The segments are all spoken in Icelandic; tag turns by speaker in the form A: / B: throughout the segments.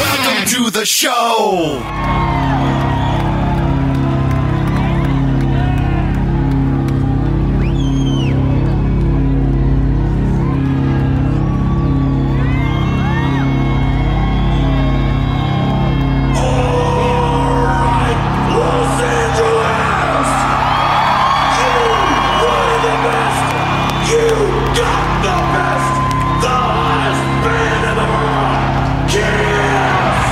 A: Welcome to the show.
B: Los Angeles! You were the best! You got the best! The hottest band in the world! Kiss!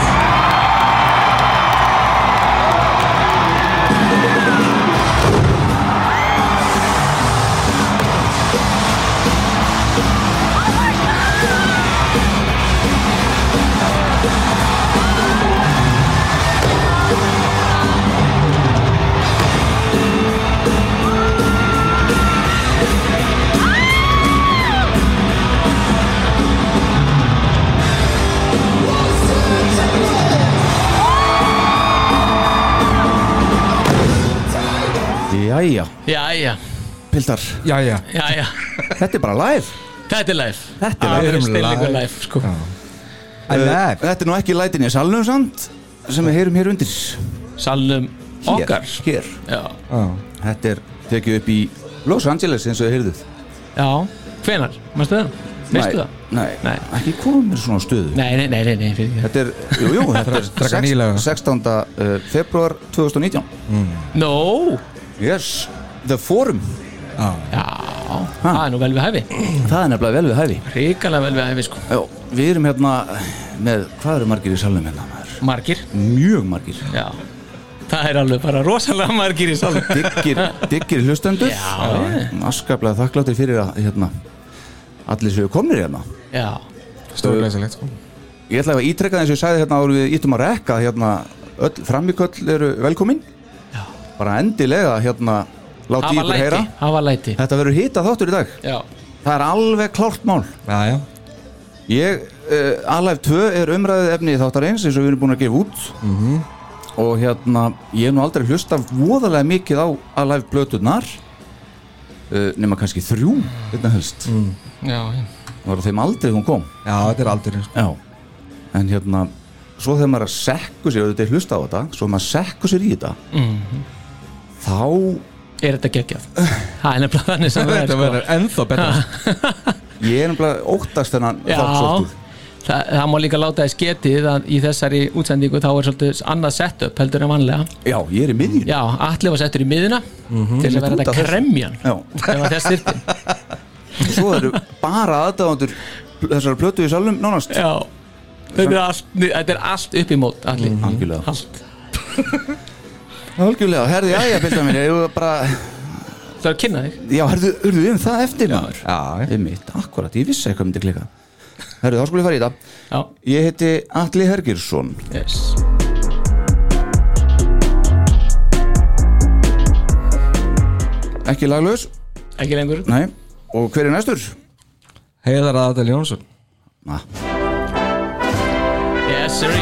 C: Jæja,
D: Jæja,
C: pildar,
E: Jæja,
D: jæja
C: þetta er bara live
D: Þetta er live
C: Þetta er
D: Alveg
E: live.
D: snillingur
E: Live.
D: live sko.
C: Eh, Þetta er nú ekki lætin í salnum samt sem við heyrum hér undir
D: Salum
C: Hér,
D: okkar
C: hér.
D: Já,
C: Þetta er tekið upp í Los Angeles eins og þið heyrðuð
D: já Hvenar, mannstu það? Veistu það?
C: Nei,
D: Nei.
C: ekki komið mér svona á stöðu
D: Nei, nei, nei, nei, nei fyrir ekki
C: Þetta er, jú, jú, þetta er
E: Draka
C: sex-
E: nýlega.
C: 16. eh, februar 2019
D: Nó,
C: Yes, The Forum
D: já Það er nú vel við hæfi
C: Það er nefnilega vel við hæfi
D: Ríkalega vel við hæfi sko
C: Jó, við erum hérna með, hvað eru margir í salnum hérna? maður?
D: Margir,
C: Mjög margir
D: já Það er alveg bara rosalega margir í salum
C: Diggir, diggir hlustendur
D: Já.
C: Askaplega þakkláttir fyrir að hérna, allir séu komnir hérna
D: Já,
E: stórlæsilegt sko.
C: Ég ætla að ítreka það eins og ég sagði hérna árum við íttum að rekka hérna, öll framíköll eru velkomin Já. bara endilega hérna láti
D: hafa
C: ykkur heyra
D: læti Hafa læti
C: Þetta verður hýta þáttur í dag
D: Já,
C: Það er alveg klárt mál
E: Já, já,
C: Ég, uh, Alive 2 er umræðið efni þáttar eins eins og við erum búin að gefa út -hmm. og hérna ég hef nú aldrei hlusta voðalega mikið á Alive blötunar uh, nema kannski þrjú hérna helst, mm.
D: já, já
C: var á þeim aldrei hún kom
E: já, þetta er aldurinn sko.
C: Já, en hérna svo þegar maður er að sekku sér, auðvitað er hlusta á þetta svo maður sekku sér í þetta þá
D: Er þetta geggjað? Það er nefnilega þannig sem það er
E: Þetta
D: sko
E: verður ennþá betra
C: ég er nefnilega óttast þennan
D: Já,
C: þátt svolítið.
D: það, það má líka láta þess getið að í þessari útsendingu þá er svolítið annað setup heldur en vanlega
C: Já, ég er í miðjun
D: Já, allir var settur í miðina til þess að vera
C: Einmitt Mhm. út
D: þetta
C: af þessu.
D: kremjan
C: Já.
D: ef að þess þyrfti
C: Svo eru bara aðdáðandur þessar plötu í salnum nánast
D: Já, þetta er allt, þetta er allt upp í mót allir
C: Mhm. Algjörlega.
D: allt.
C: Algjörlega, herði, já, já, bylda mín ég var bara,
D: Það er að kynna þig
C: já, herðu, urðu um það eftir maður
E: Já, já.
C: Ég mitt, akkurat, ég vissi eitthvað myndi klika Herðu, þá skulle ég fara í þetta
D: Já,
C: Ég heiti Atli Hergirsson
D: yes
C: Ekki laglaus,
D: Ekki lengur
C: nei Og hver er næstur?
E: Heiðar Adel Jónsson
C: Na,
D: Yes, sir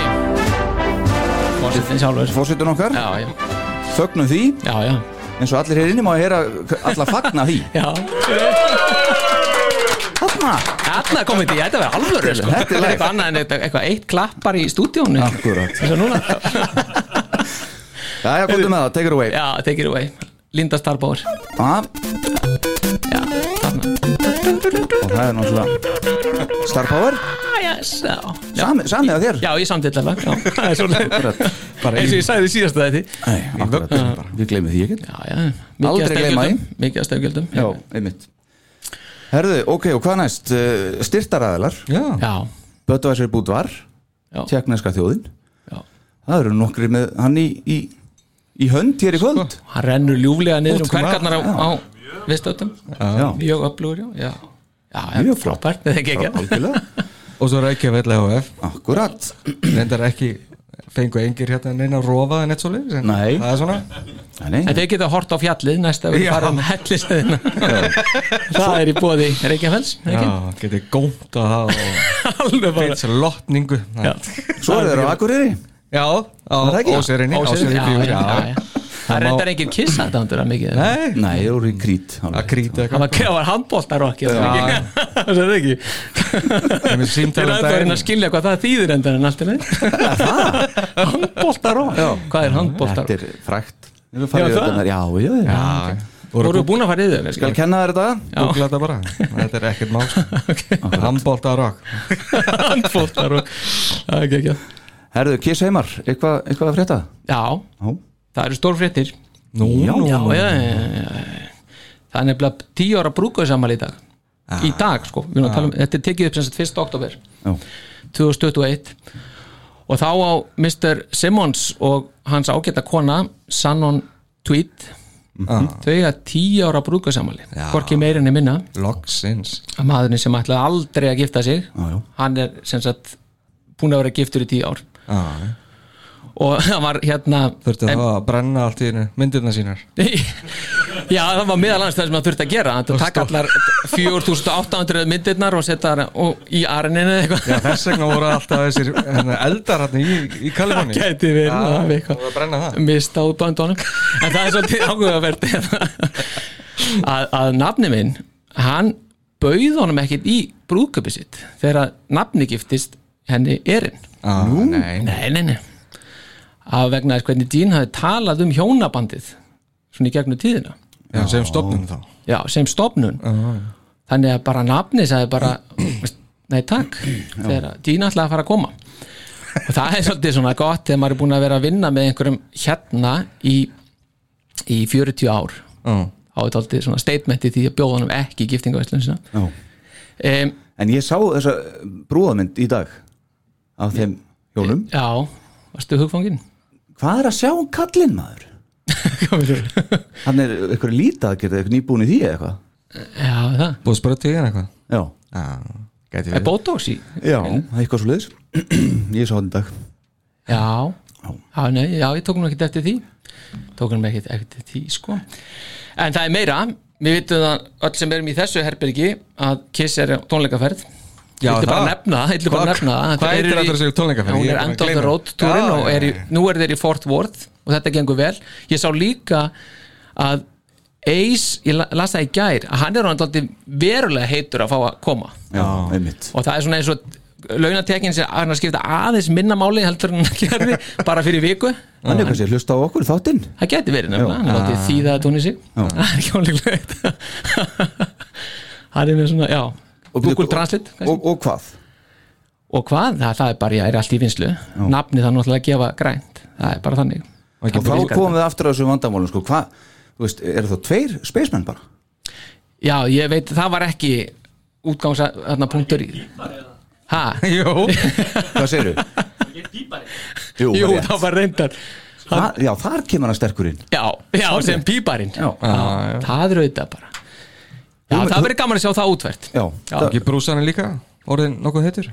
D: Fórsetin sjálfur
C: fórsetun okkar,
D: Já, já,
C: þögnum því
D: já, já
C: eins og allir hér inni má að heyra alla fagna því
D: Já,
C: Þarna,
D: þarna komið því, þetta verður alvöru sko.
C: Þetta er live.
D: eitthvað annað en eitthvað, eitthvað eitt klappar í stúdíónu
C: Akkúrat.
D: Þess að núna
C: já, já, komdu með það, take it away
D: Já, take it away Linda Starbauer
C: ah,
D: Já, þarna
C: og það er náttúrulega Star Power,
D: ah, yes, já. Já.
C: sami, sami að þér
D: já, ég samtill alveg já, það er svolítið.
C: Akkurat.
D: eins og ég sagði síðast að þetta
C: Nei, akkurat, við gleymum því ekki
D: já, já, mikið
C: Aldrei gleyma því.
D: mikið að stefgjöldum
C: Já, einmitt Herðu, ok, og hvað næst? Uh, Styrtaræðilar,
E: Já,
D: Já,
C: Bötvæsir Búdvar
D: Já.
C: Tjekkneska þjóðin
D: Já.
C: Það eru nokkri með hann í, í, í hönd hér í kvöld
D: hann rennur ljúflega niður um
E: Ótrúlega,
D: hverkarnar á, á viðstöldum
C: Já.
D: Mjög öflugur, já Já, já, já
C: Mjög flott.
D: frábært, eða ekki ekki
C: Algjörlega,
E: og svo Reykjavík HF
C: akkurat
E: reyndar ekki fengu engir hérna neina rofaði neitt svo leiðis en
C: Nei.
E: það er svona
C: Nei,
D: En þeir geta hort á fjallið næsta við
E: Já.
D: fara um hellistöðina Það er í bóði Reykjafells
E: já,
D: ekki?
E: getið gómt á það og
D: Alveg bara
E: beint sér lotningu
D: Já.
E: já,
C: svo eru þeir á Akureyri
E: já á
C: það ekki?
E: óserinni
D: Ósir-
E: óserinni
D: já,
E: bjúr,
D: já, já,
E: já
D: já. Það
E: má-
D: reyndar engin kissa þetta hundur að mikið
E: nei,
C: Nei, þeir eru í Krít
E: að krýta eitthvað
D: Það var, það var handbóltarokki Það er ekki
E: Ég er með
D: Þeir
E: símtal um
D: eru ennþá að reyna að
E: daginn.
D: skilja hvað það þýðir endan en allt í leið Handbóltarokk Hvað er
C: Þetta
D: handbóltarokk?
C: er frækt Já, það? Já, já, já,
E: Já,
D: Þú
E: voru
D: eru búin að fara í þau
C: Skal kenna þér þetta?
E: googla þetta bara þetta er ekkert mál okay. handbólta rock
D: Handbóltarokk Það er ekki ekki
C: Herðu, Kiss heimar, eitthvað, eitthvað að frétta?
D: Já,
C: Já.
D: það eru stórfréttir
E: nú,
C: Já.
E: nú,
D: Já, já, já, já, já. Það er nefnilega tíu ára brúkuðsammal í dag Í dag, sko, við erum að tala um Þetta er tekið upp sem sagt 1. oktober
C: Já.
D: 2021 Og þá á Mr. Simmons og hans ágæta kona Sannon Tweed Þau eiga tíu ára brúkuðsammali
E: Mhm. Já.
D: Hvorki meirinni minna
E: loksins
D: að maðurinn sem ætlaði aldrei að gifta sig
E: Ah.
C: já.
D: Hann er sem sagt búin að vera giftur í tíu ár
E: Já,
D: Og það var hérna
E: þurfti
D: en-
E: þá að brenna allt í hennu myndirna sínar
D: Já, það var meðal annars það sem það þurfti að gera Það taka allar 4800 myndirnar og setja þar og- í arininu eða eitthvað
E: Já, þess vegna voru alltaf þessir hérna, eldar hérna í, í Kaliforni
D: Gæti verið, það var eitthvað.
E: Það var að brenna það
D: mista út bandunum en það er svolítið áhugavert að, að nafni minn hann bauð honum ekkit í brúðköpi sitt þegar nafni giftist henni erinn
E: ah, Nú? Nei,
D: Nei, nei, nei að vegna þess hvernig Dín hafi talað um hjónabandið svona í gegnum tíðina
E: já, sem stopnum þá
D: já, sem stofnun þannig að bara nafni sagði bara veist, nei takk, þegar dýna ætlaði að fara að koma og það er svolítið svona gott þegar maður er búin að vera að vinna með einhverjum hérna í, í 40 ár
E: Já.
D: þá er svolítið svona statement í því að bjóða honum ekki í giftingavæslun sína
C: Já.
D: um,
C: En ég sá þessa brúðamynd í dag af þeim hjólum
D: já, varstu hugfangin?
C: Hvað er að sjá um kallinn maður? Hann er eitthvað lítið að geta eitthvað nýbúin í því eða eitthvað
D: já, það,
E: Búið að sprötu í henni eitthvað
C: Já,
E: Já, gæti
D: er
E: við
D: botox í
C: já, það er eitthvað svo leiðis Ég sá hann í dag
D: Já, já, nei, já, ég tók hann ekkert eftir því tók hann ekkert eftir því sko. en það er meira við vitum að öll sem erum í þessu herbyrgi að Kiss er á tónleikaferð
E: Já,
D: ég ætli bara
E: það.
D: að nefna, ég ætli bara að
E: Hvað-
D: nefna það.
E: hvað
D: Þeir
E: heitir
D: eru í-
E: þetta þessi tónleikaferð?
D: Hún
E: Ég er
D: er
E: búinn að
D: end of the
E: gleyma.
D: road túrin
E: Já,
D: og er í,
E: já, já.
D: nú er þeir í Fort Worth og þetta gengur vel ég sá líka að Ace, ég la- las það í gær að hann er hann alltaf verulega heitur að fá að koma
C: Já, einmitt
D: og það er svona eins og launatekin sem hann að skipta aðeins minna máli heldur en hann gerði bara fyrir viku
C: Hann er kannski að hlusta á okkur í þáttinn
D: það geti verið nefnilega, hann láti þýða að tóni sig það er ekki óleglegt hann er með svona, já Google Translate kannski.
C: og, og hvað?
D: og hvað, það, það er bara, já, er allt í vinslu nafni það náttúrulega að gefa grænt það er bara þannig
E: Og
C: Og
E: ekki
C: þá
E: bara-
C: komum við aftur að þessum vandamálum sko. Hvað, þú veist, eru þá tveir spacemenn bara?
D: já, ég veit, það var ekki útgangsa, þarna punktur í ha,
E: Jú,
C: Hvað segirðu? Jú,
D: jú,
C: rétt.
D: það var reyndar
C: Þa- Já, þar kemur hann sterkur inn
D: já, já, sem píparinn
C: Já.
D: Já, það er auðvitað bara Já,
C: Þú-
D: það verður gaman að sjá það útvært
C: Já,
D: Já.
C: það-
E: ekki brúsan er líka orðin nokkuð heitur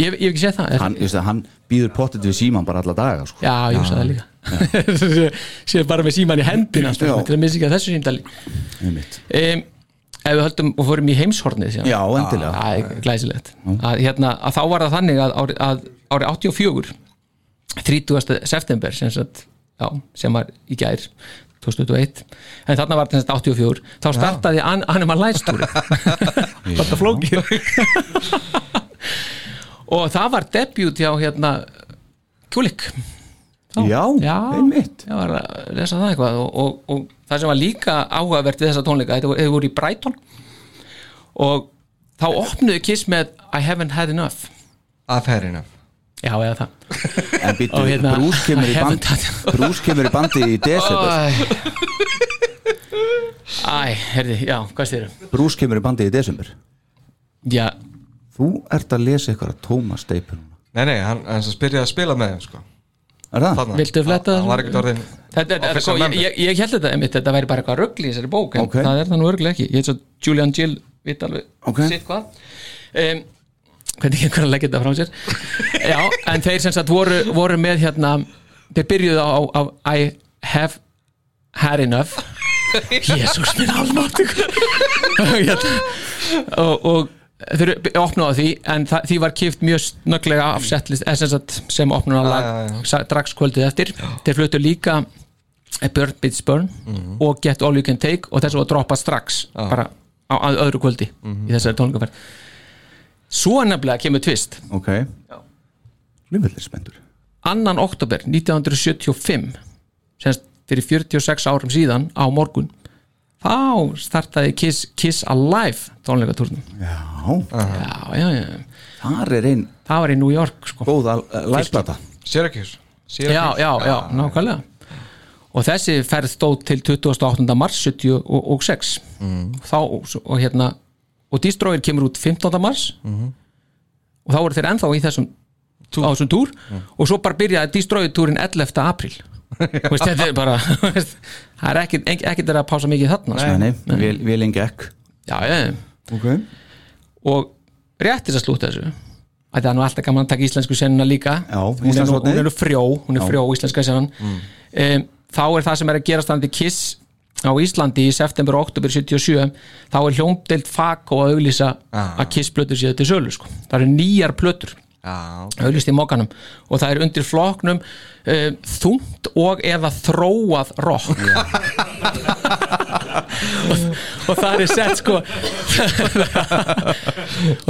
D: Ég ég hef ekki séð það er,
C: hann, ég veist að hann býður pottet við síman bara alla daga sko.
D: Já, ég hugsa það líka Sér- Sér bara með síman í hendin alltaf
C: Já.
D: Þetta er að missa ekki að þessu síndali
C: Einmitt.
D: um, Ef við höldum og fórum í heimshornið síðan Ah,
C: Já, endilega.
D: Það er glæsilegt að, hérna, að þá var það þannig að ári, að ári 84 30. september sem, sagt, já, sem var í gær 2021 en þarna var þetta 84 þá startaði An Animal Lights Tour þetta flókið og það var debut hjá hérna Kulik
C: Já,
D: já,
C: einmitt
D: ég var að lesa það eitthvað og, og, og það sem var líka áhugavert við þessa tónleika, þetta voru- þau voru í Brighton og þá opnuðu Kiss með I haven't had enough
E: af herrinum
D: já, eða það
C: En býttu,
D: Og hérna-
C: Bruce kemur í
D: Heaven
C: band
D: Touch.
C: Bruce kemur í bandi í desember
D: Æ, Æ, herði, já, hvað styrir?
C: Brús kemur í bandið í desember
D: Já,
C: Þú ert að lesa ykkur að tóma steipur
E: Nei, nei, hann, hann sem byrjaði að spila með þeim sko.
C: Er það?
E: Þarna.
D: Viltu fletta
E: Hann-
D: þessu?
E: Hann var ekkert orðin
D: þetta, þetta,
E: Officer
D: sko, ég,
E: member.
D: ég, ég held þetta einmitt, þetta væri bara eitthvað ruggli í þessari bók en
C: Ok.
D: það er það nú örglega ekki, ég held svo Julian Jill vit alveg
C: Ok.
D: sitt hvað um, hvernig ekki að leggja þetta frá sér já, en þeir sem sagt voru, voru með hérna, þeir byrjuðu á, á, á I have had enough Jésús minn almátti og, og þeir opnaði á því en það, því var kipt mjög snögglega af setlist eh, sem, sagt, sem
E: Já, já,
D: opnaði lag drags kvöldið eftir þeir fluttu líka Burn Beats Burn og Get All You Can Take og þessu var droppað strax bara á, á öðru kvöldi í þessari tónlingaferð svo nefnilega kemur tvist
C: Ok Lífellir spendur
D: 2. oktober 1975 semst fyrir 46 árum síðan á morgun þá startaði Kiss, Kiss Alive tónleikatúrnum
C: Já,
D: já, já, já.
C: þar er einn
D: það var í New York sko.
C: góð uh, læsplata
E: Syracuse Syracuse.
D: já, já, já, nákvæmlega og þessi ferð stóð til 28. mars 76 þá, og hérna og Destroyer kemur út 15. mars og þá voru þeir ennþá í þessum á þessum túr og svo bara byrjaði Destroyer túrin 11. apríl Vist, þetta er bara veist, það er ekkert ekki, ekki að pása mikið þarna sko.
C: Nei, vel, vel engi ekk
D: já, já, já
C: Ok
D: og rétt til að slúta þessu að það er nú alltaf gaman að taka íslensku senuna líka
C: Já,
D: hún er, nú,
C: Íslandshornið.
D: hún er nú frjó, hún er frjó íslenska senan um, þá er það sem er að gera standi Kiss á Íslandi í september og oktober 77 þá er hljómdelt fak og að auglýsa að Kiss plötur séu til sölu sko. það eru nýjar plötur
E: Já, ok.
D: auðlist í mókanum og það er undir floknum uh, þungt og eða þróað rock og, og það er sett sko og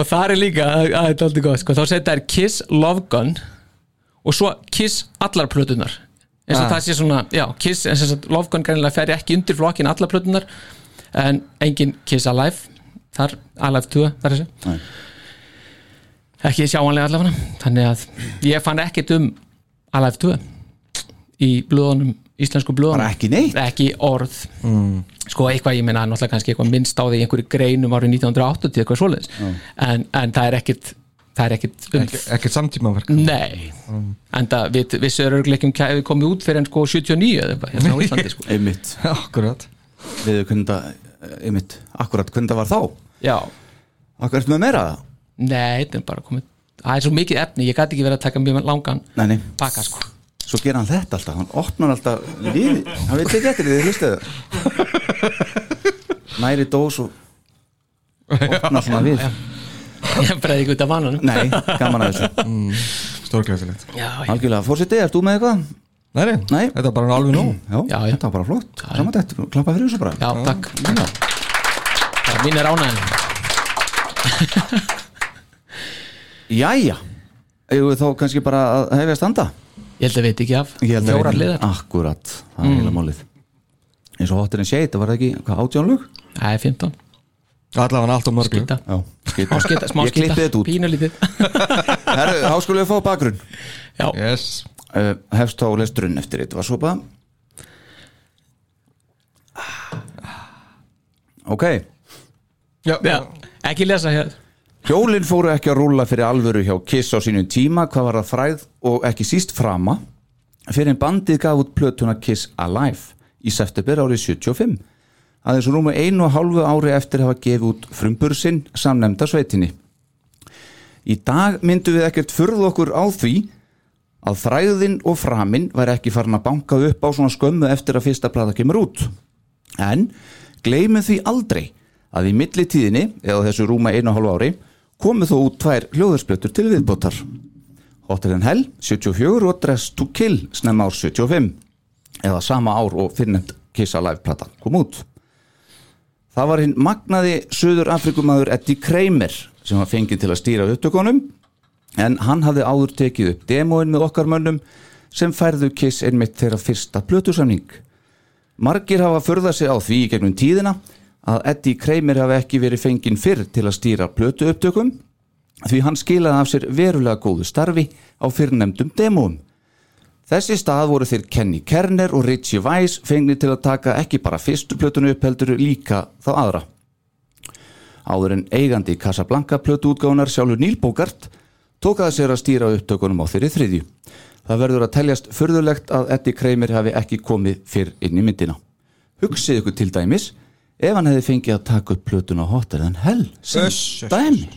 D: það er líka að, að þetta er aldrei góð sko, þá setja er Kiss Love Gun og svo Kiss allar plötunar eins
C: Ah.
D: og það sé svona, já, Kiss eins og Love Gun greinilega fer ekki undir flokkin allar plötunar en engin Kiss Alive þar, Alive 2, þar þessi ekki sjáanlega allavega þannig að ég fann ekkert um Alive 2 í blöðunum, íslensku blöðunum
C: Bara ekki neitt?
D: ekki orð
C: Mm.
D: sko eitthvað, ég meina náttúrulega kannski eitthvað minnst á því í einhverju greinum árið 1980 eitthvað svoleiðis, en, en það er ekkert það er ekkert um
E: Ekki- ekkert samtímaverk
D: Nei,
C: Mm.
D: en það við, vissu er örgleikum kæfi komið út fyrir en sko 79 eða eitthvað, hérna á Íslandi sko
C: Einmitt
E: Akkurat
C: Við hvernig það Einmitt Akkurat hvernig það var þá
D: Já,
C: Akkurat með meira það
D: nei, þetta er bara komið það er svo mikið efni, ég gæti ekki verið að taka mjög langan
C: Nei, nei
D: baka sko
C: Svo gera hann þetta alltaf Hann opnar alltaf Við Hann veit ekki eftir því þið hlustið það Næri dós og Opnar svona við
D: ég breði ekki út af vananum
C: Nei, gaman að þessu
E: Stórglæsilegt
D: Já, já.
C: Algjörlega fórseti, ert þú með eitthvað?
E: Nei, nei,
C: Nei.
E: þetta er bara nú alveg nóg
C: Já,
D: Já, já.
C: þetta var bara flott Saman þetta, klappa fyrir þessu bara
D: Já, takk Það er mín er ánæðin
C: Jæja Eigum við þá kannski bara að hefja standa
D: Ég held að veit ekki af
C: Ég held að Ah.
D: Fjórar
C: við-
D: liðar Mm.
C: Akkúrat, það er heila málið eins og hotirinn seit, það var það ekki, hvað, átjánlug?
D: Það er 15
E: Allavega allt og mörg
D: Skýta
C: Já,
D: Smá skýta, smá
C: Ég klippið þetta út
D: Pínulítið
C: Herru, þá skulum við fá bakgrunn
E: Yes
C: uh, Hefst þá lesturinn eftir þetta var sopa Ok,
E: Já,
D: Já, ekki lesa hér
C: hjólinn fóru ekki að rúlla fyrir alvöru hjá Kiss á sínum tíma hvað var að fræð og ekki síst frama fyrir en bandið gaf út plötuna Kiss Alive í september árið 75 aðeins rúmu einu og hálfu ári eftir að hafa gefið út frumbursinn samnefnda sveitinni Í dag myndum við ekkert furð okkur á því að þræðin og framinn væri ekki farin að banka upp á svona skömmu eftir að fyrsta plata kemur út. En gleymum því aldrei að í millitíðinni, eða þessu rúma einu og hálfu ári, komu þó út tvær hljóðarsplötur til viðbótar. Hotel in Hell 74 og Dress to Kill snemma ár 75 eða sama ár og fyrirnefnd Kiss Alive platan kom út. Það var hinn magnaði Suður Afrikumadur Eddie Kramer sem var fengið til að stýra upptökunum en hann hafði áður tekið upp demóin með okkar mönnum sem færðu Kiss einmitt þeirra fyrsta plötusamning. Margir hafa förðað sig á því í gegnum tíðina að Eddie Kramer hafi ekki verið fenginn fyrr til að stýra plötu upptökum því hann skilaði af sér verulega góðu starfi á fyrrnemdum demóum. Þessi stað voru þeir Kenny Kerner og Richie Weiss fengni til að taka ekki bara fyrstu plötunu upp heldur líka þá aðra. Áður en eigandi Casablanca plötu útgáunar sjálfur Neil Bogart tók að sér að stýra upptökunum á þeirri þriðju. Það verður að teljast furðulegt að Eddie Kramer hafi ekki komið fyrr inn í myndina. Hugsið ykkur til dæmis ef hann hefði fengið að taka upp plötuna hotar en hell sem
E: Uss, uss,
C: dæmi.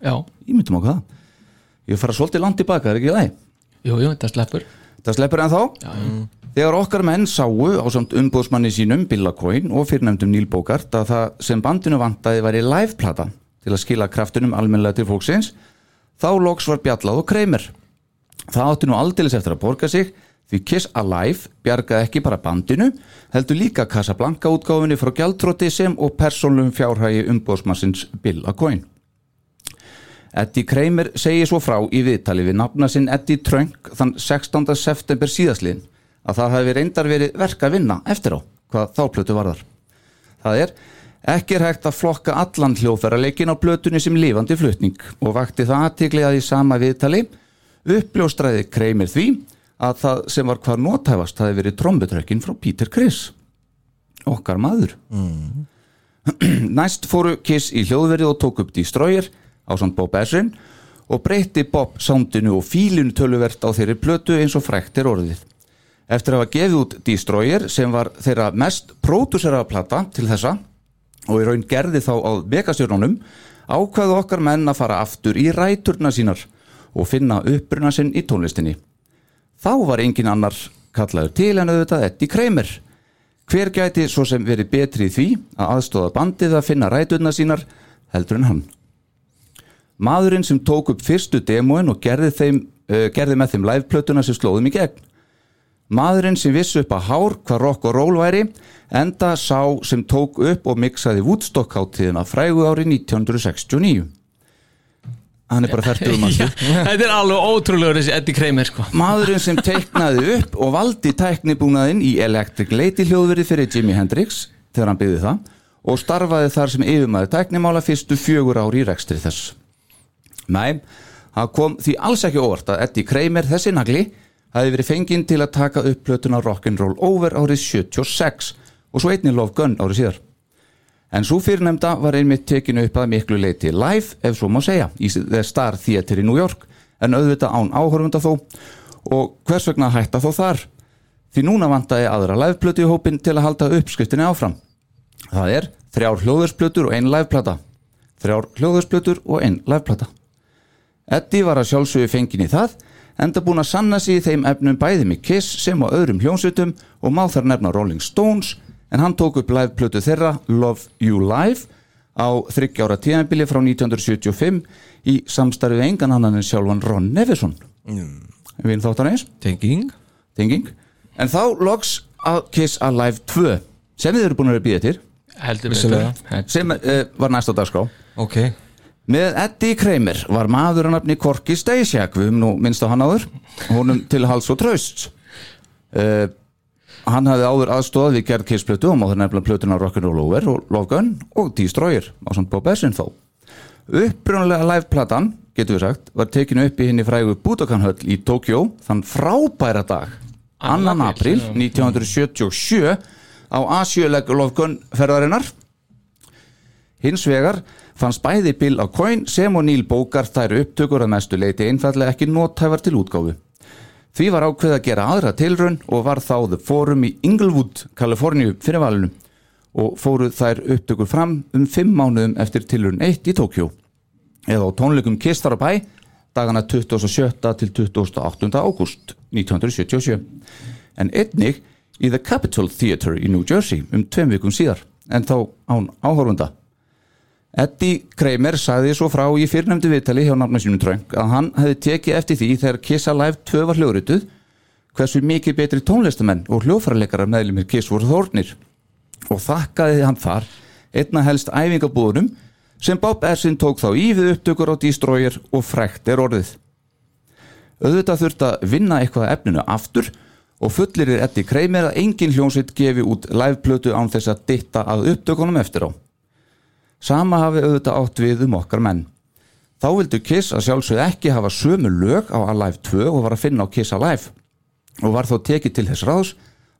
D: já,
C: Ímyndum okkur það. Ég fara svolítið langt tilbaka, er ekki það?
D: jú, jú, þetta sleppur
C: Það sleppur ennþá mm. Þegar okkar menn sáu á samt umbóðsmanni sínum Billa Coyne og fyrrnefndum Neil Bogart að það sem bandinu vantaði væri liveplata til að skila kraftunum almennlega til fólksins þá loks var bjallað og kreimir Það átti nú aldeilis eftir að borga sig því Kiss Alive bjargaði ekki bara bandinu heldur líka Casablanca útgáfinni frá gjaldtróti sem og persónlum fjárhægi umbóðsmannsins Billa Coyne Eddie Kramer segir svo frá í viðtali við nafna sinn Eddie Trunk þann 16. september síðasliðin að það hafi reyndar verið verk að vinna eftir á hvað þá plötu varðar. Það er, ekki er hægt að flokka allan hljóðfæraleikin á plötunni sem lifandi flutning og vakti það aðtikli að í sama viðtali uppljóstræði Kramer því að það sem var hvar nothæfast hafi verið trombutrökkin frá Peter Criss. Okkar maður. Næst fóru Kiss í hljóðverið og tók upp Destroyer á samt Bob Essin og breytti Bob soundinu og fílinu töluvert á þeirri plötu eins og frækt er orðið. Eftir að hafa gefið út Destroyer sem var þeirra mest pródúseraða plata til þessa og í raun gerði þá á megastjörnunum ákvaðu okkar menn að fara aftur í ræturna sínar og finna uppruna sinn í tónlistinni. Þá var engin annar kallaður til en auðvitað Eddie Kramer. Hver gæti svo sem verið betri í því að aðstóða bandið að finna ræturna sínar heldur en hann? Maðurinn sem tók upp fyrstu demóin og gerði, þeim, uh, gerði með þeim liveplötuna sem slóðum í gegn. Maðurinn sem vissi upp að hár hvað rock og roll væri, enda sá sem tók upp og miksaði Woodstock hátíðina frægu ári 1969. Hann er bara færtur um að
D: já, þetta er alveg ótrúlegur þessi Eddie Kramer sko.
C: Maðurinn sem teiknaði upp og valdi tæknibúnaðinn í Electric Lady hljóðverið fyrir Jimi Hendrix þegar hann byggði það og starfaði þar sem yfirmaði tæknimála fyrstu fjögur ári í rekstri þess. Nei, það kom því alls ekki óvart að Eddie Kramer þessi nagli hafi verið fenginn til að taka upp plötuna Rock'n'Roll Over árið 76 og svo einnig Love Gun árið síðar. En svo fyrirnemnda var einmitt tekinu upp að miklu leiti live, ef svo má segja, í The Star Theatre í New York, en auðvitað án áhörfunda þó, og hvers vegna að hætta þó þar? Því núna vantaði aðra liveplötu í hópin til að halda uppskriftinni áfram. Það er þrjár hljóðursplötur og ein liveplata. Þrjár hljóðursplötur og ein liveplata. Eddie var að sjálfsögju fengin í það enda búin að sanna sig í þeim efnum bæði með Kiss sem á öðrum hljónsutum og má þar nefna Rolling Stones en hann tók upp liveplötu þeirra Love You Live á þryggjára tíðanbili frá 1975 í samstarfið engan annan en sjálfan Ron Nevison mm. við þáttan eins
E: Tenging
C: tenging en þá loks að Kiss Alive 2 sem þið eru búin að býða til
D: heldur
E: Vissulega.
D: betur
C: sem uh, var næst á dagskrá
E: Ok
C: Með Eddie Kramer var maður að nafni Korki Stasiak, við höfum nú minnst á hann áður, honum til hals og tröst. Uh, hann hafði áður aðstóð við gerð kissplötu og máður nefnilega plötuna Rock'n'Roll Over og Love Gun og Destroyer á samt Bob Essin þó. Upprunalega liveplatan, getur við sagt, var tekinu upp í henni frægu Budokanhöll í Tokjó þann frábæra dag, 2.
D: Annan apríl,
C: april 1977 á Asjöleg Love Gun ferðarinnar. Hins vegar fannst bæði Bill á Coin sem og Neil Bogart þær upptökur að mestu leiti einfallega ekki nothæfar til útgáfu. Því var ákveð að gera aðra tilraun og var þá The Forum í Inglewood, Kaliforníu fyrir valinu og fóru þær upptökur fram um fimm mánuðum eftir tilraun 1 í Tókjó eða á tónleikum Kistar á bæ dagana 27. til 28. ágúst 1977 en einnig í The Capitol Theatre í New Jersey um tveim vikum síðar en þá án áhorfunda. Eddie Kramer sagði svo frá í fyrrnefndu viðtali hjá nafnum sínum Trönk að hann hefði tekið eftir því þegar Kiss Alive 2 var hljóðrituð hversu mikið betri tónlistamenn og hljóðfærarleikarar meðlumir Kiss voru þórnir og þakkaði hann þar einna helst æfingabúðunum sem Bob Ersin tók þá í við upptökur á Destroyer og frækt er orðið. Auðvitað þurft að vinna eitthvað að efninu aftur og fullirir Eddie Kramer að engin hljómsveit gefi út liveplötu án þess að ditta að upptökunum eftir á. Sama hafi auðvitað átt við um okkar menn. Þá vildu Kiss að sjálfsögð ekki hafa sömu lög á Alive 2 og var að finna á Kiss Alive. og var þá tekið til þess ráðs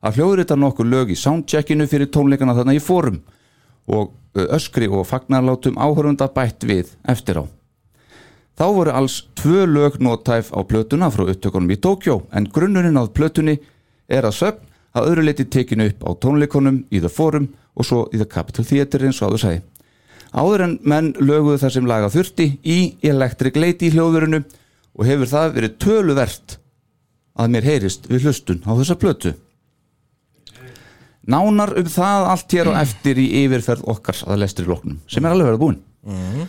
C: að hljóðrita nokkur lög í soundcheckinu fyrir tónleikana þarna í fórum og ö, öskri og fagnarlátum áhörfunda bætt við eftir á. Þá voru alls tvö lög nótæf á plötuna frá upptökunum í Tókjó en grunnurinn að plötunni er að sögn að öðru leiti tekinu upp á tónleikunum í The Forum og svo í The Capital Theatre eins og áður sagði. Áður en menn löguðu þar sem laga þurfti í Electric Lady hljóðurinu og hefur það verið töluvert að mér heyrist við hlustun á þessa plötu. Nánar um það allt hér og eftir í yfirferð okkar að lestri loknum sem er alveg verið búinn.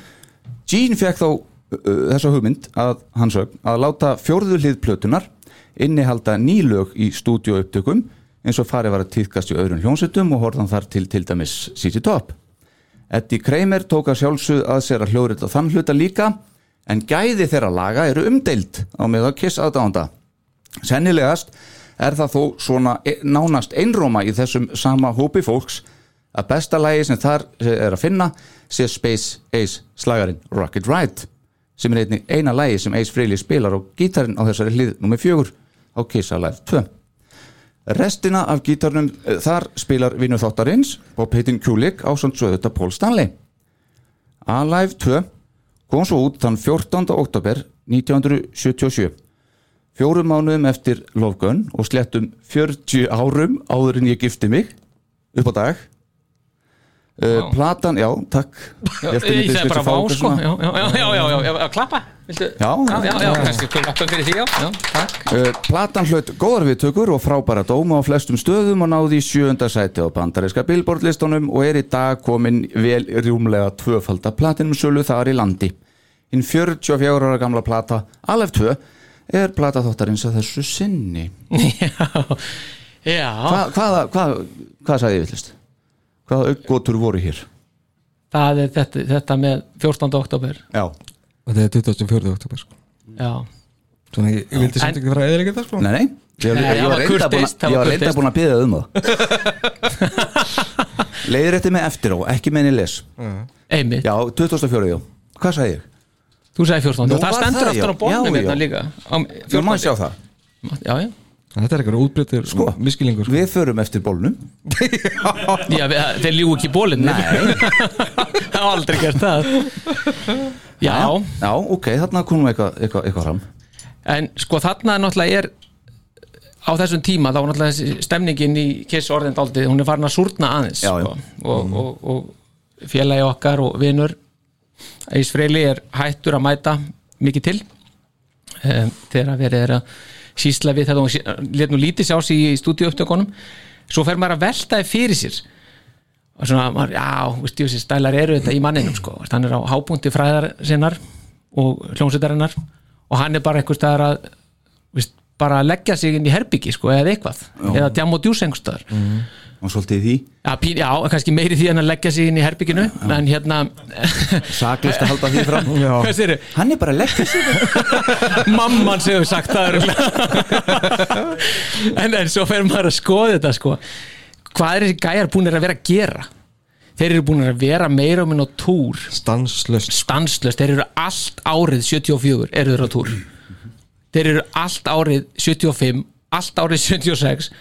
C: Gene fekk þá uh, þessa hugmynd að hans sög að láta fjórðu hlið plötunar innihalda nýlög í stúdíóupptökum eins og farið var að týðkast í öðrum hljónsettum og horfðan þar til til dæmis City Top. Eddie Kramer tók að sjálfsög að sér að hljóðrita þann hluta líka en gæði þeirra laga eru umdeild á með að kiss aðdánda. Sennilegast er það þó svona e- nánast einróma í þessum sama hópi fólks að besta lagi sem þar eh, er að finna sé Space Ace slagarinn Rocket Ride sem er einnig eina lagi sem Ace Frehley spilar á gítarinn á þessari hlið nummer fjögur á Kiss Alive 2. Restina af gítarnum eh, þar spilar vinnu þáttarins Bob Hittin Kulik á samt svo þetta Paul Stanley. Alive 2 kom svo út þann 14. oktober 1977 fjórum mánuðum eftir Love Gun og slettum 40 árum áður en ég gifti mig upp á dag uh,
D: Vá.
C: platan, já, takk
D: Já,
C: Ég ætti
D: Ég
C: lítið
D: segi
C: skil
D: bara
C: sem fá
D: vá
C: okkur
D: sko
C: svona.
D: Já, já, já, já, já, já, já, klappa Viltu?
C: Já,
D: já, já, já,
C: já.
D: kannski klappa fyrir því já, já, takk
C: Uh, Platan hlaut góðar viðtökur og frábæra dóma á flestum stöðum og náði í sjöunda sæti á bandaríska billboardlistunum og er í dag komin vel rjúmlega tvöfalda platinumsölu þar í landi. Hinn 44 ára gamla plata Alef 2 er plata þáttarins að þessu sinni.
D: Já, já,
C: Hva, hvaða, hvað, hvað sagði ég villist? Hvaða aukgotur voru hér?
D: það er þetta, þetta með 14. oktober
C: Já.
E: Þetta er 24. oktober sko.
D: Já,
E: Svona ég, ég vildi
D: En-
E: samt ekki fara eða ekki það sko
C: Nei, nei. Ég,
D: Nei,
C: ég, var
D: það
C: reynda
D: var
C: búin
D: kurteist,
C: að-
D: það
C: ég
D: var
C: var reynda
D: kurteist.
C: búin að byrja um það. Leiðir eftir mig eftir á, ekki meini les.
D: einmitt,
C: Já, 2004, já. Hvað sagði ég?
D: þú sagði 14.
C: Nú
D: og það
C: var
D: stendur
C: það,
D: aftur á
C: já.
D: bólnum
C: Já,
D: hérna
C: já.
D: líka á
C: Þú má
D: 14..
C: sjá það
D: Já, já,
E: Þetta er eitthvað útbryttur
C: Sko,
E: sko. miskilingur sko.
C: Við förum eftir bólnum
D: já við, þeir ljú ekki bólinn
C: Nei.
D: Það var aldrei gert það Já,
C: Já, ok, þarna komum við eitthvað eitthva, eitthva fram
D: en sko þarna náttúrulega er á þessum tíma þá var náttúrulega þessi stemningin í Kiss orðin daldið, hún er farin að súrna aðeins
C: Já, já. Mhm.
D: Sko. Og, og, og félagi okkar og vinur Ís Freyli er hættur að mæta mikið til um, þegar verið er að sísla við þetta og hún let nú lítið sjá sig í stúdíu upptökunum svo fer maður að velta þið fyrir sér og svona, maður, já, veist, þessi stælar eru þetta í manninum sko, Veist, hann er á hábúndi fræðar sinnar og hljómsveitarinnar og hann er bara einhvers staðar að veist, bara að leggja sig inn í herbyggi sko, eða eitthvað, eða djám og djús einhvers staðar
C: Og svolítið í því
D: já, pín, já, kannski meiri því en að leggja sig inn í herbygginu en hérna
C: Saklist að halda því fram
D: hvað sér
C: Hann er bara lekkur sér
D: mamman sem hefur sagt það örugglega. en, en svo fer maður að skoða þetta sko. hvað er þessi gæjar búinir að vera að gera þeir eru búinir að vera meira og minn á túr
E: Stanslöst
D: stanslöst, þeir eru allt árið 74 eru þeir á túr þeir eru allt árið 75 allt árið 76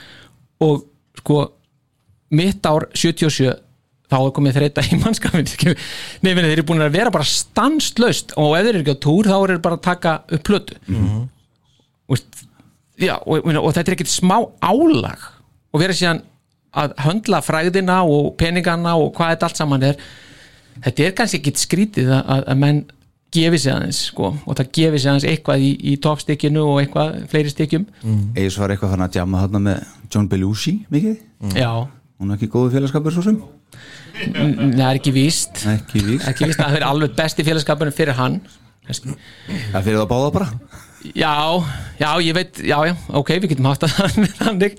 D: og sko mitt ár 77 þá er komið þreita í mannskapin Nei, meni, þeir eru búin að vera bara stanslöst og ef þeir eru ekki á túr þá eru þeir bara að taka upp plötu Vist, já, og, og, og þetta er ekkit smá álag og vera síðan að höndla fræðina og peningana og hvað þetta allt saman er þetta er kannski ekkit skrítið að, að- að menn gefi sig aðeins sko, og það gefi sig aðeins eitthvað í, í topstykkinu og eitthvað fleiri stykkjum
C: Eis var eitthvað fann að djama þarna með John Belushi mikið
D: já,
C: Hún er ekki góðu félagskapur svo sem
D: n- n- það er ekki víst
C: Ekki vík
D: ekki víst að það er alveg besti félagskapunum fyrir hann kannski.
C: Það fyrir það báða bara
D: já, já, ég veit já, já, ok, við getum haft það þannig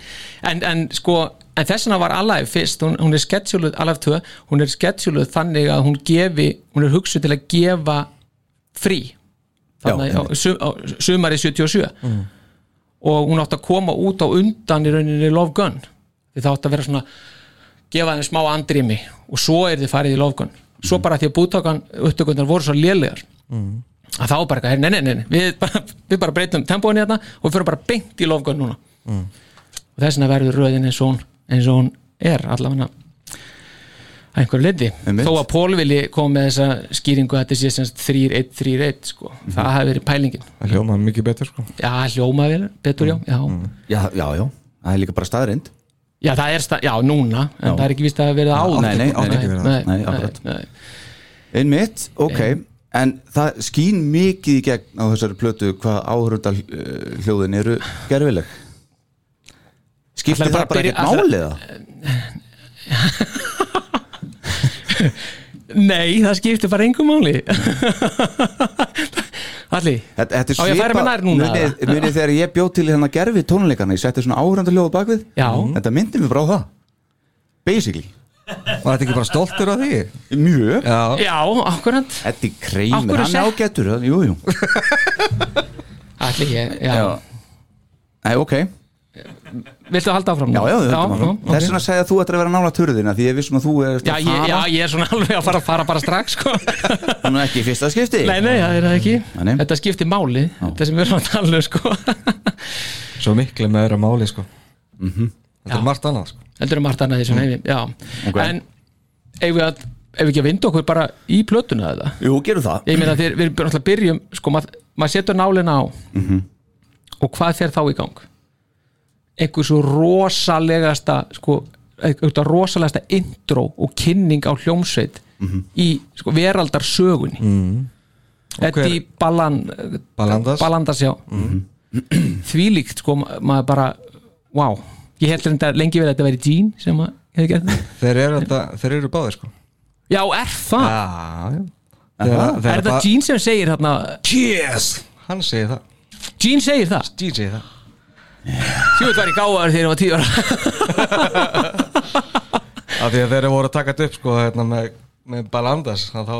D: en, en sko, en þessuna var Alive fyrst, hún, hún er sketsjúluð Alive 2, hún er sketsjúluð þannig að hún gefi, hún er hugsuð til að gefa frí þannig
C: Já,
D: á, sum, á sumari 77 og hún átti að koma út á undan í rauninni Love Gun því það átti að vera svona gefa þeim smá andrými og svo er þið farið í Love Gun svo bara því að búttakan upptökundar voru svo lélegar að þá var bara, eitthvað, nei, nei, nei, nei við bara, við bara breytum tempóinu hérna og við fyrir bara beint í Love Gun núna og þess vegna verður röðin eins og hún, eins og hún er allavega að einhverju leiti
C: Einmitt.
D: þó að Pól vilji koma með þessa skýringu að þetta sé semst 3-1-3-1 sko.
C: Mhm.
D: það hafi verið pælingin
E: það hljóma mikið betur sko
D: já, hljóma vel, betur
C: Mhm.
D: já, já.
C: já, já, já, það er líka bara staðrind
D: já, það er stað, já, núna en
C: Já.
D: það er ekki víst að hafa verið áður
C: Nei, nei, nei,
E: átti ekki verið
D: nei,
C: Nei,
D: nei,
C: akkurat.
D: nei.
C: einmitt, ok en það skín mikið í gegn á þessari plötu hvað áhörundal hljóðin eru gerfileg skiptir
D: Ætlarðu
C: það
D: bara að
C: bara
D: byrja-
C: ekkert máliða
D: Nei, það skiptir bara engum máli Alli
C: þetta þetta er
D: Á, ég að fara mér nær núna,
C: munið,
D: eða?
C: munið þegar ég bjóð til hérna gerfi tónleikana ég setti svona áhörundal hljóð bakvið
D: Já.
C: þetta myndi mér bara á það basically,
E: Var þetta ekki bara stoltur af því?
C: mjög
E: Já,
D: Já, akkurat
C: Eddi
D: Af
C: Kreimur,
D: hverju
C: hann er
D: sett-
C: ágættur hann- jú, jú
D: Alli, ég, já.
C: Nei, ok, já,
D: Viltu að halda áfram? nú?
C: já, já
D: ok.
C: Þess vegna segja að þú ættir að vera nála törðina Því ég vissum að þú er
D: já, ég, já, ég er svona alveg að fara, fara bara strax sko.
C: Hún er ekki í fyrsta skipti
D: Nei, nei, það er það ekki
C: Nei, nei.
D: Þetta skiptir máli, þetta sem við erum að tala um sko.
E: svo miklu með öðra máli sko Þetta er
D: Já.
E: margt annað sko
D: Þetta eru margt annað því sem
C: Mm.
D: heimi Já, en ef við, að, ef við ekki að vinda okkur bara í plötuna þetta
C: Jú, gerum það
D: Ég meina þegar við náttúrulega byrjum sko, maður mað setur nálina á og hvað fer þá í gang einhver svo rosalegasta sko, einhver rosalegasta intro og kynning á hljómsveit í sko, veraldarsögunni mm
E: Mhm. hver-
D: Eddi Ballan
E: Ballandas?
D: Ballandas, já þvílíkt sko, ma- maður bara wow, ég held reynda lengi vel að þetta væri Jean sem að hefði gert það
E: Þeir eru, þetta, þeir eru báðir sko
D: Já, er það?
E: Já, já Þegar,
D: er það Jean sem segir hérna
E: Yes! Hann segir það
D: Jean segir það?
E: Jean segir það
D: Tjóðið var í gáðar þegar ég var tíu ára
E: Af því að þeir eru voru að taka þetta upp sko hérna, með, með Balandas þá þá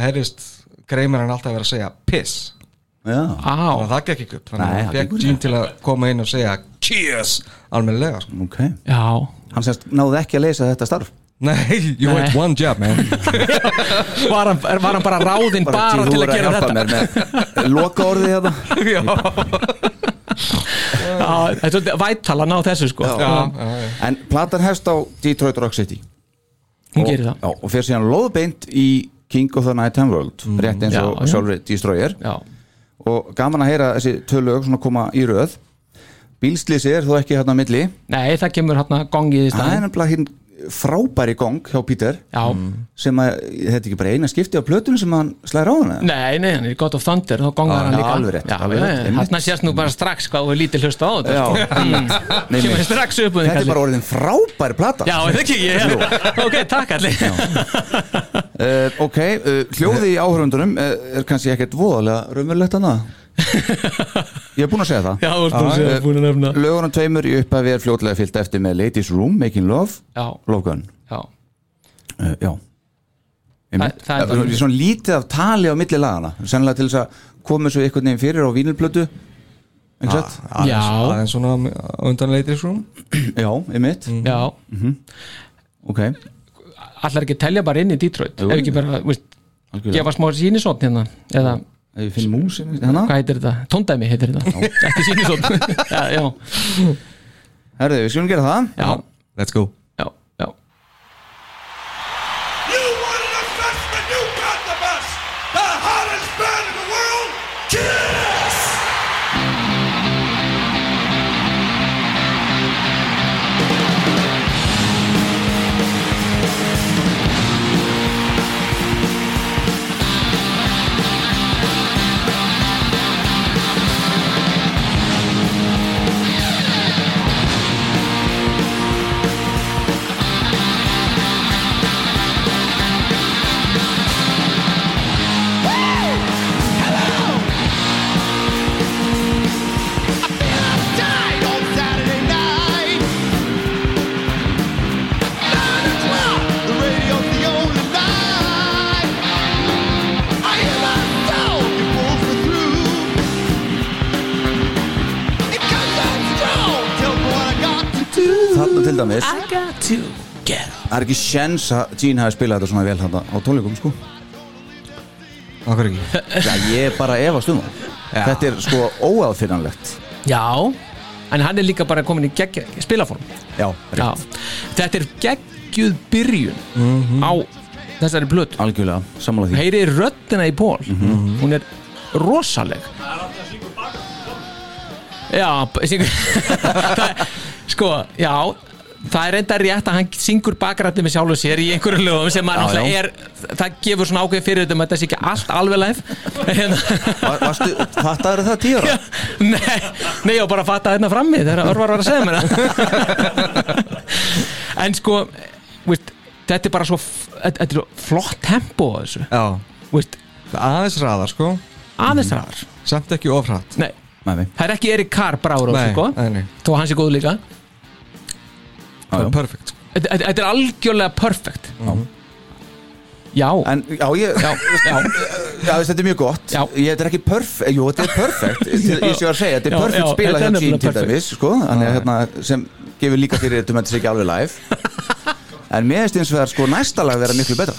E: herrist kreimir hann alltaf að vera að segja piss
C: Já,
D: Á,
E: þannig að það gekk ekki upp
C: Nei,
E: þannig
C: það
E: að fekk
C: gengur
E: Jean til að koma inn og segja cheers almennilega sko.
C: ok
D: já
C: Hann semst náði ekki að leysa þetta starf
E: nei, you
D: Nei.
E: had one job man
D: Var hann, er- var hann bara ráðinn bara,
C: Jean,
D: til
C: þú
D: að
C: verður
D: gera
C: hjálpa
D: þetta
C: mér með Loka orðið hérna
E: já,
D: Já, Þetta er svolítið vættalan á þessu sko
E: já,
D: Hún
E: já, já.
C: En platan hefst á Detroit Rock City
D: gerir það
C: Já, og fyrir síðan loðbeint í King of the Night and World Rétt eins
D: Mm. Já,
C: og
D: já.
C: sjálfri Destroyer
D: Já,
C: Og gaman að heyra þessi tölög svona koma í röð Bílslýsi er þó ekki hérna á milli
D: nei það kemur hérna gongið í
C: Það er
D: staðin
C: nefnilega hinn frábæri gong hjá Peter
D: Já,
C: sem að, þetta er ekki bara eina skipti á plötunum sem hann slæðir á hana
D: nei, nei, hann er í God of Thunder þá gongar
C: Já,
D: hann
C: já,
D: líka
C: alveg rétt,
D: Já,
C: alveg
D: já,
C: rétt,
D: já,
C: einmitt.
D: Þarna sést nú bara strax hvað þú er lítið hlusta á þetta
C: Já,
D: sko.
C: einmitt. Nei,
D: Kemur
C: nei.
D: strax upp úr því
C: Þetta er
D: kalli.
C: bara orðin frábær plata
D: Já, er það ekki ég Ok, takk allir
C: uh, Ok, uh, hljóði í
D: Eh.
C: áhörundunum uh, er kannski ekkert voðalega raumurlegt annað Ég er búinn að segja það
D: Já, þú ert búin að segja, búin að nefna
C: Lögunum tveimur í upphafi er fljótlega fyllt eftir með Ladies Room, Making Love,
D: Já,
C: Love Gun
D: já,
C: uh, Já
D: það
C: Einmitt.
D: það er
C: Það
D: bara
C: er svona lítið af tali á milli lagana Sennilega til þess að koma svo einhvern veginn fyrir á vínilplötu Ekki satt?
D: Já.
E: aðeins svona á undan leitrisrúm
D: ah.
C: Já, einmitt,
D: Já,
C: ok
D: allar ekki að telja bara inn í Detroit ef ekki bara, veist,
C: Algjörlega.
D: gefa smá sínisótt hérna eða,
C: Ef ég finn músin hérna
D: hvað heitir þetta? Tóndæmi heitir þetta, ekki sínisótt já, já,
C: Herðu, við skulum gera það
D: já,
E: let's go
D: já, já
B: You wanted the best, but you got the best. The hottest band in the world, Kiss!
C: Þarna til dæmis Það er ekki sjens að Gene hafi spilað þetta svona vel þarna á tónleikum sko
E: okkur ekki
C: Já, ég er bara að efast um það Þetta er sko óaðfinnanlegt
D: já, en hann er líka bara komin í gegg, spilaform
F: Já,
D: Já. þetta er geggjuð byrjun á þessari blötu
C: algjörlega, sammála því
D: heyri röddina í Pól
C: Mhm.
D: hún er rosaleg já, b- syngur það er, sko, já það er enda rétt að hann syngur bakrætti með sjálfu sér í einhverju lögum sem maður
C: Já,
D: náttúrulega
C: já.
D: er það gefur svona ákveð fyrir þetta um að þetta sé ekki allt alveg læf
C: Var- Varstu, þetta eru það tíra?
D: nei, nei, ég var bara að fatta hérna frammi þegar Örvar var að segja mér það en sko veist, þetta er bara svo f- þetta þetta er svo flott tempo á þessu
E: Já,
D: veist,
E: aðeins raðar sko
D: aðeins
C: Mhm.
D: ræðar
E: Samt ekki ofrætt
D: Nei,
C: Nei, nei,
D: það er ekki Erik Carr bráður á
E: Nei,
D: þessu, sko
E: nei, nei.
D: Þó hans er góð líka
E: Það er
C: já, já.
E: perfect sko.
D: Þetta þetta- þetta er algjörlega perfect Já Já,
C: En, já, ég,
D: já, já,
C: já, veist, þetta er mjög gott
D: Já.
C: Ég, þetta er ekki perfect, jú, þetta er perfect Ég ég sé að segja, þetta er
D: Já,
C: perfect
D: já,
C: spila
D: þetta er
C: hjá Gene
D: nefnilega
C: til
D: perfect.
C: dæmis sko, þannig, að, hérna, sem gefur líka fyrir þetta með þessi ekki alveg live En mér finnst eins og það sko næsta lag vera miklu betra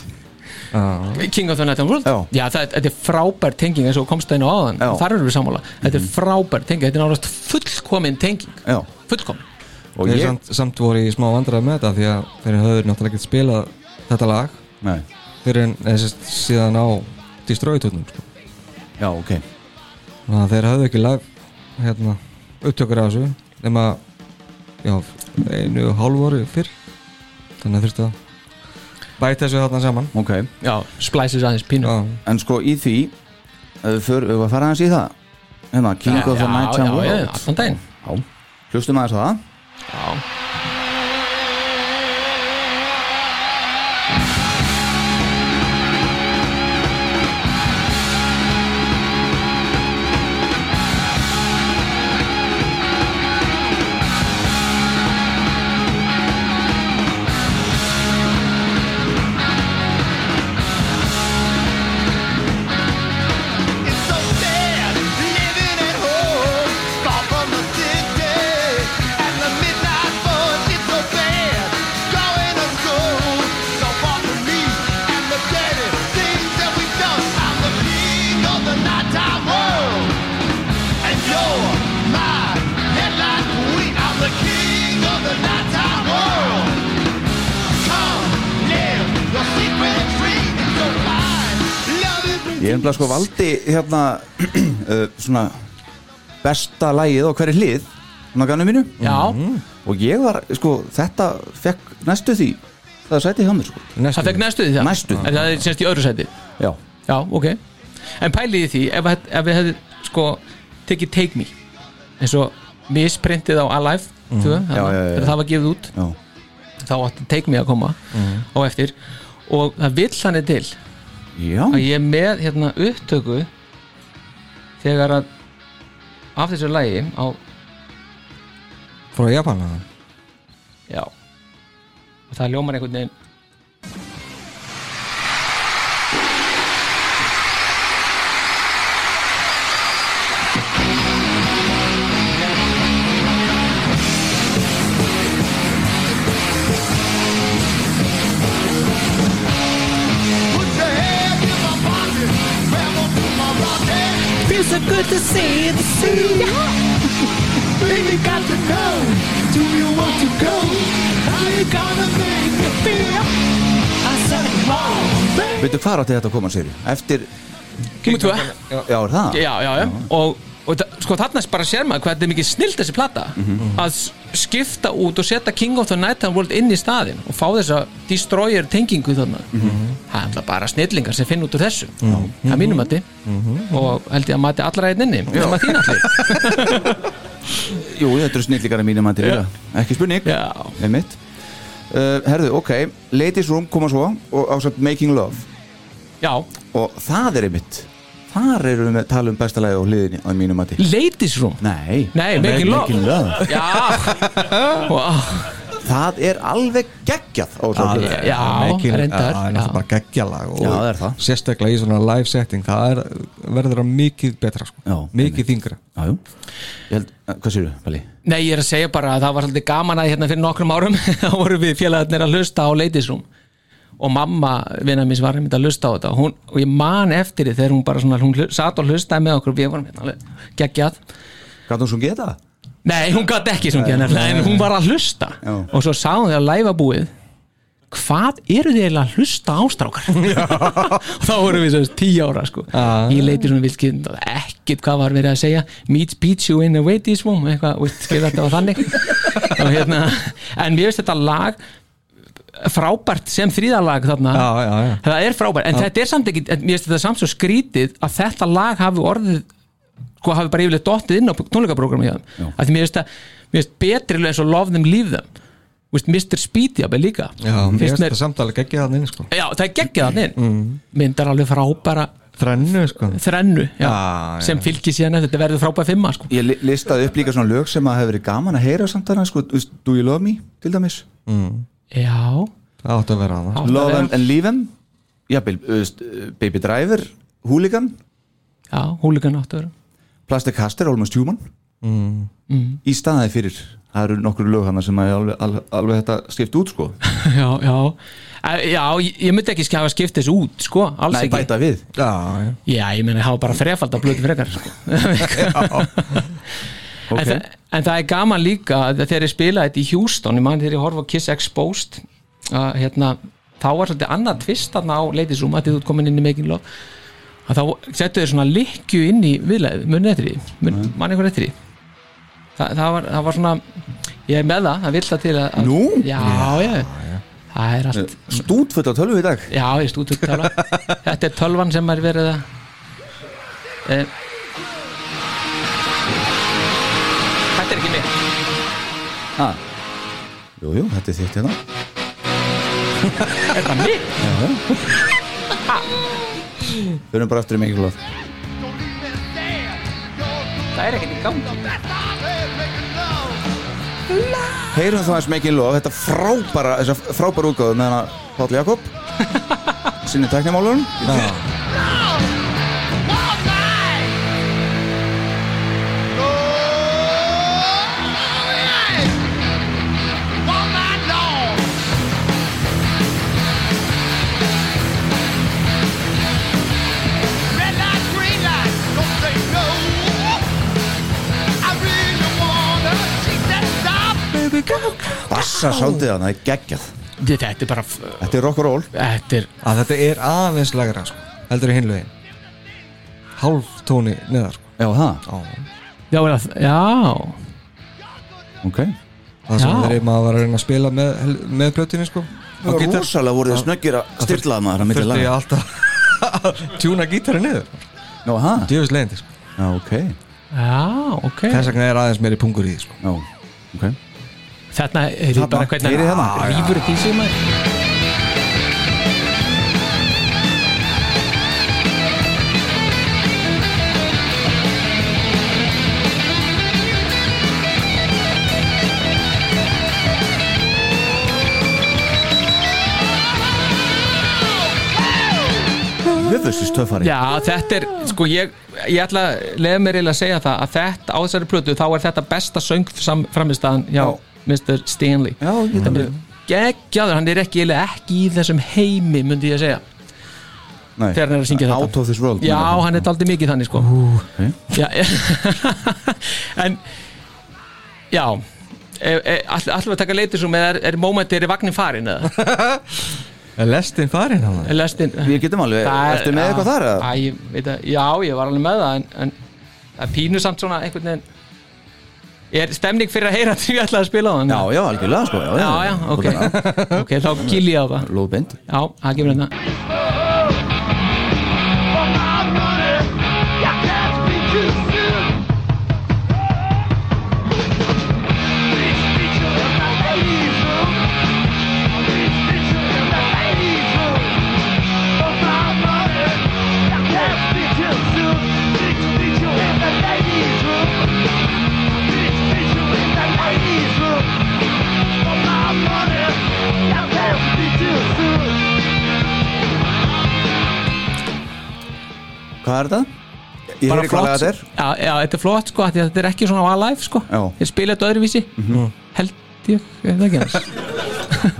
D: King of the Night and World
C: Já.
D: Já, það, þetta er frábær tenging eins og komst það inn á áðan
C: Já. Mhm.
D: Þar erum við sammála Þetta er frábær tenging, þetta er náttúrulega fullkomin tenging
C: Já,
D: Fullkomin
C: og
E: Þeir
C: ég
E: samt, samt voru í smá vandræði með þetta Því að þeir höfðu náttúrulega ekkert spilað þetta lag
C: Nei,
E: Fyrir en þessi síðan á Destroy-tútnum sko.
C: já, ok
E: Þannig að þeir höfðu ekki live hérna, upptökur af þessu nema já, einu og hálfu ári fyrr þannig að þurftu að bæta þessu þarna saman
C: Ok,
D: Já, splæsis aðeins pínu
E: já,
C: en sko í því ef Við för- ef við fara aðeins í það Hérna, King of the Night and
D: Já, já,
C: World
D: allan daginn
C: Já, hlustum aðeins á það
D: Já
G: It's so sad living at home, far from the city. At the midnight bus, it's so bad going to school, so far from me and the dirty things that we've done. I'm the king of the nighttime world, and you're my headline queen. I'm the king of the nighttime world. Come live your secret free. It's so fine. Love is
C: Ég er umlega sko valdi hérna uh, svona besta lagið á hverju hlið svona ganu mínu
D: Já,
C: Mhm. og ég var sko þetta fekk næstu því það sæti hjá mér sko
D: það fekk næstu því það
C: Næstu því.
D: En Það er semst í öðru sæti
C: Já,
D: Já, ok En pæliði því ef, að- ef við hefði sko tekið Take Me eins og misprintið á Alive mm. tvö,
C: Mhm. Já, já, já, já.
D: þegar það var gefið út
C: já,
D: þá átti Take Me að koma
C: Mhm.
D: á eftir og það vill þannig til
C: já,
D: að ég er með hérna upptöku þegar að af þessu lægi á
E: frá Japan að
D: já og það ljómar einhvern veginn
G: Feels so good to see you, to see you. Baby, got to know. Do you want to go? How you gonna make me feel? I said wrong, baby.
C: veitu hvað átti þetta að koma sér eftir,
D: Númer tvö.
C: já, er það?
D: já, já, já og, og þa- sko þarna bara sér maður hvað þetta er mikið snild þessi plata að s- skipta út og setja King of the Night and World inn í staðin og fá þessa destroyer tengingu þarna það er alltaf bara snillingar sem finn út úr þessu það er mínum mati og held ég að mati allra einn inni sem að þín allir
C: Jú, þetta eru snillíkara mínum að til ekki spurning,
D: Já.
C: einmitt uh, Herðu, ok, Ladies Room koma svo og ásamt Making Love
D: já,
C: og það er einmitt þar eru við með að tala um besta lagi á hliðinni á mínum að til
D: Ladies Room
C: Nei,
D: Nei, Making Love. já wow.
C: Það er alveg geggjað á svo hliðinni
D: já, reyndar,
E: það er
D: já.
E: náttúrulega bara geggjalag og
C: Já, það er það.
E: sérstaklega í svona live setting það er, verður það mikið betra sko.
C: Já, einmitt.
E: mikið þingra
C: Já, jú Ég held, eh, Hvað séu, Palli?
D: Nei, ég er að segja bara að það var svolítið gaman að hérna fyrir nokkrum árum þá voru við félagarnir að hlusta á Ladies Room og mamma vinnar minns var einmitt að hlusta á þetta hún, og ég man eftir því þegar hún bara svona, hún hlu- sat og hlustaði með okkur við vorum hérna alveg geggjað
C: Gat hún svo geta?
D: Nei, hún gæti ekki sungið nefnilega en hún var að hlusta
C: Já.
D: og svo sá hún þegar læfa búið hvað eru þið eiginlega að hlusta ástrákar og þá vorum við svo tíu ára sko.
E: Já.
D: ég leiti svona vilkind og ekkit hvað var verið að segja meets Pichu in a waities room eitthvað, veist, skrifa þetta var þannig og hérna, en mér finnst þetta lag frábært sem þrýðalag þarna
E: Já, já, já.
D: það er frábært, en þetta er samt ekki en mér finnst þetta samt svo skrítið að þetta lag hafi orðið sko hafi bara yfirlega dottið inn á tónleikaprógrami hjá
C: Já.
D: þeim, af því mér finnst það mér finnst betri lög eins og Love Them Leave Them Vist, Mr. Speedy jafnvel líka
E: Já, mér
D: Finnst
E: finnst Mm.
D: mér,
E: það samtali geggja þannig sko.
D: já, það er geggjað hann inn myndar alveg frábæra
E: Þrennu sko.
D: þrennu já,
E: Já, já.
D: sem fylgir síðan eftir, þetta verður frábæra fimma sko.
C: Ég li- listaði upp líka svona lög sem að hefur verið gaman að heyra samt þarna, sko, þú veist, Do You Love Me, til dæmis
D: já,
E: Það átti að vera hana
D: átt að
C: Love
D: vera-
C: and, and Leave Em Jafnvel, þú veist, uh, Baby Driver, Hooligan
D: já, húlikan átt að vera
C: Plastic Caster, Almost Human
D: Mm.
C: Í staðaði fyrir Það eru nokkur lög hana sem að er alveg, alveg, alveg þetta skipt út sko
D: já, já, Eh, já, ég ég myndi ekki hafa skipt þessu út, sko, alls
C: Nei,
D: ekki
C: bæta við
E: Já, já
D: Já, ég meni, hafa bara þrefald að blötu frekar sko. en, það, en það er gaman líka að þegar ég spilaði þetta í Houston ég man þegar ég horfa á Kiss Exposed að, hérna, þá var svolítið annað tvist þarna á Ladies Room að þið út komin inn í Making Love að þá settu þeir svona likju inn í viðlæð, munið eftir því, mun, mann einhver eftir því Þa, það, var, það var svona ég er með það, það vill það til að, að
C: Nú?
D: Já, já, það er allt
C: Stútfull á tölvu í dag
D: Já, ég stúti upp tala Þetta er tölvan sem er verið að Eh, Þetta er ekki mig
C: ha. Jú, jú, þetta er þitt hérna
D: Er það mig?
C: Við erum bara aftur í mikið lög
D: Það er ekkert í gangi
C: Heyrum þá eins mikið lög Þetta frábæra, þessa frábæra útgáðu með hana Páll Jakob Sinni tæknimálun Bassa sáldið hana, það er geggjað
D: Þetta er bara f-
C: Þetta er rock'n'roll
D: Þetta er
E: að þetta er aðeins lagra sko. heldur í hinlögin hálf tóni neðar sko.
C: Já, það,
E: Á.
D: Já, er það- já
C: ok
E: það sem
D: Já.
E: þeir maður var að reyna að spila með, hel- með plötunni sko.
C: Það var rosalega voru þið snöggir að styrlaða maður að milli
E: þurfti ég
C: laga
E: alltaf að tjúna gítari niður
C: Nú, hæ?
E: djöfis leiðandi sko.
C: Já, ok
D: Já, ok
E: þess vegna er aðeins meiri pungur í því sko.
C: Já, ok
D: Þarna er ég
C: Þarna, hérna.
D: bara hvernig
C: heyrið þarna?
D: hann rýfur upp í sig maður
C: Höfðustu stöðfari
D: Já, þetta er, sko ég ég ætla að leiða mér eiginlega að segja það að þetta á þessari plötu, þá er þetta besta söng framistæðan hjá
C: Já.
D: Mr. Stanley
C: Já, ég
D: Þetta er geggjaður, hann er ekki, eiginlega ekki í þessum heimi, myndi ég að segja
C: Nei,
D: þegar hann er að syngja þetta.
C: Out of this world
D: Já,
C: meina
D: hann er daldið mikið þannig sko
C: ok.
D: Já, En Já e, Alltaf að taka leitisum eða er, er mómentið er í vagnin farin eða
E: er lestin farin hann
D: Er lestin
C: Við getum alveg,
D: Það er-
C: ertu með
D: já,
C: eitthvað þar?
D: Æ,
C: eða?
D: ég veit að, já, ég var alveg með það en, en það er pínu samt svona einhvern veginn er stemning fyrir að heyra því ég ætlaði að spila á þann
C: Já, já, algjörlega sko Já,
D: já, já, ok, ok, þá kýl ég á það
C: Lóðbind
D: já, það hérna. gefur þetta
C: Hvað er þetta? Ég heyri hvað lag þetta er
D: já, já, þetta er flott sko, af því að þetta er ekki svona alive sko,
C: Já.
D: ég spila þetta öðruvísi held ég, er það ekki hans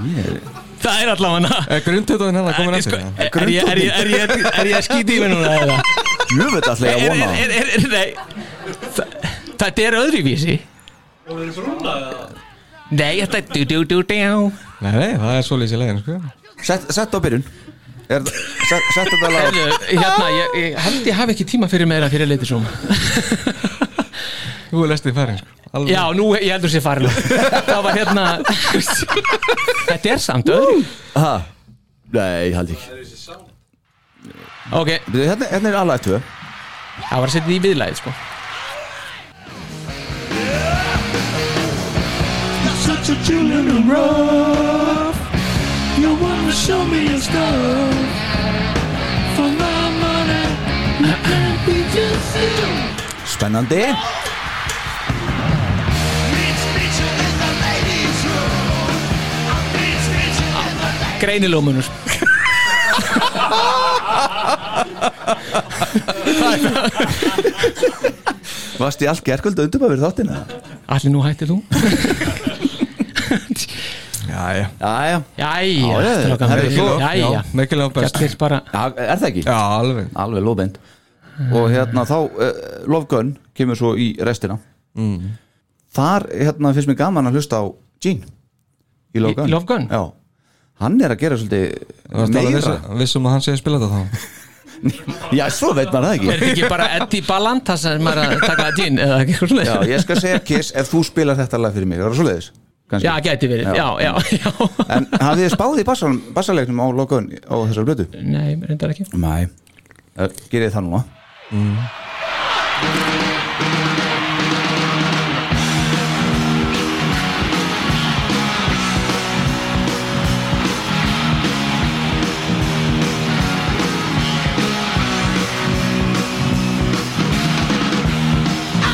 D: það er allavega hana
E: grundtöðun hann komin
D: Sko,
E: eftir
D: er, er, ég- er, ég- er, ég- er, ég- er ég að skýta í mig núna eða?
C: Jöfnveld alltaf ég að
D: er,
C: vona
D: er,
C: það.
D: er, er, er, nei Þa- Þetta er öðruvísi Nei, þetta er du du du du
E: Nei, nei, það er svolítið í leginu, sko
C: Sett, sett á byrjun er, set, Sett þetta lag
D: Herðu, hérna, ég, ég held ég hafi ekki tíma fyrir meira fyrir leiti svo
E: Þú er lestið færin, sko Alveg.
D: Já, nú, ég heldur sér farin Það var hérna Þetta er samt öðru
C: ha. Nei, ég held ekki
D: Ok,
C: Byrju, hérna, hérna er alveg tvö
D: það var að setja í viðlæði sko
C: Spennandi
D: Greinilómunur
C: Vast í allt gerkvöld undum að vera þáttina
D: Allir nú hættir þú
E: já, já
C: Jæja,
D: Jæja,
C: Já, já,
D: strákar,
C: herri,
D: mikil-
C: þú-
D: Jæja,
E: já, mikilvæg best.
D: Hérna er bara
C: Já, er það ekki?
E: Já, alveg
C: Alveg lóðbend Og hérna þá, uh, Lofgun kemur svo í restina Þar hérna finnst mér gaman að hlusta á Gene Í
D: Í-
C: Lofgun
D: Love Gun?
C: Já Hann er að gera svolítið
E: Varstu alveg
C: meira
E: viss- viss um að hann sé að spila þetta þá
C: Já, svo veit maður það
D: Er
C: ekki
D: þetta ekki bara Eddie Balanta sem er að taka að dýn eða ekki svona
C: Já, ég skal segja Kiss ef þú spilar þetta lag fyrir mig Er það svoleiðis? Kannski.
D: Já, gæti verið, já, já, já
C: En hafið þið spáð í bassalum- bassalegnum á Lofgun á þessar blötu?
D: Nei, reyndar ekki
C: Nei Gerið þið það núna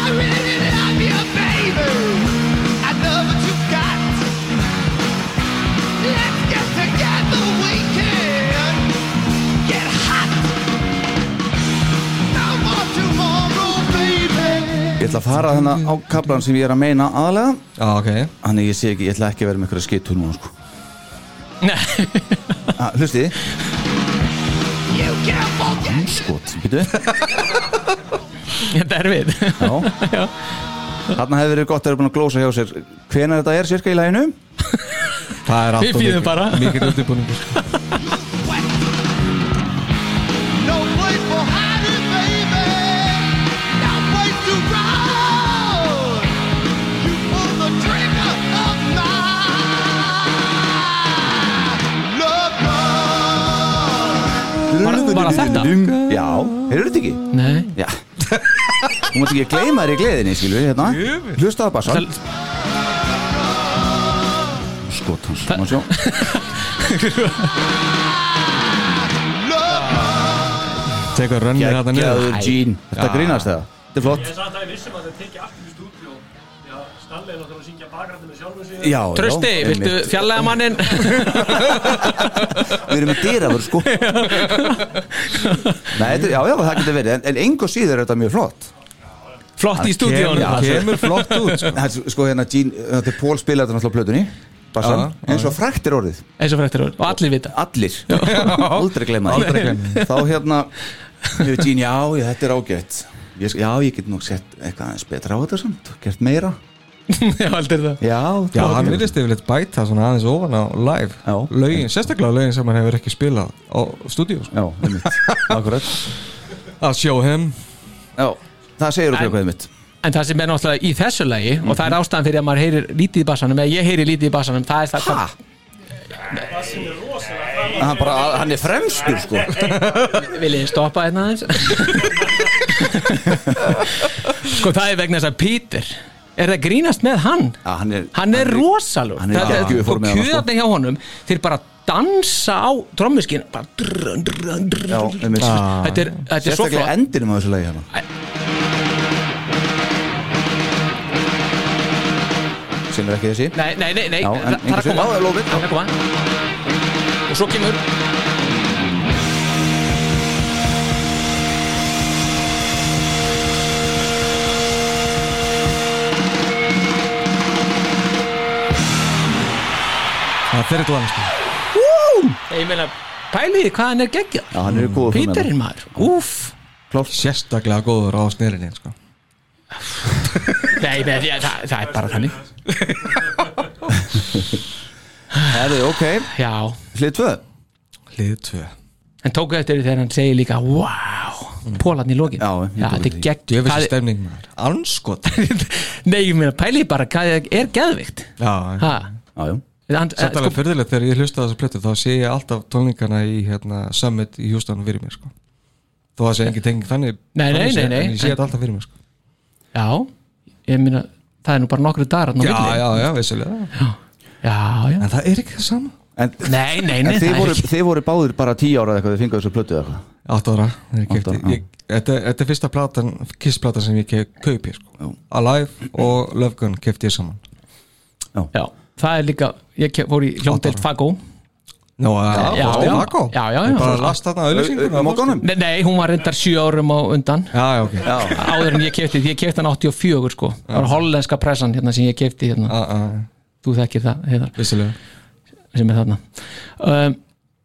G: I really love you, baby. I love what you got. Let's get together, we can get hot. No more tomorrow, baby.
C: Ég ætla að fara þarna á kaplan sem ég er að meina aðalega
E: Já, ok
C: Þannig ég sé ekki, ég ætla ekki að vera með einhverja skittur núna sko
D: Nei,
C: Ah, Hlustið þið?
G: You can't
C: Hmm?
G: forget.
C: Skot, býtu
D: þetta er við
C: Já Þarna hefði verið gott að vera búin að glósa hjá sér Hvenær þetta er cirka í læginu?
E: Það er allt
D: Við
E: og
D: bíðum
E: mikið-
D: bara.
E: Mikið undirbúningur, sko
G: No place for hiding, baby. Now way to run. You pull the trigger of my love.
D: Bara- bara þetta?
C: Já, heyrðu þetta ekki?
D: Nei
C: Já Þú mátt ekki gleyma þér í gleðinni, skilur við hérna Hlustaðu bara sann Skot hans, Sko, má sjá
E: Tekur rönnir þetta niður
C: Geggjaður Jean Þetta grínast það Þetta er flott
F: Ég sagði að ég vissum að þetta tekið aftur í stúdíu Já, Stalli er náttúrulega að syngja bakrættu með sjálfum sig
C: Já, já,
D: Trösti,
C: einmitt.
D: viltu fjallega mannin?
C: Við erum með dýrafur sko Nei, þetta, er- já, já, það getur verið En, en engu síður er þetta mjög flott
D: Flott í stúdíónu
C: Já,
E: Kemur, kemur flott út, sko
C: Það er svo- Sko hérna, Jean, þetta er Pól spilaði þetta náttúrulega á plötunni Bassan,
E: Já, já.
C: eins og frækt er orðið
D: Eins og frættir orð, og allir vita
C: Allir, aldrei gleyma því. Þá hérna, hefur Jean, já, já, þetta er ágætt ég, sk- Já, ég get nú sett eitthvað aðeins betra á þetta samt Gert meira
D: Já, aldrei það
C: Já,
E: Já,
C: flott.
E: hann virðist yfirleitt bæta svona aðeins ofan á live
C: Já.
E: Lögin, sérstaklega lögin sem hann hefur ekki spilað á stúdíu sko.
C: Já, einmitt, akkurat
E: Að sjó heim
C: Já, það segir okkur
D: En-
C: eitthvað einmitt
D: En það sem er náttúrulega í þessu lagi og það er
C: Mhm.
D: ástæðan fyrir að maður heyrir lítið í bassanum eða ég heyri lítið í bassanum, það er það
C: Ha? Hann, bara, hann er fremstur sko
D: Viljið þið stoppa hérna aðeins? sko það er vegna þess að Peter er það grínast með hann
C: Já, hann er,
D: hann er rosalur
C: hann er
D: Það-
C: geggjuð
D: og
C: formið hann, sko.
D: kjöðarnir hjá honum þeir bara dansa á trommuskin bara drun, drun, drun.
C: Já, einmitt
D: þetta er, þetta er svo
C: Sérstaklega
D: flott
C: endinum á þessu lagi hérna Sem er ekki þessi
D: nei, nei, nei, nei
C: Já, en
D: það það er
C: einhver
D: að koma
C: sem- Já, það er lófið.
D: Það er að koma og svo kemur
E: Það er þyrlan, sko
D: ég meina pæliði hvað hann er geggjað
C: Já, hann er góður formið hann.
D: Peterinn maður, úff
E: Sérstaklega góður á snelinni, sko
D: Nei, nei, ég, það, það er bara þannig
C: hérna. Herðu, ok,
D: Já,
C: hlið tvö
E: Hlið 2
D: en tók eftir því þegar hann segir líka Wow, pólarn í lokin
C: Mm. Já, ég
D: já
C: tók
D: þetta er
C: eftir því.
D: gegn
E: Djöfis
D: það er-
E: stemning maður Anskot
D: Nei, ég meina, pæli bara hvað það er geðvikt
E: Já,
D: Ha,
C: Já, já
D: hann,
E: Þetta er alveg
D: sko,
E: fyrðilegt þegar ég hlusta þessu plötu þá sé ég alltaf tónlingana í hérna, Summit í Houston fyrir mér sko. þó að það sé engin tenging þannig
D: Nei, nei,
E: þannig séð,
D: nei, nei.
E: en ég sé þetta alltaf fyrir mér sko.
D: Já, ég meina Það er nú bara nokkru dagar þarna á
E: Já,
D: milli.
E: já, já, vissulega
D: já, já
E: En það er ekki það sama
C: En,
D: Nei, nei, nei,
C: en þið,
D: það er
C: voru,
D: ekki-
C: þið voru báðir bara tíu ára eða eitthvað, þið fenguðu þessu plötu eða eitthvað
E: 8 ára þegar ég
C: Átta
E: keypti-
C: ára, já.
E: ég- Þetta þetta er fyrsta platan, kissplatan sem ég ke- kaupi sko. Alive og Love Gun kefti ég saman
D: Já, það er líka, ég ke- fór í hljóndelt Fagó
E: Nú, já,
D: já,
E: fórstu í
D: já.
E: Maggo?
D: Já, já, já.
E: Ég bara last þarna auðlýsinguna
C: Mókonum?
D: Nei, nei, hún var reyndar sjö árum á undan
E: Já, já, ok Já,
D: Áður en ég kefti, ég kefti hann 84 sko Það var hollenska pressan hérna sem ég kefti hérna
E: já,
D: Þú þekkir það, heiðar,
E: vissulega
D: sem er þarna um,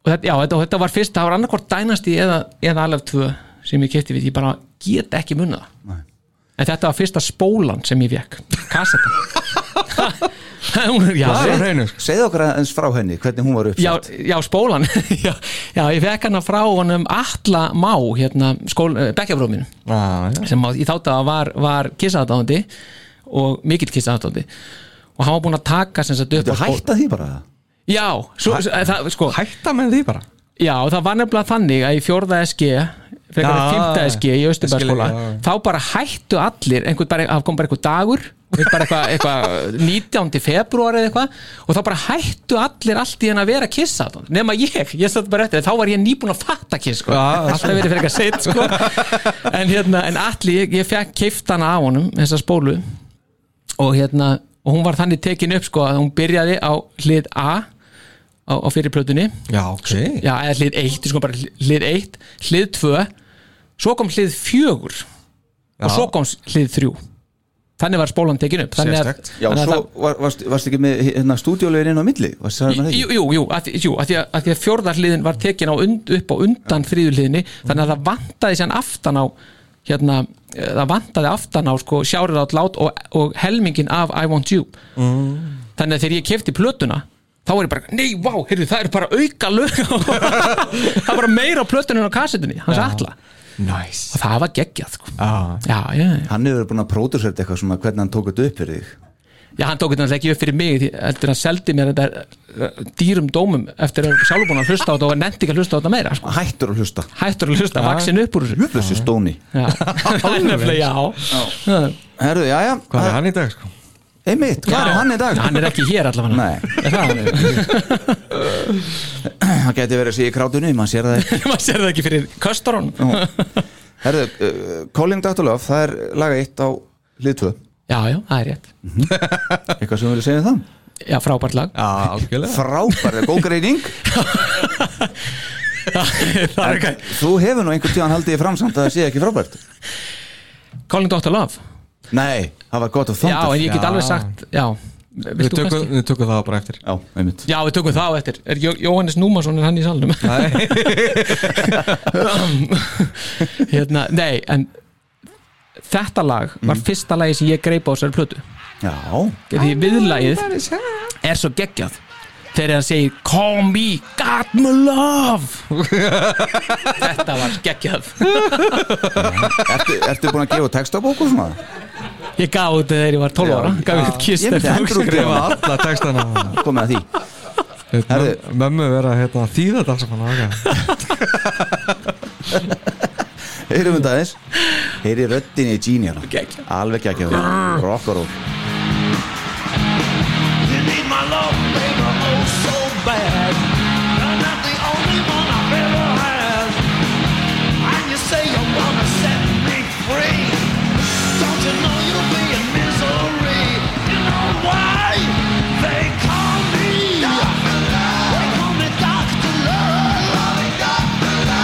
D: og þetta, Já, þetta, og þetta var fyrst, það var annarkvort dænasti eða, eða alveg tvö sem ég kefti við Ég bara get ekki munna það
C: Nei.
D: En þetta var fyrsta spólan sem ég vekk Kassetta Hún er, já,
E: Það er á hreinu sko.
C: Segðu okkur aðeins frá henni, hvernig hún var
D: já,
C: uppsett
D: já, spólan já, já, ég fekk hana frá honum Atla Má, hérna, skól, bekkjafróminu
E: Já, já,
D: sem á, í þátt að var, var kissaðdáðandi og mikill kissaðdáðandi og hann var búinn að taka sem sagt upp
C: Þetta
D: á spól-
C: hætta því bara
D: Já, svo, svo, það, sko,
E: Hætta með því bara
D: já, það var nefnilega þannig að í fjórða SG frekar
E: Já,
D: að fymta SG í Östubæðskóla
E: Ah, ég skil, já.
D: þá bara hættu allir, einhvern bara, það kom bara einhver dagur einhver bara eitthvað, eitthvað 19. februar eða eitthvað og þá bara hættu allir allt í henn að vera kissa nema ég, ég satt bara eftir þá var ég nýbúin að fatta kiss sko.
E: Já,
D: alltaf verið fyrir eitthvað seitt sko. en, hérna, en allir, ég, ég fekk keiftana af honum þessa spólu og hérna, og hún var þannig tekin upp sko að hún byrjaði á hlið A á, á fyrirplötunni
E: Já, ok
D: já, eða hlið 1, sko bara hlið- hlið 1 hlið 2, svo kom hlið 4 og svo kom hlið 3 þannig var spólan tekin upp þannig að,
E: Sérstakt.
C: Já,
D: þannig að
C: svo var, varst, varst ekki með hérna, stúdíólegin inn á milli Varst það með
D: það,
C: það
D: jú,
C: ekki?
D: jú, jú, að, jú að því að, að því að fjórða hliðin var tekin á und, upp á undan þriðu hliðinni þannig að það vantaði sér aftan á hérna, eh, það vantaði aftan á sko, sjárið átt lát og, og helmingin af I want you þannig að þegar ég kefti plötuna þá var ég bara, nei, vá, heyrðu, það eru bara auka lög það var meira á plötunum en á kassetunni, hans atla
E: Næs
D: og það var geggjað sko.
E: Já,
D: já, já, já.
C: Hann hefur verið búin að pródusert eitthvað svona hvernig hann tók þetta upp fyrir þig
D: Já, hann tók þetta náttúrulega ekki upp fyrir mig því heldur hann seldi mér þetta eh, dýrum dómum eftir að sjálfur búin að hlusta á þetta og nefndi ekki að hlusta á þetta meira sko.
C: Hættur að hlusta
D: hættur að hlusta, vaksin upp úr þessu
C: Þessi stóni
D: Já, það er nefnilega, já
C: Herðu, já, já
E: hvað er hann í dag sko?
C: Einmitt, hvað er
D: Já.
C: hann í dag?
D: Hann er ekki hér allavega
C: Nei,
D: Er það hann?
C: hann geti verið að sé í krátunni, mann sér það ekki
D: Maður sér það ekki fyrir köstarón
C: Herðu, uh, Calling Dr. Love, það er laga eitt á hlið tvö
D: Já, já, það er rétt
C: Eitthvað sem við viljum segja um það?
D: Já, frábært lag
E: Já, Ah, algjörlega
C: Frábærið, góð greining
D: Það er ekki
C: Þú hefur nú einhvern tíðan haldið í framsamt að það sé ekki frábært
D: Calling Dr. Love
C: Nei, það var gott að
D: Já, en
C: þónda
D: ég get
E: Já.
D: alveg sagt Já,
E: Við
D: vilt þú
E: tökum,
D: kannski?
E: við tökum það bara eftir
C: Já, einmitt
D: Já, við tökum það á eftir Er Jó- Jóhannes Númason er hann í salnum? hérna, nei, en þetta lag var fyrsta lagi sem ég greip á þessari plötu
C: Já,
D: því viðlagið er svo geggjað þegar hann segir call me, got me love þetta var geggjað
C: ertu, ertu búin að gefa textabóku svona?
D: ég gaf út þegar ég var 12 ára gaf út kiss
C: Ég myndi
D: þegar-
C: endur út
E: Skrifa
C: gefa
E: alla textana
C: Komið að því Herðu.
E: Hérna, Mömmu vera hérna, að þýða þetta allt saman ákveða
C: Heyrum við það aðeins Heyri röddin í Gini hana
D: Geggjað.
C: Alveg ekki að gefa Rockar og
G: You need my love, baby, oh so bad. You're not the only one I've ever had. And you say you wanna set me free. Don't you know you'll be in misery? You know why? They call me. They call me Doctor Love. I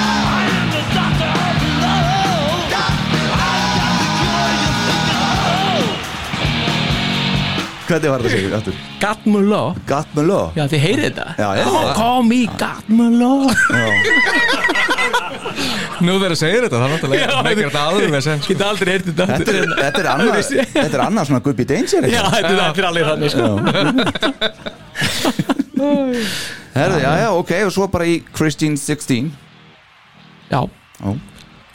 G: am the doctor of love. I've got the cure you think you know.
C: Hvernig var þetta segjum við aftur?
D: Got me love
C: Got me law
D: Já, þið heyrið þetta
C: Já, já.
D: oh, Call me got me love
E: Nú þegar að segja þetta, það er náttúrulega meikir þetta aður með sem sko.
D: Geta aldrei heyrið þetta
C: Þetta er,
D: aftur.
C: þetta er annað
D: Öðruvísi.
C: Þetta er annað svona Gubbi Danger
D: Já,
C: eitthvað.
D: þetta er- þetta er alveg þannig sko
C: Herðu, já, já, ok Og svo bara í Christine 16
D: Já,
C: Já.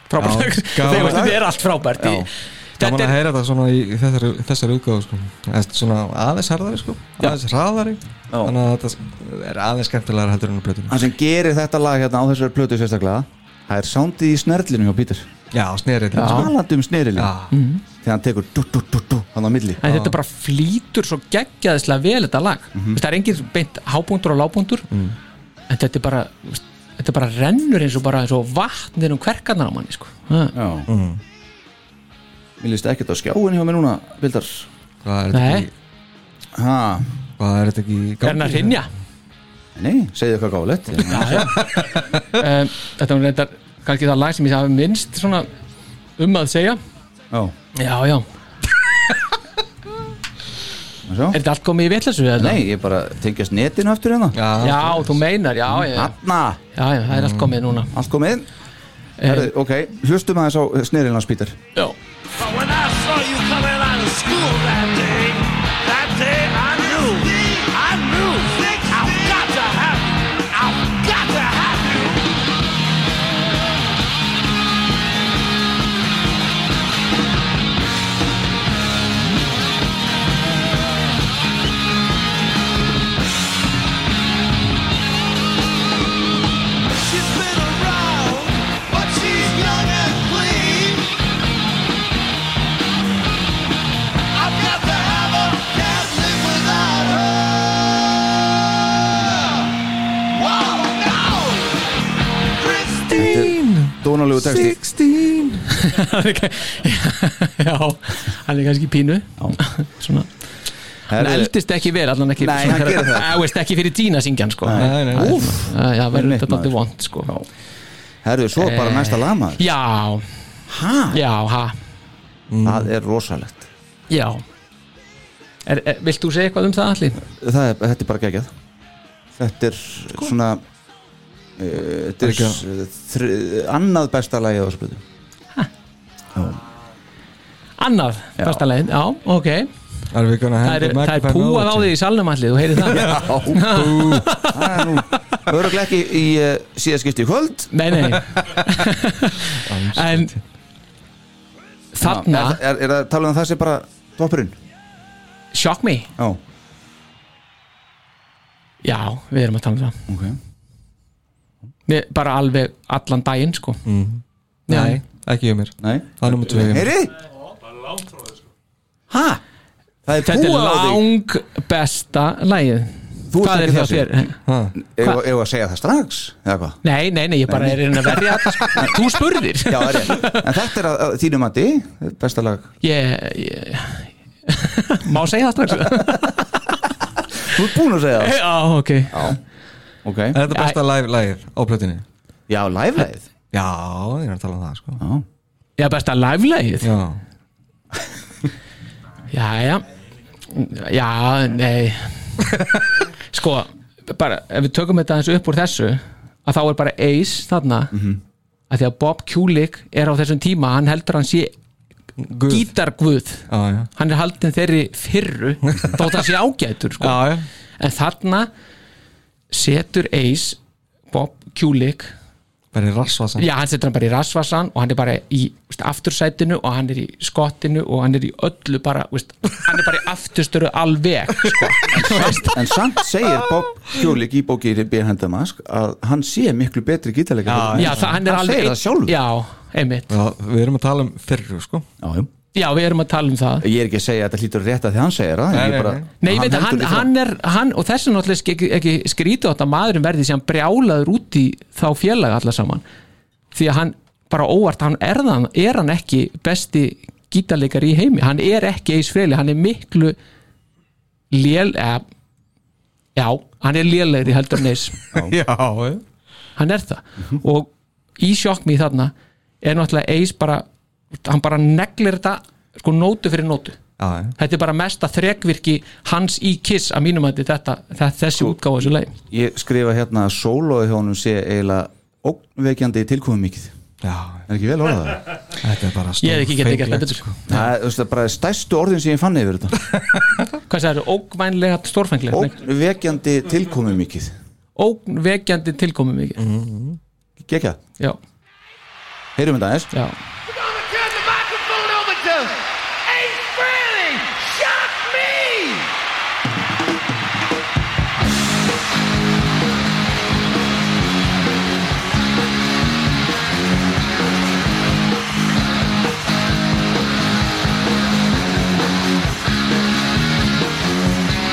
D: frábært
E: Já, gaman.
D: Þegar þetta er allt frábært í,
E: Gaman
D: Þetta
E: að
D: er,
E: heyra þetta svona í þessari, þessari útgáðu sko. Eða Svona aðeins harðari sko. Aðeins hraðari Þannig að þetta er aðeins skemmtilegar heldur en á blötunum
C: Hann sem gerir þetta lag hérna á þessari plötu sérstaklega Það er soundið í snerlinu hjá Pítur
E: Já, snerið
D: Já.
C: Talandi um snerilin
E: Já.
C: Þegar hann tekur dú, dú, dú, dú, Hann á milli
D: en þetta bara flýtur svo geggjaðislega vel þetta lag
C: Mhm.
D: mm Það er engin beint hábúndur og lábúndur
C: Mm.
D: En þetta er bara þú veist, Þetta bara rennur eins og bara eins og vatnir um kverkarnar á manni sko Ha.
C: Já Mér líst ekkert á skjáin hjá mér núna Vildar
E: Hvað er þetta
D: Nei,
E: ekki-
C: Ha,
E: hvað er þetta ekki í
D: er hann að
E: gangi?
D: hrynja
C: nei, segðu eitthvað gáfulegt
D: um, Þetta var reyndar kannski það lag sem ég hafi minnst svona um að segja
C: Já,
D: Já, já,
C: og svo
D: er þetta allt komið í vitlesu?
C: Nei, ég bara tengjast netinu aftur hérna
E: Já,
D: Já, þú meinar, já, já, já,
C: Hanna,
D: já, það er allt komið núna
C: allt komið inn
D: Eh.
C: Herðu, ok, hlustum aðeins á snerilans Pítur
D: Já,
G: But when I saw you coming out of school that day, that day I knew, I knew, I've got to have you, I've got to have you. She's been around, but she's young and clean. I've got to have her, can't live without her. Wow, no! Christine!
C: Dónalegu texti
E: 16
D: hann er, kann- já, hann er kannski í pínu Svona, hann
C: Herðu,
D: eldist ekki vel, allan ekki
C: Nei, hann gerir það.
D: Æ, veist, ekki fyrir dína syngjan, sko
C: Nei.
E: Nei, nei, nei.
D: Úff, Já, já, verður
C: Einmitt,
D: þetta
C: maður.
D: alltaf vond, sko
C: Já. herðu, svo bara
D: Eh.
C: næsta lama
D: Já,
C: Hæ,
D: já, ha,
C: það er rosalegt
D: já er, er, Vilt þú segja eitthvað um það allir?
C: það er, Þetta er bara geggjað Þetta er
D: Sko.
C: svona uh, Þetta er
E: Ekki
C: s- þri, annað besta lagið á þessu blötu
D: Annað,
C: Já.
D: besta leiðin, já, ok
E: Það er
D: Það er, það er púað á þig í salnum allir, þú heyrir það
C: Það er nú Öruglega ekki í uh, síðaskipti í kvöld
D: Nei, nei En Þarna,
C: er, er, er að tala um að það sé bara toppurinn
D: shock me
C: Já,
D: Já, við erum að tala um það
C: ok
D: Við bara alveg allan daginn sko
C: Mhm.
E: Nei, ekki hjá mér
C: Nei,
E: Það er nummer 2
C: heyri Hæ, það er
D: Þetta er
C: púað á þig
D: lang besta lagið
C: Þú ert
D: Hvað er
C: ekki
D: hjá
C: þessi
D: þér?
C: Eða eða að segja það strax eða hvað?
D: Nei, nei, nei, ég bara er einn að verja þetta sko. Þú spurðir
C: Já, er ég. En þetta er að, að þínu mati besta lag
D: ég, ég... Má segja það strax
C: Þú ert búin að segja það
D: Já, ok
C: Ok
E: Er þetta besta live lagið á plötunni?
C: Já, live-lagið
E: Já, ég er að tala um það sko
C: Já,
D: Já, besta live-lagið
E: Já,
D: Já, já Já, nei Sko, bara ef við tökum þetta aðeins upp úr þessu að þá er bara Ace þarna að því að Bob Kulik er á þessum tíma hann heldur að hann sé
E: guð Já,
D: gítarguð
E: já
D: hann er haldin þeirri fyrru þótt að sé ágætur sko.
E: Já, já
D: en þarna setur Ace Bob Kulik
E: Bara í rassvasan
D: já, hann setur hann bara í rassvasan og hann er bara í veist, aftursætinu og hann er í skottinu og hann er í öllu bara veist, hann er bara í afturstöru alveg sko. Þú veist,
C: en samt segir Bob Kjólik í bókið Behind the Mask að hann sé miklu betri gítarleika
D: já, það, hann er alveg
C: segir það sjálfur
D: já, einmitt,
E: Já, Við erum að tala um fyrru sko
C: Já, já.
D: já, við erum að tala um það
C: Ég er ekki að segja að þetta hlýtur rétt að því hann segir það en
E: Nei,
C: ég
E: nei,
C: bara-
E: nei.
D: Nei, ég veit að hann,
C: heldur því fram.
D: hann er, hann, og þessi náttúrulega ske- ekki, ekki skrítið átt að maðurinn verði sem brjálaður út í þá félaga allar saman því að hann bara óvart hann er, hann, er hann ekki besti gítarleikar í heimi, hann er ekki eis freyli, hann er miklu lél eða, já, hann er lélegri heldur en eis
E: Já, já
D: hann er það og í sjokkmi þarna er náttúrulega eis bara hann bara neglir þetta sko nótu fyrir nótu
E: Já, já,
D: þetta er bara mesta þrekvirki hans í Kiss að mínum að þetta, þetta
C: Sko,
D: þessi útgáfa þessu leið
C: Ég skrifa hérna að sólóið hjónum sé eiginlega ógnvekjandi tilkomum mikið
E: já,
C: Er ekki vel orðað það?
E: þetta er bara
D: ég hef ekki getið gert
E: stórfenglegt,
D: þetta sko.
C: Það er þú veist, það er bara stærstu orðin sem ég fann yfir þetta
D: hvað það eru, ógnvænlega stórfenglega
C: Ógnvekjandi tilkomum mikið
D: ógnvekjandi tilkomum mikið
C: Mhm. Gekja,
D: já,
C: heyrum þetta aðeins
D: já,
G: gonna turn the microphone over to Ace Frehley. Shock me!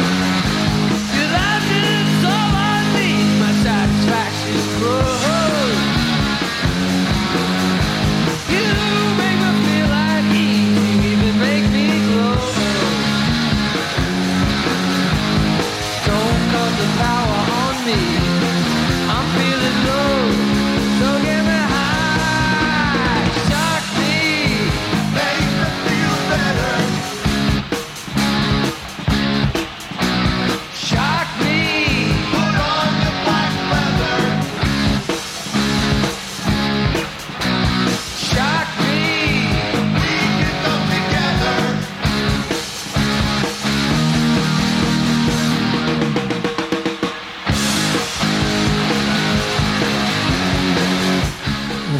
G: Cause I did so I need my satisfaction's grow. You make me feel like eating, even make me glow. Don't cut the power on me. I'm feeling low, so get me high. Shock me, make me feel better. Shock me, put on your black leather. Shock me. We can come together.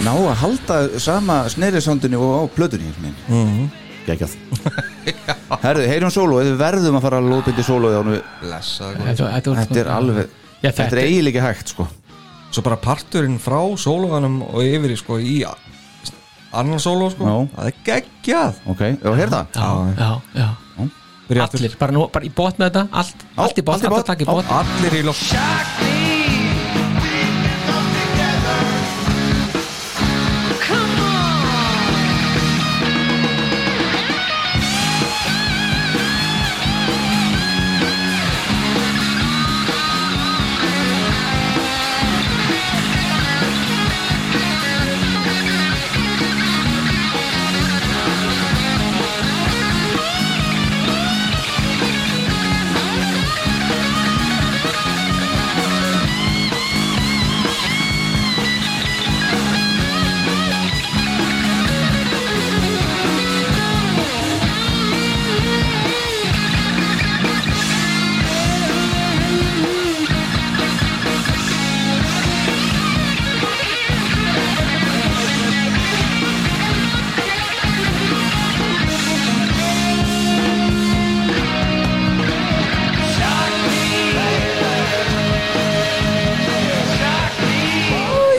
C: Ná að halda sama snerisandinu og á plötunni mm -hmm.
D: Mhm.
C: Gekjað Herðu, heyrum sólóið, við verðum að fara að lópindi sólóið ánum við
E: blessa góði.
D: þetta, þetta, var-
C: Þetta er alveg,
D: Já,
C: þetta er
D: þetta-
C: eiginlega ekki hægt sko
E: svo bara parturinn frá sólóðanum og yfir í, sko, í a- annan sóló sko.
C: Já.
E: það er geggjað
C: Ok, og hér það
D: já, já, já
E: Byrja aftur.
D: allir, bara, nú, bara í bót með þetta allt, allt í bót,
C: allt í botn.
D: allt að taka í bót
E: allir í lótt
G: Shock me. We can come together. Come on.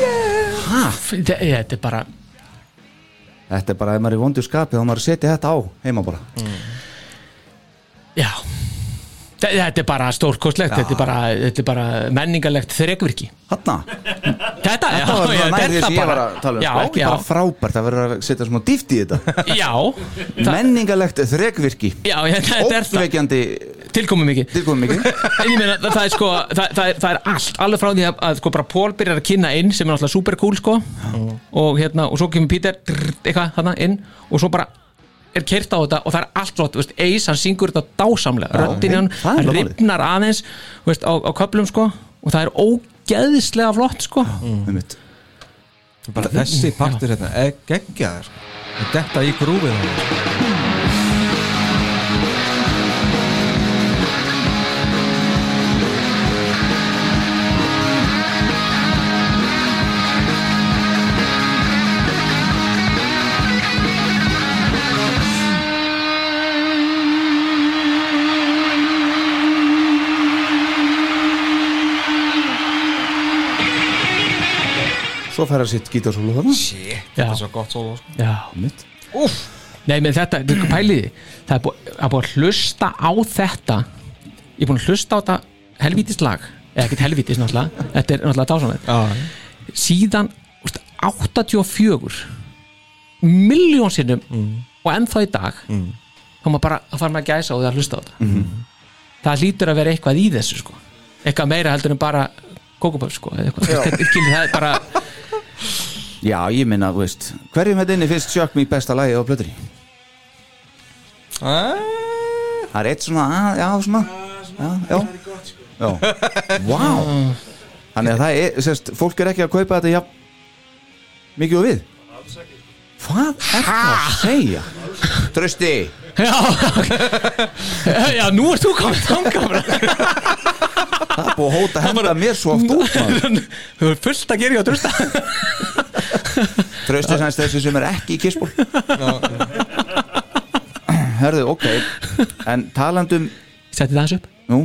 D: Þetta þetta er bara
C: Þetta er bara, ef maður er vondur skapið þá maður setja þetta á heima bara
D: Já Þe- Þetta er bara stórkostlegt, þetta er bara, þetta er bara menningarlegt þrekvirki
C: Hanna,
D: Þetta, já,
C: það var
D: já,
C: svona nær því
D: þetta
C: sem ég var að tala um
D: já,
C: sko. Ekki
D: já,
C: bara frábært, það verður að setja smá dýft í þetta
D: já,
C: Menningalegt þrekvirki
D: já, já, þetta er það
C: Óttveikjandi
D: tilkomið mikið
C: tilkomum mikið
D: En ég meina, það, það er sko, það, það, er, það er allt alveg frá því að, að sko bara Pól byrjar að kynna inn sem er náttúrulega super cool sko og hérna, og svo kemur Peter drr, eitthvað þarna inn og svo bara er kert á þetta og það er allt rátt, veist, Ace hann syngur þetta dásamlega, röddin í hann
C: það er
D: hann
C: málið.
D: ripnar aðeins, veist, á, á köplum sko og það er ógeðislega flott sko
C: Einmitt.
E: bara þessi partur hérna er geggjaður sko. þetta í grúfið hann sko.
C: Svo færa sitt gítarsólu þarna
D: Já,
E: þetta er svo gott sóló sko.
D: já
C: Einmitt.
D: Nei, menn þetta, þetta er sko pæliði það er bú- það er búið að hlusta á þetta ég er búin að hlusta á þetta helvítis lag, eða ekkert helvítis náttúrulega, þetta er náttúrulega dásamlega síðan úst, 84 miljón sinnum og ennþá í dag þá maður bara að fara með að gæsa og það að hlusta á þetta það hlýtur að vera eitthvað í þessu sko. eitthvað meira heldur en bara kókupöf sko, eða eitthvað, Þú veist, þetta kynni það er bara
C: Já, ég minna, þú veist Hverjum þetta inni fyrst sjökk mig besta lagi á plötri? Það er eitt svona, að- já, svona Já, já Já, vá Þannig að það er, sérst, fólk er ekki að kaupa þetta jafn Mikið og við Hvað er það að segja? Trösti
D: Já, já, nú ert þú komið þangað
C: Það er búið að hóta að henda mér svo oft út maður.
D: Þú er fullt að gera hjá drusta
C: Trösti sæns þessi sem er ekki í kissból Herðu, ok En talandum
D: Setti það hans upp
C: Nú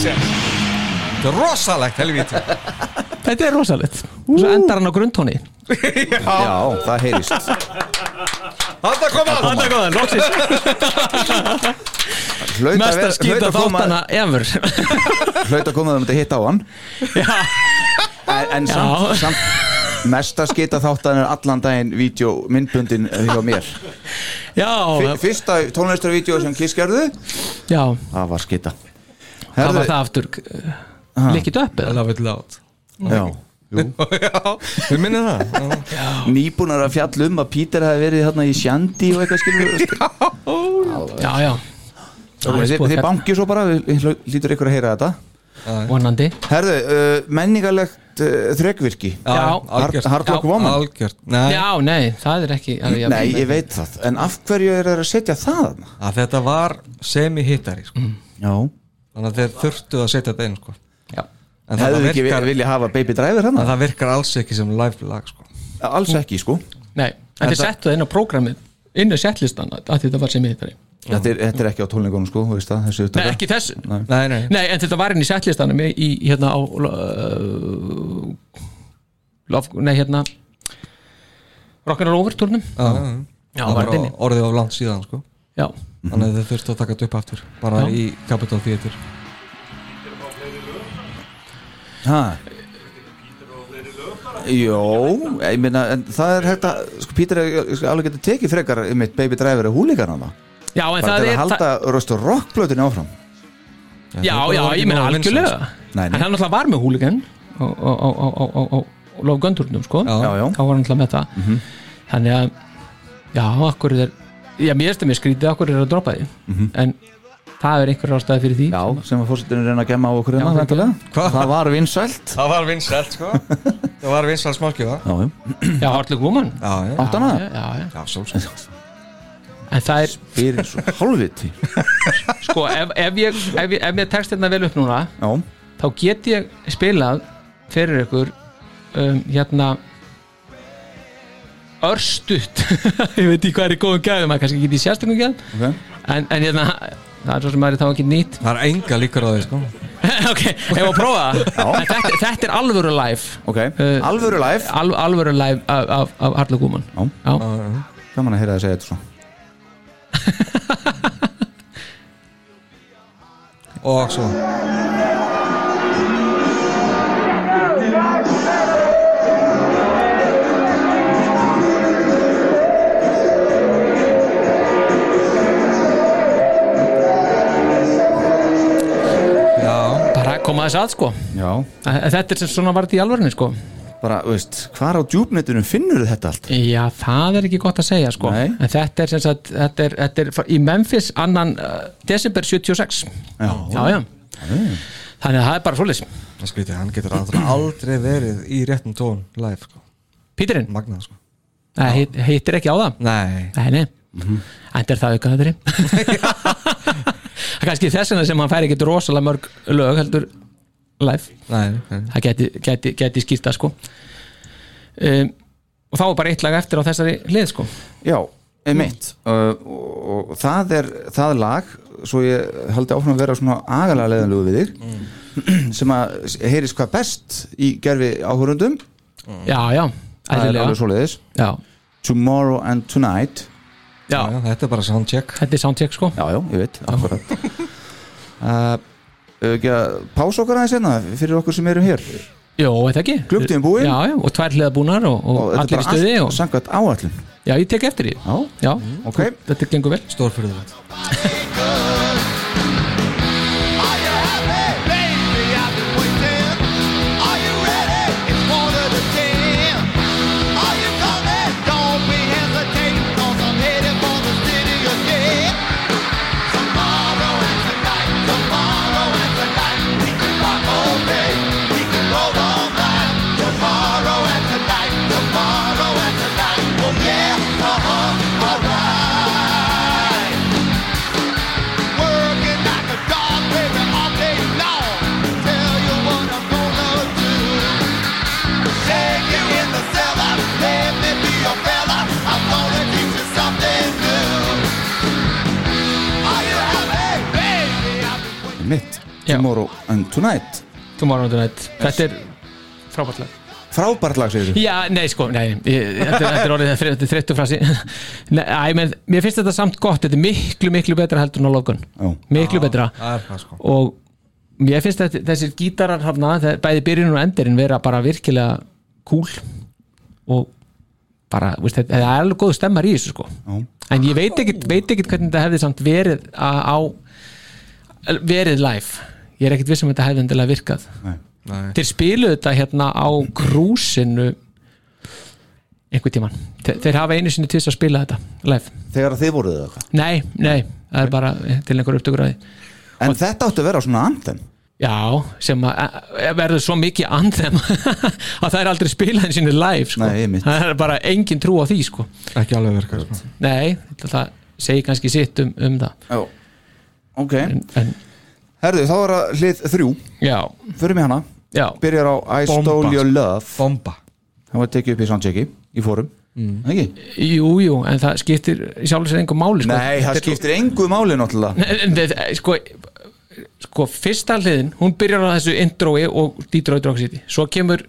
E: Þetta er rosalegt helvíti
D: Þetta er rosalegt Og svo endar hann á grundtóni
C: Já, það heyrist
E: Þetta kom að
D: Þetta er góðan, loksins
C: Hlaut að
D: Mestar
C: vera- hlaut
D: skýta
C: að koma-
D: þáttana ever
C: hlaut að koma þeim að hitta á hann en, en samt, samt mesta skita þáttan er allan daginn vídeo myndbundin hjá mér
D: Já,
C: F fyrsta tónlistarvídeó sem Kiss gerðu
D: já
C: það var skita
D: Það var það aftur Likkið upp eða?
E: Love it loud
C: já
E: Já, við minnum það
C: nýbúnar að fjalla um að Peter hefði verið hérna í Shandy og eitthvað skilur
D: Já, já
C: þið,
D: sko,
C: þið bankið svo bara, við- við hl- hlýtur ykkur að heyra þetta
D: Vonandi
C: herðu, uh, menningarlegt uh, þrekvirki
D: Já.
E: algjört.
C: Hard- Hard Rock
E: Já,
C: Woman.
E: Algjört, nei
D: Já, nei, það er ekki alveg jafn-
C: nei, ég veit það, en af hverju er það að setja það þarna?
E: að þetta var semi-hittari sko.
D: Mm.
C: já,
E: þannig að þeir þurftu að setja þetta inn sko.
D: Já.
E: en það
C: hefðu ekki
E: virkar,
C: viljað hafa Baby Driver
E: en
C: hann
E: það virkar alls ekki sem live lag sko.
C: alls ekki sko
D: Nei, en þið
C: það-
D: settu það inn á prógramið Inn á settlistan að að þetta var sem hittari
C: þetta er, þetta er ekki á tónleikunum sko, þú veist það, þessi
D: Nei,
C: upptaka
D: ekki þessu Nei,
E: nei, nei,
D: en þetta var inn í settlistanum í, í hérna á uh, lof, Nei, hérna Rock'n'Roll Overturnum
E: Já.
D: Já,
E: það
D: var
E: var
D: þetta inni
E: orðið á land síðan sko.
D: Já,
E: þannig að þeir þurftu að taka þetta upp aftur bara
D: Já.
E: í Capitol Theater
C: Ha? Jó, ég meina en það er hægt að, sko Pítur er sko, alveg getur tekið frekar mitt Baby Driver og húlíkar hana,
D: já en
C: bara
D: það
C: til að
D: er það,
C: halda röst og rockblöðinu áfram
D: Já,
E: þetta
D: já,
E: var ekki
D: ég meina
E: nógu vinsælt.
D: algjörlega
C: Nei,
D: En
C: nei,
D: hann alltaf var með húligan á, á, á, á, á, á, á, á lofgöndurnum, sko
E: Já.
C: já, já
D: þá var hann alltaf með það þannig að já, akkur er já, mér erstu mér skrítið, akkur er að droppa því en það er einhver ástæði fyrir því
C: Já, sem að fórsetinu reyna að gemma á okkur hérna,
D: Já,
C: væntanlega.
E: Hvað?
C: það var vinsælt
E: það var vinsælt sko. það var vinsælt smáskjöfa
C: Já, já,
D: já Hartleg Woman
E: já, já,
C: áttan að
D: já, já, já.
E: já, sjálfsagt.
D: en það er,
C: Fyrir svo hálfviti
D: sko, ef, ef ég ef, ég- ef mér tekst þetta vel upp núna
C: Já,
D: þá get ég spilað fyrir ykkur um, hérna örstutt ég veit ekki hvað er í góðum gæðum að kannski ekki í sérstökum gæðum
C: ok
D: en, en hérna, það er svo sem maður er þá ekki nýtt
E: það er enga líkur á því sko.
D: ok, hefur að prófa það En þetta, þetta er alvöru live
C: Ok,
D: Uh,
C: alvöru live
D: Al, alvöru live af, af, af Harla Gúman
C: Já. Gaman að heyra það að segja þetta svo
E: og svo já,
D: bara koma þess að sko
C: Já,
D: En þetta er sem svona varð í alvörunni sko
C: bara, veist, hvar á djúpnetinu finnur þetta allt?
D: já, það er ekki gott að segja sko
C: Nei.
D: en þetta er sem sagt þetta er, þetta er frá- í Memphis annan uh, desember 76
C: Já,
D: já, já þannig að það er bara svoleiðis
E: það skrítið, hann getur aldrei, aldrei verið í réttum tón live, sko,
D: Píturinn,
E: magnað, sko
D: hittir ekki á það
E: nei,
D: nei, nei, enda er það auka þetta það er kannski þess vegna sem hann fær ekki rosalega mörg lög heldur live
E: nei, nei
D: það geti, geti, geti skýrt það sko um, og þá er bara eitt lag eftir á þessari hlið sko
C: Já, einmitt uh, og, og það er það lag svo ég haldi áfram að vera svona agalega leðanlegu við þig sem að heyrist hvað best í gerfi áhörundum
D: já, já,
C: Mm. það er alveg
D: eðlilega
C: svoleiðis
D: já,
C: Tomorrow and Tonight
D: já,
E: Já, þetta er bara soundcheck
D: þetta er soundcheck sko
C: Já, já, ég veit, akkurat uh, eigum við ekki að Pása okkar aðeins hérna fyrir okkur sem erum hér
D: Jó, eða ekki
C: Klukktíðin búinn.
D: Já, já, og tvær hliða búnar og, og,
C: og þetta er
D: allir í stuði
C: bara
D: og,
C: allt samkvæmt áallum
D: Já, ég tek eftir því
C: Já,
D: Já,
C: ok
D: þetta gengur vel
E: Stórfyrðulegt
C: mitt
D: Já.
C: Tomorrow and Tonight
D: Tomorrow Night Þetta er frábært lag
C: frábært lag segir þú
D: Já, nei sko, nei, ég, þetta, er- þetta er orðið þetta er þreyttu frasi Nei, æ, menn, mér finnst þetta samt gott, þetta er miklu, miklu betra heldur en á Logan,
C: Já.
D: miklu betra
E: það er það sko
D: og mér finnst þetta, þessir gítarar hafna, bæði byrjun og endirinn vera bara virkilega cool og bara, veist, þetta, það er alveg góð stemmar í þessu sko
C: Já.
D: en ég veit ekkit, veit ekkit hvernig þetta hefði samt verið á, á verið live ég er ekkit viss um að þetta hefði endilega virkað
E: Nei.
D: þeir spiluðu þetta hérna á krúsinu einhvern tíman þeir, þeir hafa einu sinni til að spila þetta live
C: þegar þið voruð það eitthvað
D: nei, nei, það er bara til einhver upptökur að því
C: en þetta átti að vera svona anthem
D: Já, sem að að verður svo mikið andhem að það er aldrei spilaðin sinni live sko.
C: Nei, einmitt.
D: það er bara engin trú á því sko.
E: ekki alveg verka sko.
D: Nei, það, það segir kannski sitt um, um það
C: Já. ok
D: en, en,
C: herðu þá er það hlið þrjú
D: Já,
C: förum í hana
D: já,
C: byrjar á I
E: Bomba.
C: Stole Your Love
E: bomba
C: það var tekið upp í soundchecki í fórum mm. ekki?
D: jú, jú en það skiptir sjálfur sér engum máli sko.
C: nei, það
D: Þetta-
C: skiptir engu máli náttúrulega
D: En- en þetta, sko, sko, fyrsta hliðin hún byrjar á þessu introi og Detroit Rock City, svo kemur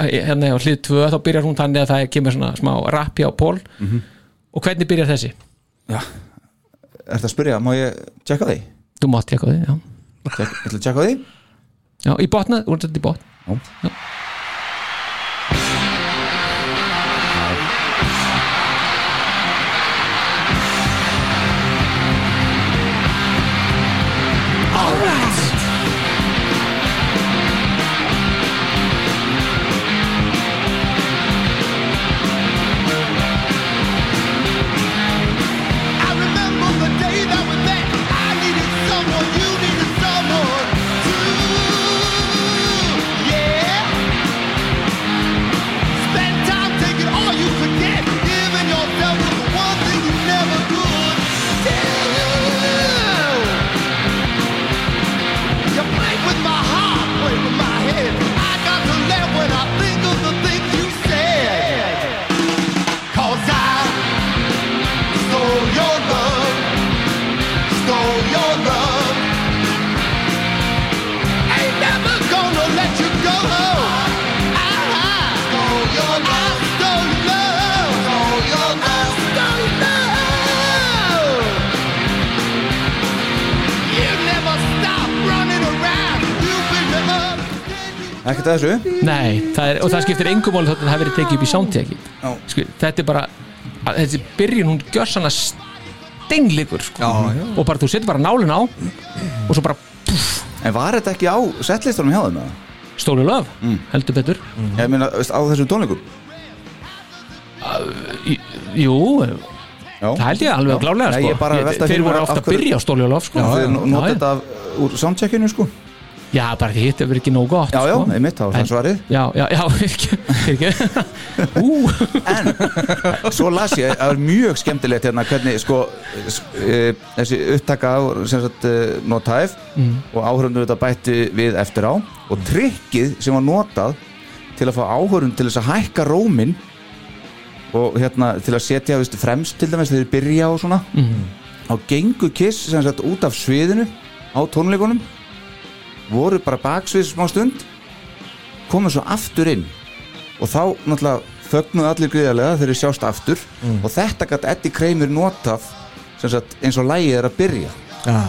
D: hérna á hlið 2, þá byrjar hún þannig að það kemur svona smá rappi á pól
C: Mhm.
D: og hvernig byrjar þessi?
C: er það að spyrja, má ég tjekka því?
D: Þú mátt ég eitthvað, já
C: Tek, ég ætla að tjekka því
D: Já, í botna, þú ert þetta í botn
G: I remember the day that we met. I needed someone, you needed someone too. Yeah. Spend time taking all you could get, giving yourself to the one thing you never could do. You play with my heart, play with my head. I got to laugh when I think of the things you said. 'Cause I stole your love, stole your love. Ain't never gonna let you go. I stole your love, I stole your love, stole your love, stole your love. You never stop running around. You've been the love.
C: ekkert að þessu
D: Nei, það er, og það skiptir engum máli þótt að það hafi verið tekið upp í soundteki
C: Já.
D: sko, Þetta er bara að, þessi byrjun hún gjör svona steinleikur sko.
E: Já, já.
D: og bara þú setur bara nálin á og svo bara
C: en var þetta ekki á setlistunum hjá þeim? eða?
D: stólu löf,
C: Mm.
D: heldur betur
C: ég meina, veist, á þessum tónleikum
D: Í- Jú,
C: Já.
D: það held ég alveg klálega
C: Nei,
D: sko.
C: ég bara
D: Ég-
C: velta
D: Þeir
C: fyrir mér
D: voru ofta
C: af
D: að
C: hverju-
D: byrja á stólu löf sko.
C: þeir nota
D: já,
C: þetta af- úr soundcheckinu sko
D: já, bara því hitt hefur ekki nóg gott
C: já, já,
D: sko.
C: einmitt, þá er
D: En-
C: það svarið
D: Já, já, já, ekki, ekki. Ú,
C: en svo las ég að það er mjög skemmtilegt hérna hvernig sko s- e, þessi upptaka á sem sagt e, notaðif og áhörundur þetta bætti við eftir á og trikkið sem var notað til að fá áhörund til þess að hækka rómin og hérna til að setja veist, fremst til dæmis þegar þeir byrja og svona á gengu kiss sem sagt út af sviðinu á tónleikunum voru bara baksvið smá stund komu svo aftur inn og þá náttúrulega fögnuðu allir gríðarlega þegar þeir sjást aftur og þetta gætt Eddie Kramer notað sem sagt, eins og lægið er að byrja
E: ah,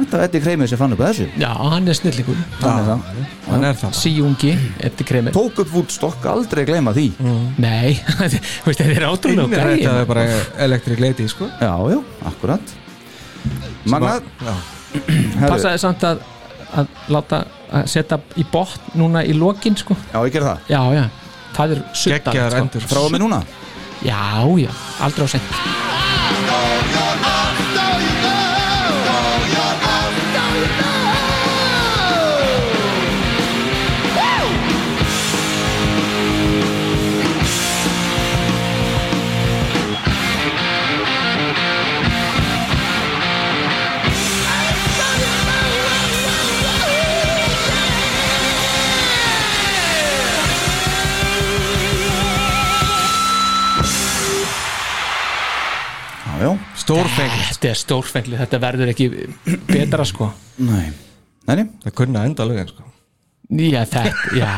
C: þetta var Eddie Kramer sem fann upp að þessu
D: já, hann er snillingur
C: Þannig að
E: hann er það
D: Síungi, eftir kremi
C: tók upp Woodstock aldrei gleyma því
D: Nei, þú veist, þetta er
E: Innir
D: átrúlega
E: þetta
D: gæði
E: er bara elektrik lady sko
C: já, já, akkurat Magnað,
E: Já.
C: herru,
D: Passaði samt að, að láta að setja í botn núna í lokin sko.
C: já ég ger það
D: Já, já, það er suttan
E: geggjaðar
D: sko.
E: endur
C: fráðum við núna
D: Já, já, aldrei á sent Stórfengli Þetta er stórfengli, þetta verður ekki betra sko
C: Nei, nei, nei.
E: það kunna enda lögin sko.
D: Já, þetta, já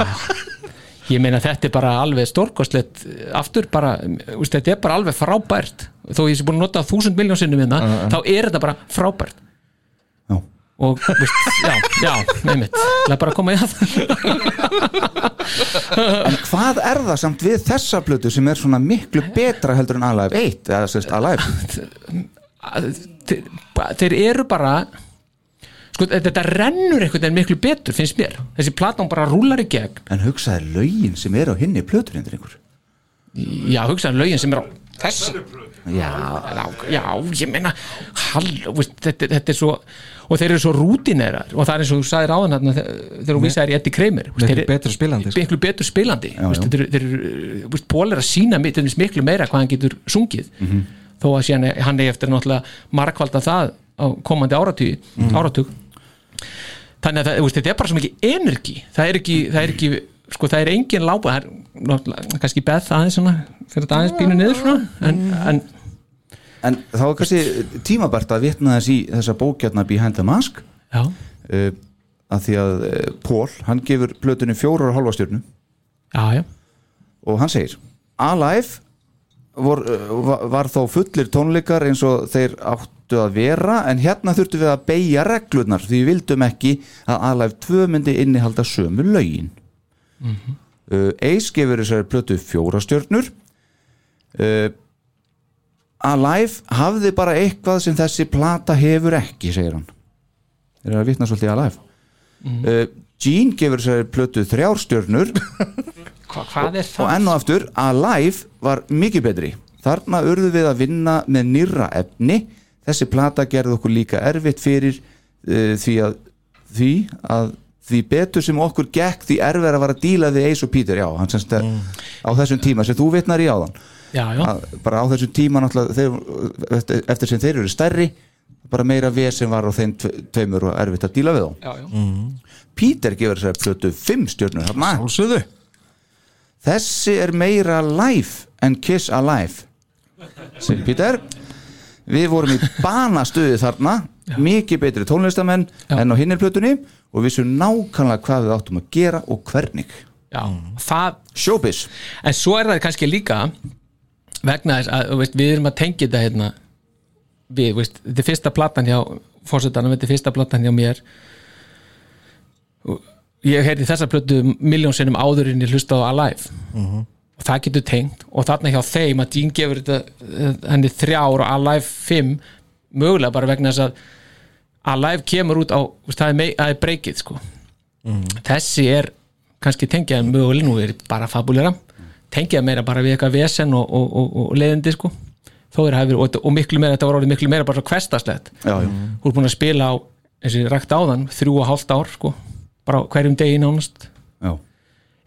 D: Ég meina þetta er bara alveg stórkostlegt eh, aftur bara, úst, þetta er bara alveg frábært þó ég sé búin að nota þúsund miljónsinnum minna, þá er þetta bara frábært
C: Já.
D: og veist, já, já, einmitt Það er bara að koma í að
C: En hvað er það samt við þessa plötu sem er svona miklu betra heldur en Alive 1 eða sérst Alive
D: að- þeir, ba- þeir eru bara sko, þetta rennur einhvern veginn miklu betur, finnst mér þessi platan bara rúlar í gegn
C: en hugsaði lögin sem eru á hinni plötur hendur einhver
D: já, hugsaðan lögin sem er á þess
C: Já,
D: já, já, ég meina halló, veist, þetta, þetta er svo og þeir eru svo rútinerar og það er eins og þú sagðir áðan þarna þe- þegar þú vísaðir í Eddie Kramer veist,
E: Miklu
D: þeir eru-
E: betra spilandi, sko.
D: miklu betur spilandi
C: Já,
D: veist,
C: já.
D: þeir eru- þeir eru, veist, Pól er að sína miklu meira hvað hann getur sungið þó að síðan er- hann er eftir náttúrulega markvalda það á komandi áratug, áratug þannig að það, þú veist, þetta er bara svo mikið energi það er ekki, það er ekki sko, það er engin lába, það er náttúrulega, kannski beð það aðeins svona, fyrir þetta aðeins pínu niður svona en, en
C: en þá er kannski tímabært að vitna þess í þessa bókjarna Behind the Mask
D: já,
C: uh, að því að uh, Pól, hann gefur plötunni fjórar og hálfa stjörnu
D: já, já
C: og hann segir Alive vor, var, var þó fullir tónleikar eins og þeir áttu að vera en hérna þurftu við að beigja reglurnar því við vildum ekki að Alive 2 myndi innihalda sömu lögin mm Ace gefur þessari plötu fjóra stjörnur uh, Alive hafði bara eitthvað sem þessi plata hefur ekki, segir hann þeir eru að vitna svolítið í Alive uh, Gene gefur þessari plötu þrjár stjörnur
D: Hva, hvað er
C: og
D: það?
C: enn og aftur Alive var mikið betri þarna urðu við að vinna með nýra efni þessi plata gerði okkur líka erfitt fyrir uh, því að því að því betur sem okkur gekk því erfið að vara að díla við Ace og Peter já, hann semst mm. á þessum tíma sem þú vitnar í áðan
D: já, já,
C: að, bara á þessum tíma náttúrulega þeir, eftir, eftir sem þeir eru stærri bara meira veð sem var á þeim tve, tveimur og erfitt að díla við þá
D: já, já.
C: Peter gefur þessari plötu 5 stjörnur þarna
E: Hálsöðu
C: Þessi er meira life en kiss alive
D: Mm.
C: segir Pítur Við vorum í banastuði þarna mikið betri tónlistamenn
D: Já.
C: enn á hinnir plötunni og vissum nákvæmlega hvað við áttum að gera og hvernig
D: já. Það,
C: Showbiz
D: en svo er það kannski líka vegna þess að þú veist, við erum að tengja þetta hérna við, þú veist, þetta er fyrsta platan hjá fórsetanum, þetta er fyrsta platan hjá mér Og ég heyrði þessa plötu miljón sinnum áður en ég hlustaði á Alive og það getur tengt og þarna hjá þeim að Dean gefur þetta eh, henni þrjár og Alive 5 mögulega bara vegna þess að Alive kemur út á, þú veist, það er, mei- það er breykið sko þessi er kannski tengjað möguleg nú er ég bara fabulera tengjað meira bara við eitthvað vesen og, og, og, og leiðindi sko þó er hæfir og, þetta- og miklu meira, þetta var orðið miklu meira bara svo kvestaslegt
C: Já, já.
D: þú er búin að spila á, eins og ég rakti áðan þrjú og hálft ár sko bara á hverjum degi nánast
C: Já.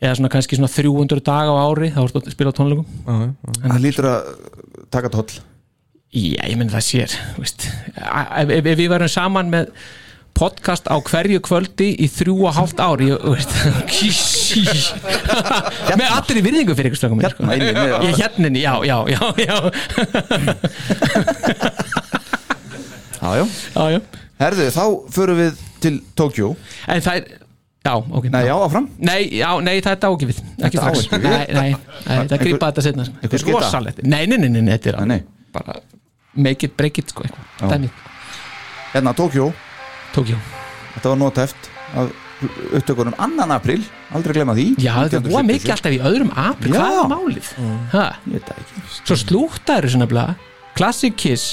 D: eða svona kannski svona 300 daga á ári þá ertu að spila á tónleikum
C: Það lítur að taka tóll
D: Já, ég meni það sér þú veist. A- ef, ef, ef við verðum saman með podcast á hverju kvöldi í þrjú og hálft ár ég, þú veist, kí- með allir í virðingu fyrir ykkur slökum
C: Hérna, inni, með-
D: ég, hérninni, já, já, já, já,
C: já, já.
D: já, já.
C: Herðu, þá förum við til Tokjó
D: en það er já, ok
C: Nei, já, áfram
D: Nei, já, nei, það er dágifið
C: Þetta á
D: ekki strax,
C: ekki við.
D: nei, nei, nei það grípa þetta setna
C: einhver
D: þetta er
C: skita?
D: rosalegt, nei, nei, nei, nei, nei, þetta er
C: Nei, nei.
D: alveg bara make it, break it, sko,
C: Já.
D: eitthvað dæmið,
C: Hérna, Tokjó,
D: Tókjó
C: þetta var notæft af upptökunum 2. apríl aldrei glemma því
D: Já, þetta er voða
C: 1977.
D: mikið alltaf í öðrum apri,
C: Já. Mm.
D: hvað er málið? Ha,
C: Ég veit það ekki.
D: svo slúttaður svona bla, Classic Kiss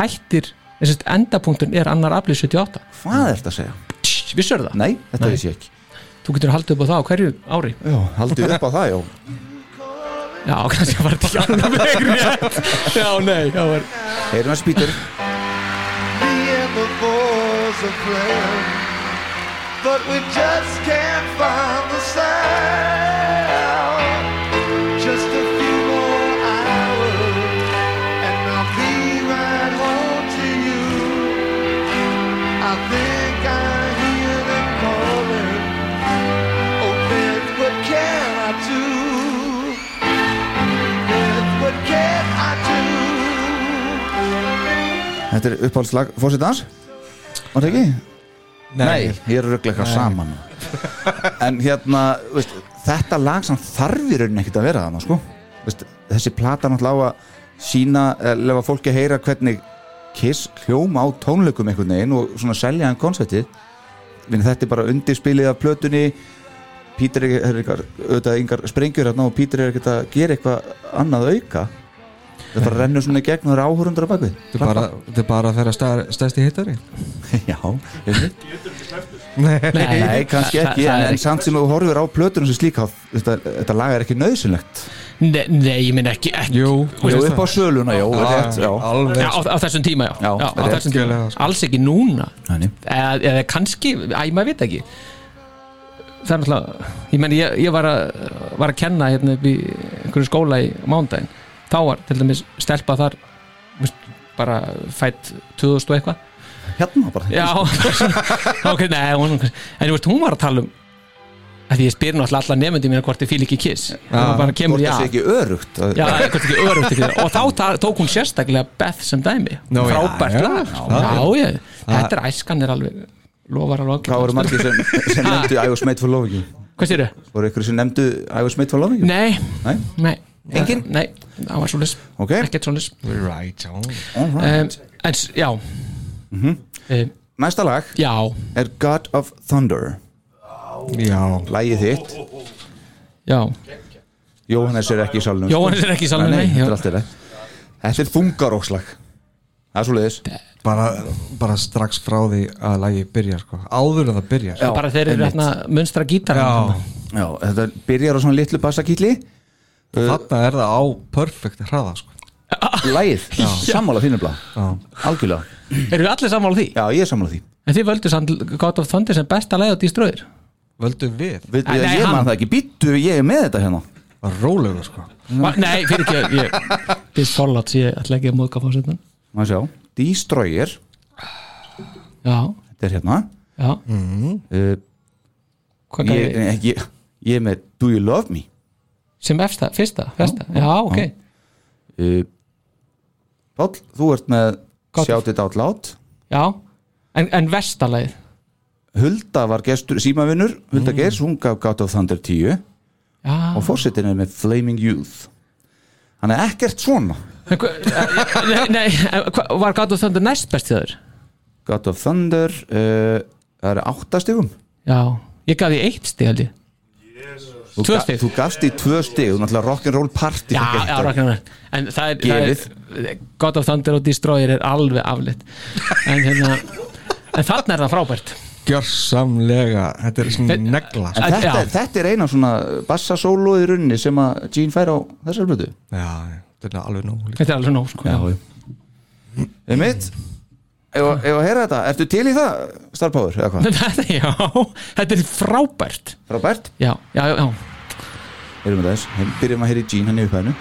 D: hættir, þess að endapunktun er annar april 78
C: Hvað er þetta að segja?
D: Tss, Vissur það?
C: Nei, þetta
D: Nei.
C: vissi ég ekki
D: Þú getur haldið upp á það á hverju ári
C: Já, haldið upp á það, já
D: Já, kannski var þetta ekki alveg rétt Já, nei, já, var
C: Heyrum að spýtur
G: Me and the boys are playing, but we just can't find the sound. Just a few more hours, and I'll be right home to you. I think I hear them calling. Oh, Beth, what can I do? Beth, what can I do?
C: Þetta er uppáhaldslag fórsetans Var það ekki? Nei, ég er ruggleika saman En hérna, veist, þetta lag sem þarf í rauninni ekkert að vera þarna sko. veist, Þessi plata náttúrulega á að sína, lefa fólki að heyra hvernig Kiss hljóma á tónleikum einhvern veginn og svona selja hann konceptið Vinni, þetta er bara undirspilið af plötunni Pítur er er eitthvað auðvitað yngar sprengjur hérna og Pítur er ekkert að gera eitthvað annað auka þetta bara rennur svona í gegn og það eru áhórundur á bakvið
E: Þetta er bara, þetta er bara að færa stær, stærsti hittari
C: Já, einmitt.
E: Nei,
C: Nei, kannski
D: það-
C: ekki
D: það- það
C: en,
D: er
C: en
D: ekki-
C: samt sem þú horfir á plötunum sem slíka þá- þetta, þetta lag er ekki nöðsynlegt
D: Nei, nei, ég minn ekki, ekki.
E: Jú,
C: Jó, upp á söluna, jó, rétt, já
D: Ah, Já,
E: alveg
D: á, á þessum tíma, já,
C: Já,
D: já, á
C: rétt.
D: þessum tíma.
E: Algjörlega, sko.
D: Alls ekki núna
C: Þannig.
D: eða, eða kannski, æ, maður veit ekki Það er náttúrulega Ég meni, ég, ég var, að, var að kenna hérna upp í einhverju skóla í mándaginn Þá var til dæmis stelpa þar þú veist, bara fætt 2000 og eitthvað
C: Hérna bara
D: Já, ok, nei, hún, en þú veist, hún var að tala um að því ég spyr náttúrulega alla nefndi mína hvort þið fíl ekki kiss það bara kemur
C: Hvort
D: í
C: það sé
D: að
C: ekki örugt að-
D: Já, eitthvað ekki örugt ekki það. og þá ta- tók hún sérstaklega Beth sem dæmi
E: Nú, já,
D: frábært
E: já,
D: lag
E: já,
D: já, já, þetta er æskan er alveg lofar alveg
C: Hvað voru margir sem, sem nefndu I was made for loving you
D: hvað sér þau?
C: Voru ykkur sem nefndu I was made for loving you
D: Nei,
C: Nei?
D: nei
C: Engin?
D: Nei, það var svolis,
C: Ok,
D: ekkert svolis
E: Right, já
C: all right
D: um, En s- já
C: Mhm.
D: um,
C: Næsta lag
D: Já,
C: er God of Thunder
E: Já,
C: Lægið þitt
D: já
C: Jóhannes er ekki í salnum sko.
D: Jóhannes er ekki í salnum,
C: Nei,
D: nei,
C: nei,
D: já.
C: þetta er allt í lagi. Þetta er þungarókslag Það er svo leiðis
E: bara, bara strax frá því að lagi byrjar sko Áður en það byrjar
D: bara þeir
C: einmitt.
D: eru hérna munstra gítar
E: já.
C: Já, þetta byrjar á svona litlu bassakýtli
E: Þarna er það á perfect hraða sko
C: Lægið, sammála þínu blá Algjörlega
D: Eru við allir sammála því?
C: Já, ég er sammála því
D: En þið völdu samt God of Thunder sem besta lagið á Destroyer
E: Völdum við,
C: Við,
D: Nei, nei,
C: Ég
D: hann-
C: man það ekki, býttu, ég er með þetta hérna
E: var rólegur sko
D: Va- Nei, fyrir ekki ég, This Fallout, ég ætla ekki að móðka fórsetan
C: Má sjá, Destroyer
D: Já,
C: Þetta er hérna
D: já
C: uh,
D: Hvað gæði
C: ég, ég, ég, ég er með Do You Love Me
D: sem efsta, fyrsta, fyrsta já, ok,
C: uh, Páll, þú ert með
D: Gátur.
C: Shout It Out Loud
D: já en, en vestalagið,
C: Hulda var gestur, símavinnur
D: Mm.
C: Hulda Geirs, hún gaf God of Thunder 10
D: já
C: og fórsetin er með Flaming Youth Hann er ekkert svona
D: En hva- eh, nei, nei, en hva, var God of Thunder næst best í þaður?
C: God of Thunder uh, það er áttastigum
D: já, ég gaf því eitt stig held ég
C: Þú
D: Tvö
C: ga-
D: stig.
C: Þú gafst í tvö stig, þú náttúrulega rock'n'roll party
D: já,
C: fékk eitt
D: já,
C: stig.
D: rakkar en það er, það er God of Thunder og Destroyer er alveg aflitt en hérna en þarna er það frábært
E: Gjörsamlega, þetta er svona
D: Þetta-
E: negla sko.
C: En þetta,
D: Já.
C: er- þetta er eina svona bassasóloð í runni sem að Gene fær á þessar blötu
E: Já, já, þetta er alveg nóg líka
D: þetta er alveg nóg sko. já,
C: Einmitt Ef að ef að heyra þetta, ertu til í það Star Power eða hvað?
D: þetta, já, þetta er frábært
C: Robert,
D: já, já, já,
C: erum við þess Heim- Byrjum að heyra í Gene hann í upphæðinu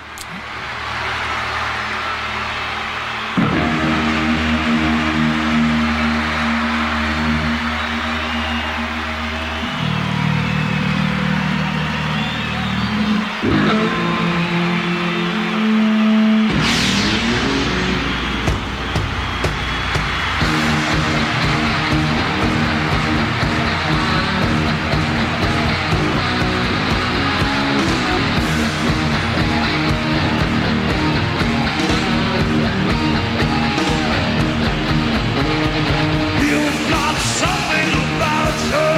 B: You've got something about you.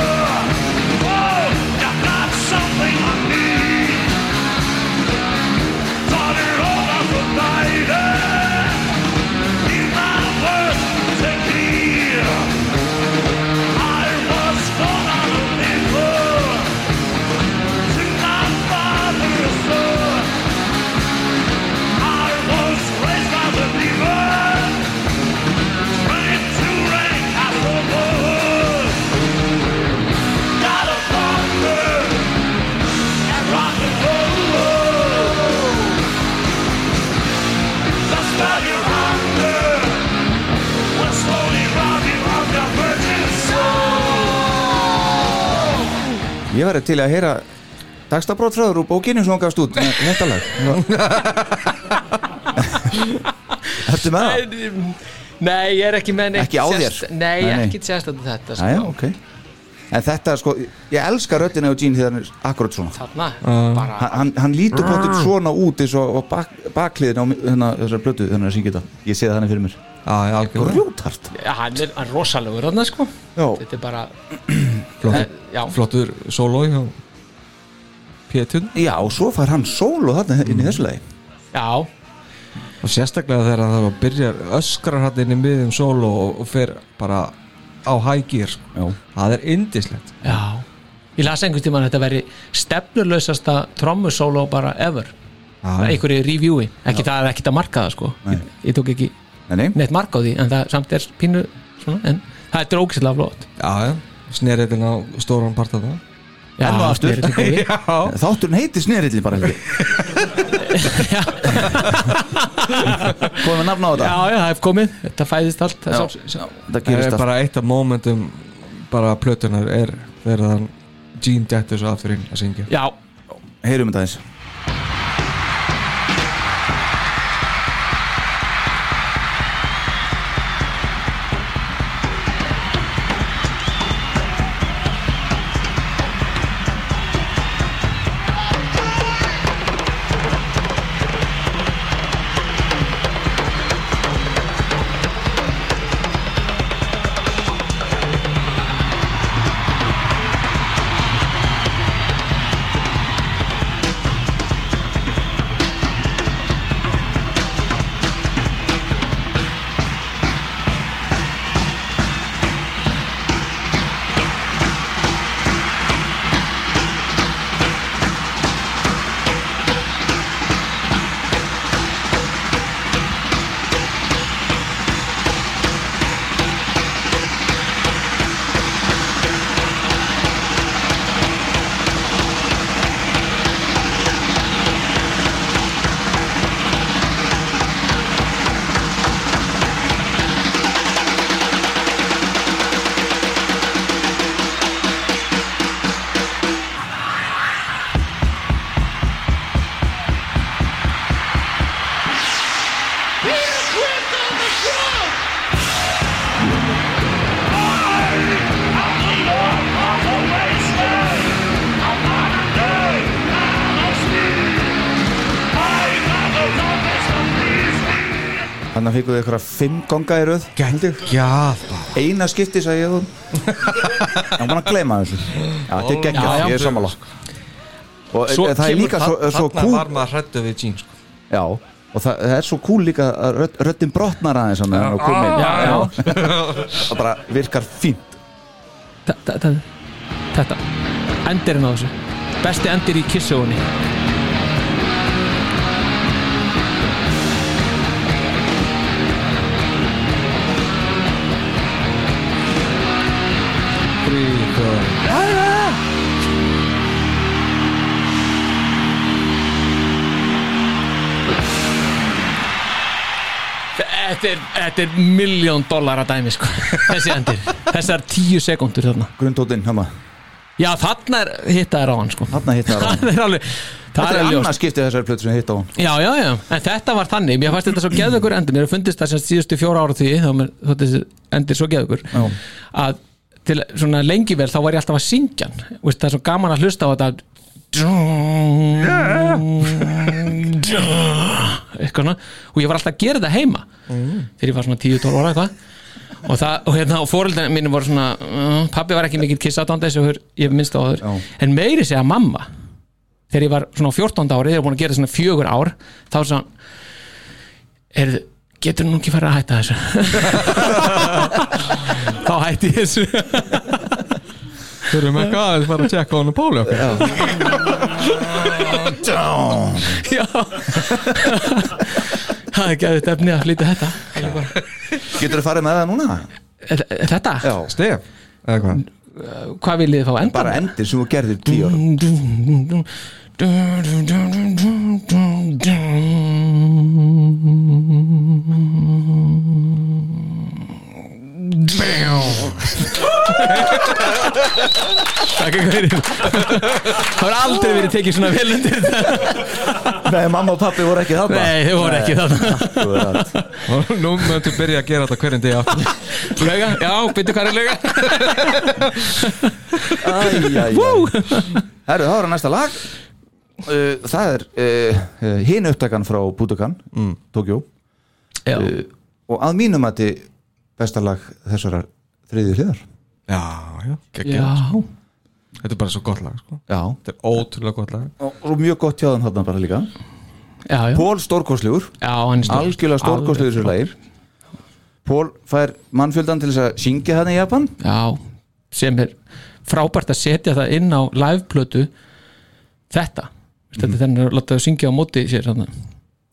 B: Oh, you've got something I need. Thought it over for eh? You're not worth to hear. I was born on a people to not bother a soul. I was raised by the people. Trying to rank out the wood. Got a bunker and rock and roll. The spell you're under will slowly rob you of your virgin soul.
C: Ég væri til að heyra Dagstabrótfröður úr bókinu sem hann gafst út með Þetta lag Ertu með það?
D: já. um, Nei, ég er ekki með neitt
C: Ekki á þér?
D: sérst- Nei,
C: Nei, nei.
D: ekki sérstættu þetta
C: Jæja,
D: sko.
C: ok En þetta, sko, ég elska röddina á Gene þegar hann er akkurat svona
D: Þarna, bara
C: Hann- hann, hann lítur potið svona út eins og, og bak, bakliðin á mi- hérna, þessari blötu þannig að syngja þetta, ég sé það hann fyrir mér
E: Já, já, algjörlega
C: grjótart
D: Já, hann er hann er rosalegur þarna sko
C: já,
D: Þetta er bara, Eh,
E: Flottur,
D: já,
E: flottur solo hjá Pétun
C: já, og svo fær hann sólu þarna inn í þessu lagi
D: já
E: og sérstaklega þegar það var að byrja öskrar hann inn í miðum solo og, og fer bara á hægir
C: já,
E: það er indislegt
D: Já, ég las einhvern tímann að þetta veri stefnulausasta trommusóló bara ever
E: Já, já.
D: einhverju reviewi, ekki það er ekkert að marka það sko ég, ég tók ekki
C: nei, nei,
D: neitt marka á því en það samt er pínu svona, en það er drókislega flott
E: já, já. snerriðin á stóran part af það
D: Já,
C: Enn og aftur.
D: mér er þetta góð við.
C: þátturinn heitir snerilli bara ekki komum við nafn á
D: Já,
C: þetta
D: já, það er komið, þetta fæðist allt það er svo-
C: það
E: það
C: gerist
E: er
C: það
E: bara eitt af momentum bara plötunar er þegar hann Gene dettur svo aftur inn að syngja
D: Já,
C: heyrum þetta eins þannig að fíkuðu ykkur að fimm gonga í röð
E: geggjað bara
C: eina skipti sagði ég þú ég var búin að gleyma þessu já, þetta er geggjað,
D: Já, já.
C: ég er sammála og
D: Svo
C: það er
D: kemur-
C: líka svo, svo
E: þarna
C: kúl
E: var maður hrættu við Gene sko.
C: Já, og það, það er svo kúl líka að rödd, röddin brotnar aðeins á meðan og komin
D: já, já
C: og bara virkar fínt
D: Þa- þa- þa- Þetta Endirinn á þessu Besti endir í kissugunni Þetta er, þetta er miljón dólar að dæmi sko. þessi endir, þessar tíu sekundur þarna.
C: grundtótinn, hérna,
D: Já, þarna er hittaðir á hann sko.
C: hérna hittar á hann
D: Það er alveg
C: Þetta
D: Það
C: er
D: er ljóst
C: annað skiptið þessari plötu sem hitt á hann
D: Já, já, já, en þetta var þannig Mér fannst þetta svo geðvökur endur Mér fundist það sem síðustu fjóra ára því þá mér þótti þessi endir svo geðvökur
C: Já.
D: að til svona lengi vel þá var ég alltaf að syngja hann Vist, Það er svo gaman að hlusta á þetta eitthvað svona og ég var alltaf að gera þetta heima þegar ég var svona 10-12 ára eitthvað og, það, og, hérna, og fóreldar mínu voru svona uh, pappi var ekki mikill kissatónda eins og hefur- ég hef minnst á áður
C: Já.
D: en meiri segja mamma þegar ég var svona á 14 ári þegar ég var búin að gera svona fjögur ár þá er svona er, getur nú ekki farið að hætta þessu þá hætti ég þessu
E: þurfum ekki aðeins bara að tjekka á hann og Páli okkar
D: já það er geðið efni að flytja þetta Það er bara-
C: Getur þú farið með það núna?
D: Eh, þetta,
C: Já,
E: Stef, eða hvað
D: hvað vil ég fá endan
C: bara endir sem þú gerðir tíu ára
D: Takk fyrir Það var aldrei verið tekið svona vel undir þetta
C: Nei, mamma og pappi voru ekki þarna
D: Nei, þau voru ekki þarna
C: Akkúrat.
E: Nú möttu byrja að gera þetta hverjum degi aftur
D: Lauga, já, byrju hvað er lauga
C: Æ, æ, æ. Herru, það var næsta lag Uh, Það er uh, uh, hin upptakan frá Budokan mm. Tókjó
D: Já,
C: og að mínum að þið besta lag þessarar þriðju hliðar
E: Já, já,
D: já,
E: geggjað Þetta er bara svo gott lag, sko
C: Já
E: Þetta er ótrúlega gott lag
C: og, og mjög gott hjá þeim þarna bara líka
D: já, já.
C: Pól stórkoslegur,
D: já hann er stór.
C: algjörlega stórkoslegur þessu lagir Pól fær mannfjöldan til þess að syngja hann í Japan
D: Já, sem er frábært að setja það inn á liveplötu þetta mm. þetta er þannig að láta þau syngja á móti sér þarna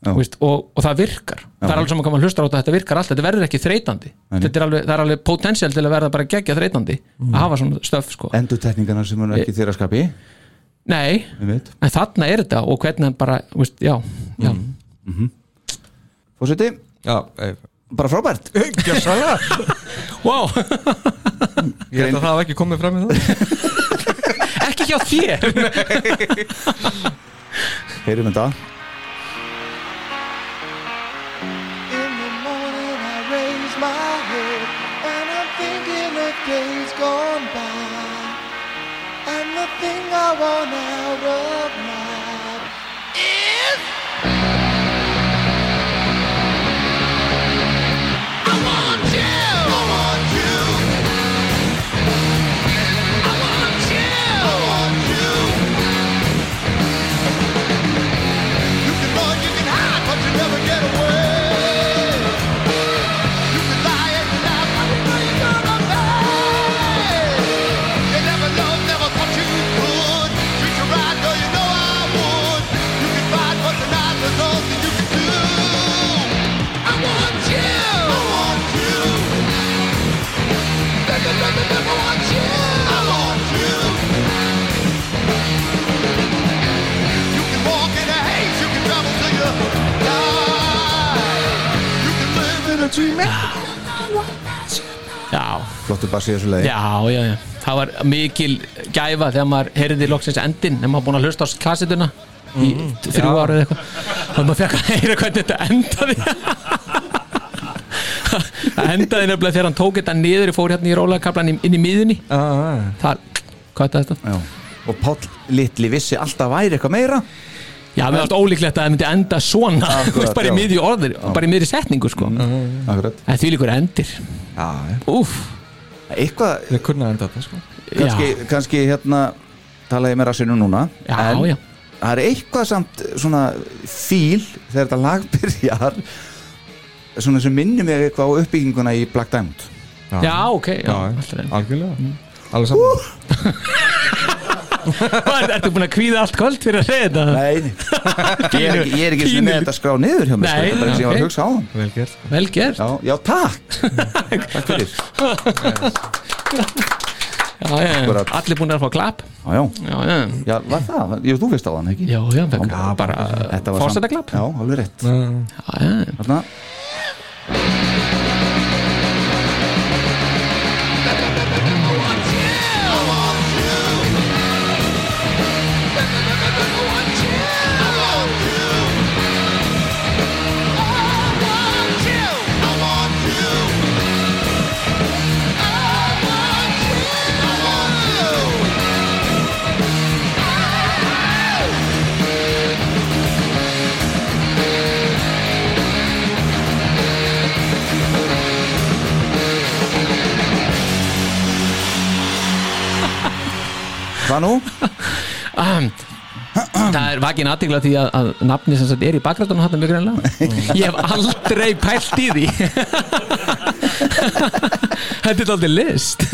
C: Já.
D: Veist, og, og það virkar það er alveg saman hvað maður hlustar á þetta, þetta virkar alltaf þetta verður ekki þreytandi, þetta er alveg, það er alveg potensial til að verða bara geggja þreytandi að hafa svona stöf sko,
C: Endutekningarna sem hann ekki þeirra skapi
D: nei
C: einmitt.
D: en þarna er þetta og hvernig hann bara veist, já, já,
C: Fórseti,
E: Já, ei,
C: bara frábært
E: gjössalega
D: wow
E: Ég veit að það hafa ekki komið fram í það
D: ekki hjá þér,
C: Heyrum þetta
G: In the morning I raise my head and I'm thinking of days gone by and the thing I want out of life is I want you I want you I want you I want you You can run, you can hide, but you never get away You can lie and laugh, but you know you're gonna pay They never loved, never thought you could Treat you right, girl, you know I would You can fight, but tonight there's nothing you can do I want you I want you Never, never, never want you I want you You can walk in a haze, you can travel till you die. You can live in a dream.
D: já
C: Flottur bassi í þessu lagi
D: Já, já, já, það var mikil gæfa þegar maður heyrði loksins endin þegar maður búin að hlusta á kassetuna í
C: Mm,
D: þrjú ára eða eitthvað þannig maður fekk að heyra hvernig þetta endaði það endaði nefnilega þegar hann tók þetta niður og fór hérna í rólakablan inn í miðunni þar, hvað er þetta?
C: Já. Og Páll litli vissi alltaf væri eitthvað meira
D: Já, mér finnst ólíklegt að það myndi enda svona
C: Akkurat,
D: Akkurat, bara í
C: já. Mm.
D: miðju orðir, bara í miðri setningu sko.
C: Akkurat
D: en því líkur endir
E: Já, já
D: Úf,
C: Eitthvað
E: Þeir kunna enda þetta, sko
C: kannski, kannski hérna tala ég með rassinu núna
D: já,
C: en
D: já, já,
C: það er eitthvað samt svona fíl þegar þetta lag byrjar svona sem minnir mig eitthvað á uppbygginguna í Black Diamond
D: já, ok já, allt er enn.
E: algjörlega Alveg saman
D: Hvað, Ertu búin að kvíða allt kvöld fyrir að reyða þetta?
C: Nei, ég er ekki, ég er ekki einu sinni með
D: Pínu.
C: þetta skrá niður hjá mér sko,
D: Nei,
C: þetta er bara eins og ég var
D: ok.
C: að hugsa á hann
E: Vel gert
D: Vel gert
C: Já, já takk Takk fyrir
D: já, já, já.
C: Akkurat.
D: allir búin að fá klapp
C: Já, já,
D: já, já,
C: já var það, ég, þú veist á hann ekki
D: já, já, fekk
C: Já, uh,
D: bara
C: Þetta var
D: fórseta
C: samt-
D: klapp
C: Já, alveg rétt
E: Já,
D: já, já,
C: Þarna, hvað nú?
D: Ahem. Það er vakin aðtegla því að, að nafni sem sagt er í bakgrættunum hann mjög greinlega Ég hef aldrei pælt í því Þetta er aldrei list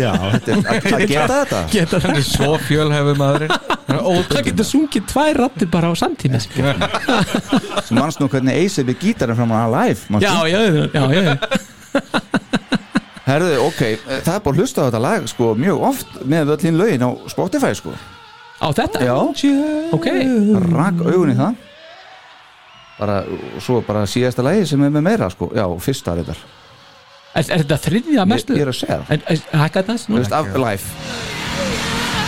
C: Já, þetta er að- að geta þetta
D: Geta
E: Hann
D: þannig
E: er svo fjölhæfum maðurinn Hann er
D: Það
E: ótrúlega
D: getur sungið tvær rattir bara á samtíma sko.
C: Þú manst nú hvernig Ace við gítarinn fram að live manstu?
D: Já, já, já, já, já.
C: Herðu, ok, það er bara að hlusta á þetta lag sko, mjög oft með öllin lögin á Spotify sko.
D: Á þetta?
C: Já,
D: Ok,
C: rak augun í það bara, og svo bara síðasta lagi sem er með meira sko. já, fyrsta reyndar
D: er, er þetta þriðja
C: ég,
D: mestu?
C: ég er að segja það,
D: En- en- Hækka þetta aðeins
C: þú
D: nú?
C: veist, af live
G: I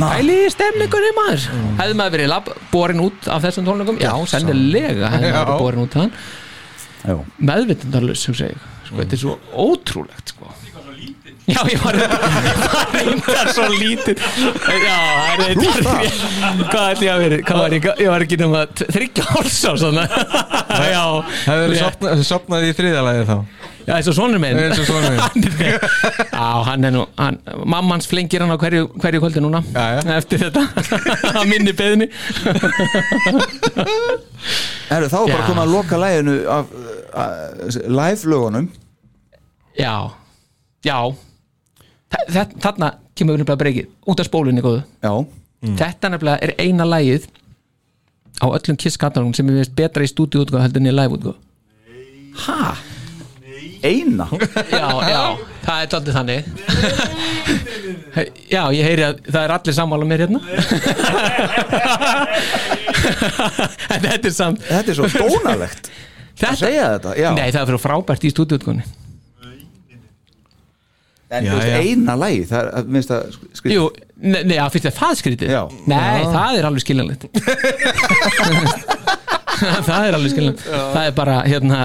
D: Pæli í stemningunni maður
C: Mm.
D: Hefði maður verið lab, borin út af þessum tónleikum? Já, sennilega hefði maður verið borin út af
C: Já.
D: hann Meðvitundarlaus, hugsa ég sko, Þetta er svo ótrúlegt sko. Já, ég var var reyndar svo lítill Já, það er eitthvað Hvað ætti ég að verið? Hvað var ég? Ég var ekki nema t- þriggja háls á svona Já,
E: Hefur
D: rétt.
E: verið sopnað í þriðalagi þá
D: Já, eins og sonur minn
E: Eins og sonur minn.
D: Hann er með- Já, hann er nú hann, Mamma hans flengir hann á hverju, hverju kvöldi núna
E: Já, já.
D: Eftir þetta Að minni beðni
C: Herru, þá er bara
D: Já.
C: að koma að loka læginu af uh, live lögunum
D: Já, já Þa- þa- Þarna kemur við nefnilega breykið Út af spólunni góðu
C: Já,
D: Þetta nefnilega er eina lagið Á öllum kisskatalónum sem við veist betra í stúdíu útgáð heldur en í live útgáð Hæ?
C: eina
D: Já, já, það er tóttið þannig Já, ég heyri að það er allir sammála mér hérna En þetta er samt
C: Þetta er svo dónalegt að
D: þetta,
C: segja þetta Já,
D: Nei, það er fyrir frábært í stúdíutgóni
C: en
E: Já,
C: þú
E: já.
C: veist, eina lægi Það er að minnst að skrifa
D: Jú, ne- nei, já, finnst þér það skrítið
C: Já.
D: Nei, það er alveg skiljanlegt Það er alveg skiljanlegt Það er bara, hérna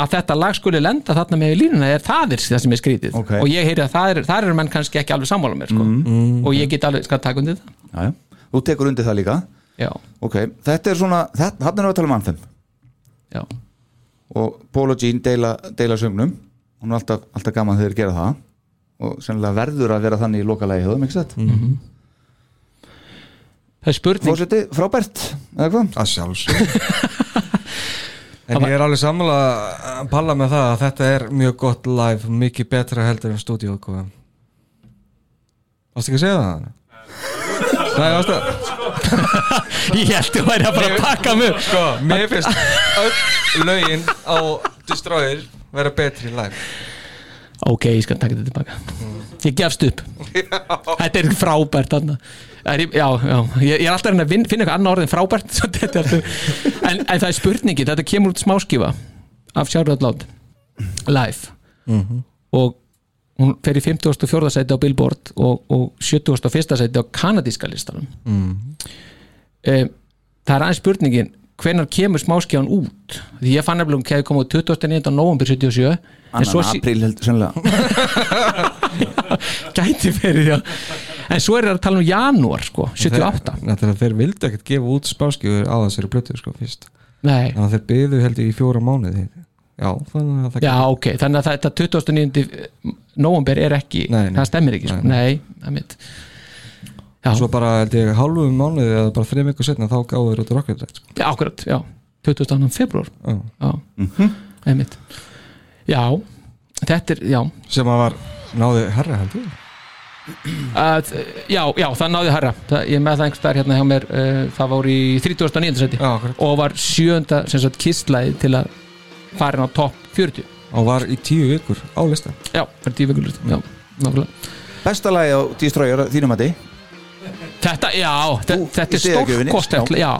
D: að þetta lag skuli lenda þarna með línuna er það er það sem er skrítið
C: Ok.
D: og ég heyri að það er, þar eru menn kannski ekki alveg sammála mér sko.
C: Mm.
D: og ég get alveg, skal taka undir það
C: Já, já, þú tekur undir það líka
D: Já,
C: Ok, þetta er svona, þetta, hann er að tala um anþem
D: já
C: og Paul og Jean deila, deila söngnum hún er alltaf, alltaf gaman þegar þeir gera það og sennilega verður að vera þannig í lokalagi höfum, ekki sett?
D: Mhm.
C: Mm.
D: Það er spurning
C: Fórseti, frábært, eða hvað?
E: Að sjálfsög En ég er alveg sammála að palla með það að þetta er mjög gott live, mikið betra heldur en stúdíu okkur Varstu ekki að segja það? Nei, varstu
D: Ég held þú væri að bara pakka mig upp.
E: Sko, mér finnst öll lögin á Destroyer vera betri live
D: Ok, ég skal taka þetta tilbaka Ég gefst upp Þetta er frábært þarna Það er- Já, já, ég, ég er alltaf að reyna að vin- finna eitthvað annað orðin frábært svo þetta er alltaf, en, en það er spurningi, þetta kemur út smáskifa af Sjárðarlót live
C: Mhm.
D: og hún fer í 54. sæti á Billboard og, og 71. sæti á kanadíska listanum
C: Mhm.
D: um, það er aðeins spurningin hvenær kemur smáskjáin út því ég fann nefnilega hún kegði koma út 29. november 77 en
C: Annan
D: svo sí-
C: apríl, heldur, sennilega
D: gæti verið já. en svo er það að tala um janúar sko, 78
E: Þegar þeir vildu ekkert gefa út spáskjöður á þessari plötu sko fyrst
D: Nei.
E: Þannig að þeir byðu heldur í fjóra mánuði Já, þannig að það
D: já ok, þannig að þetta 29. november eh, er ekki,
E: Nei, nei.
D: það stemmir ekki sko. nei, það mitt já,
E: Svo bara held ég hálfum mánuði eða bara þreim ykkur setna þá gáðu þeir út Rocket Red sko.
D: já, akkurat, já 22. februar
E: Já.
D: já, einmitt já, þetta er, já
E: sem að var náði herra heldur
D: að, já, já, það náði herra það, ég er með það einhvers staðar hérna hjá mér uh, það var í 39. seti
E: Já, akkurat.
D: og var sjönda, sem sagt, kistlæði til að farin á topp 40
E: og var í tíu vikur á lista
D: já, það er tíu vekulur já, nákvæmlega
C: Besta lagi á Destroyer, að þínum að þið
D: Þetta, já, þe-
C: Þú,
D: þetta
C: í
D: er
C: stigagjörðinni,
D: stórkostlegt Já,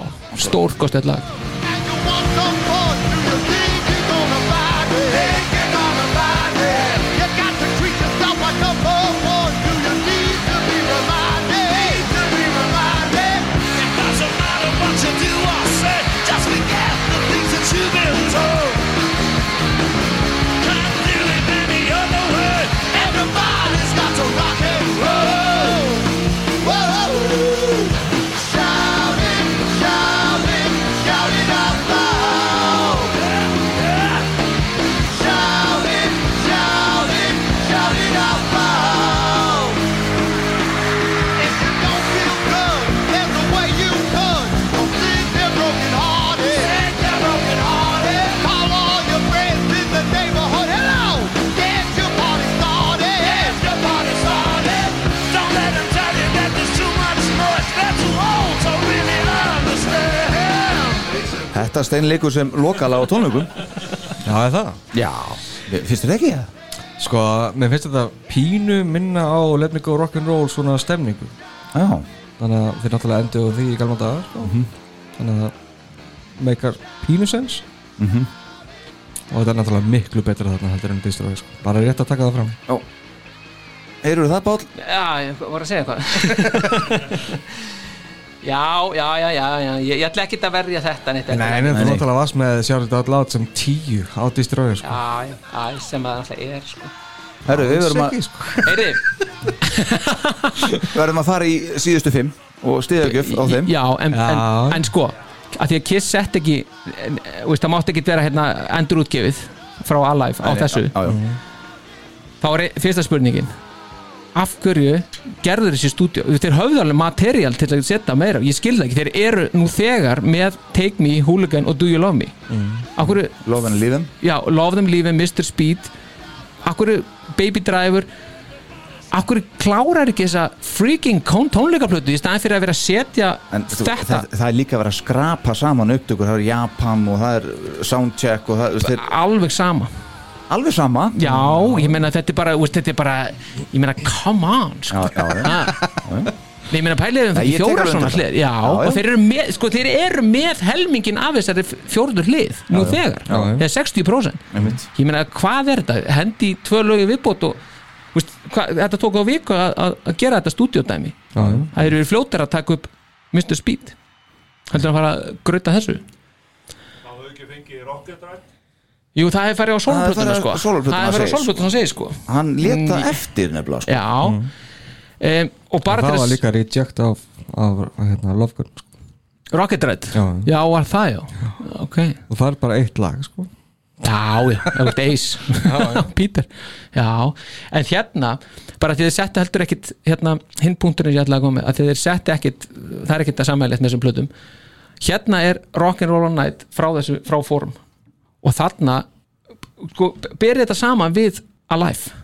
D: stórkostlegt lag
G: And you want some fun? Do you think you're gonna find it? Think you're gonna find it? You got to treat yourself like a bum. Do you need to be reminded? Need to be reminded.
B: It doesn't matter what you do or say, just forget the things that you've been told. Can't do it any other way.
G: Everybody's got to rock and roll. Whoa. Shout it, shout it, shout it out loud. Shout it, shout it, shout it out loud. If you don't feel good, there's a way you could. Don't sit there brokenhearted. Sit there brokenhearted. Call all your friends in the neighborhood. Hello, get your party started. Get your party started.
B: Don't let them tell you that there's too much noise. They're too old to really understand.
C: Þetta steinleikur sem lokala á tónleikum
E: Já, er það?
C: Já Fyrstu þetta ekki? eða?
E: Sko, mér finnst þetta pínu minna á Let Me Go Rock'n'Roll svona stemningu
C: Já,
E: Mhm. þannig að þeir náttúrulega endur því í galma dagar sko. þannig að meikar pínusens Mhm. og þetta er náttúrulega miklu betra þarna heldur en distrói sko. bara rétt að taka það fram
C: Heyrur það Páll?
D: Já, ég var að segja eitthvað Já, já, já, já, já Ég, ég ætla ekkert að verja þetta neitt
E: Nei, en þú
C: Nei.
E: náttúrulega varst með Sjárit All Out sem tíu á distrói sko.
D: Já, já, já, sem það alltaf er sko.
C: Herru, við verðum að,
E: Ekki, sko.
D: Heyri,
C: verðum að fara í síðustu fimm og stiðagjöf á þeim
D: sko. Já, en, en,
E: Já.
D: en sko að því að Kiss sett ekki en, eh, þú veist, það mátti ekki vera hérna endurútgefið frá Alive á
C: Nei,
D: þessu
C: já, já.
D: þá er ein- fyrsta spurningin af hverju gerður þessi stúdíu þeir höfðu alveg material til að setja meira ég skil það ekki, þeir eru nú þegar með Take Me, Hooligan og Do You Love Me af hverju,
C: Lofan í líðum
D: já, Love Them Leave Them, Mr. Speed af hverju Baby Driver af hverju klárar ekki þessa freaking kon- tónleikaplötu í staðan fyrir að vera að setja
C: En þú,
D: þetta
C: það, það er líka að vera að skrapa saman upptökur, það er Japan og það er soundcheck og það þeir,
D: alveg sama
C: alveg sama
D: já, ég meina þetta er bara, úst, þetta er bara ég meina, come on sko. Ah.
C: já, já, já.
D: Nei, ég meina pæliðum
C: Nei,
D: þetta
C: ég tek
D: fjóra
C: alveg
D: svona
C: undir það.
D: hlið já,
C: Já, já.
D: og þeir eru, með, sko, þeir eru með helmingin af þessari fjórður hlið nú þegar,
E: já.
D: eða 60%
C: Einmitt.
D: ég meina, hvað er þetta? hendi í tvö lögi viðbót og úst, hva, þetta tók á viku að- að að gera þetta stúdíódæmi
E: Já, já.
D: það eru verið fljótar að taka upp Mr. Speed heldur að fara að gröta þessu
F: Það höfðu ekki fengið rocket rætt
D: Jú, það hefur farið á
C: Það er
D: solplötuna
C: farið á
D: sko
C: sólplötuna,
D: Það hefur farið á
C: segir, sko.
D: solplötuna, segir sko
C: Hann Mm. leta
D: Mm.
C: eftir nefnilega sko.
D: Já um, Og bara
E: það
D: til
E: var
D: þess
E: líka reject af, af hérna, Love Gun sko.
D: Rocket Red
E: Já.
D: já, var það já Ok
E: og það er bara eitt lag sko.
D: Já, já, það var Days Peter Já, en hérna Bara því þeir settu heldur ekkit hérna, Hinn punkturinn sem ég ætlaði að koma með að því þeir settu ekkit Það er ekkit að samæðilegt með þessum plötum Hérna er Rock'n'Roll All Night frá þessu, frá fórum Og þarna sko, Berið þetta saman við Alive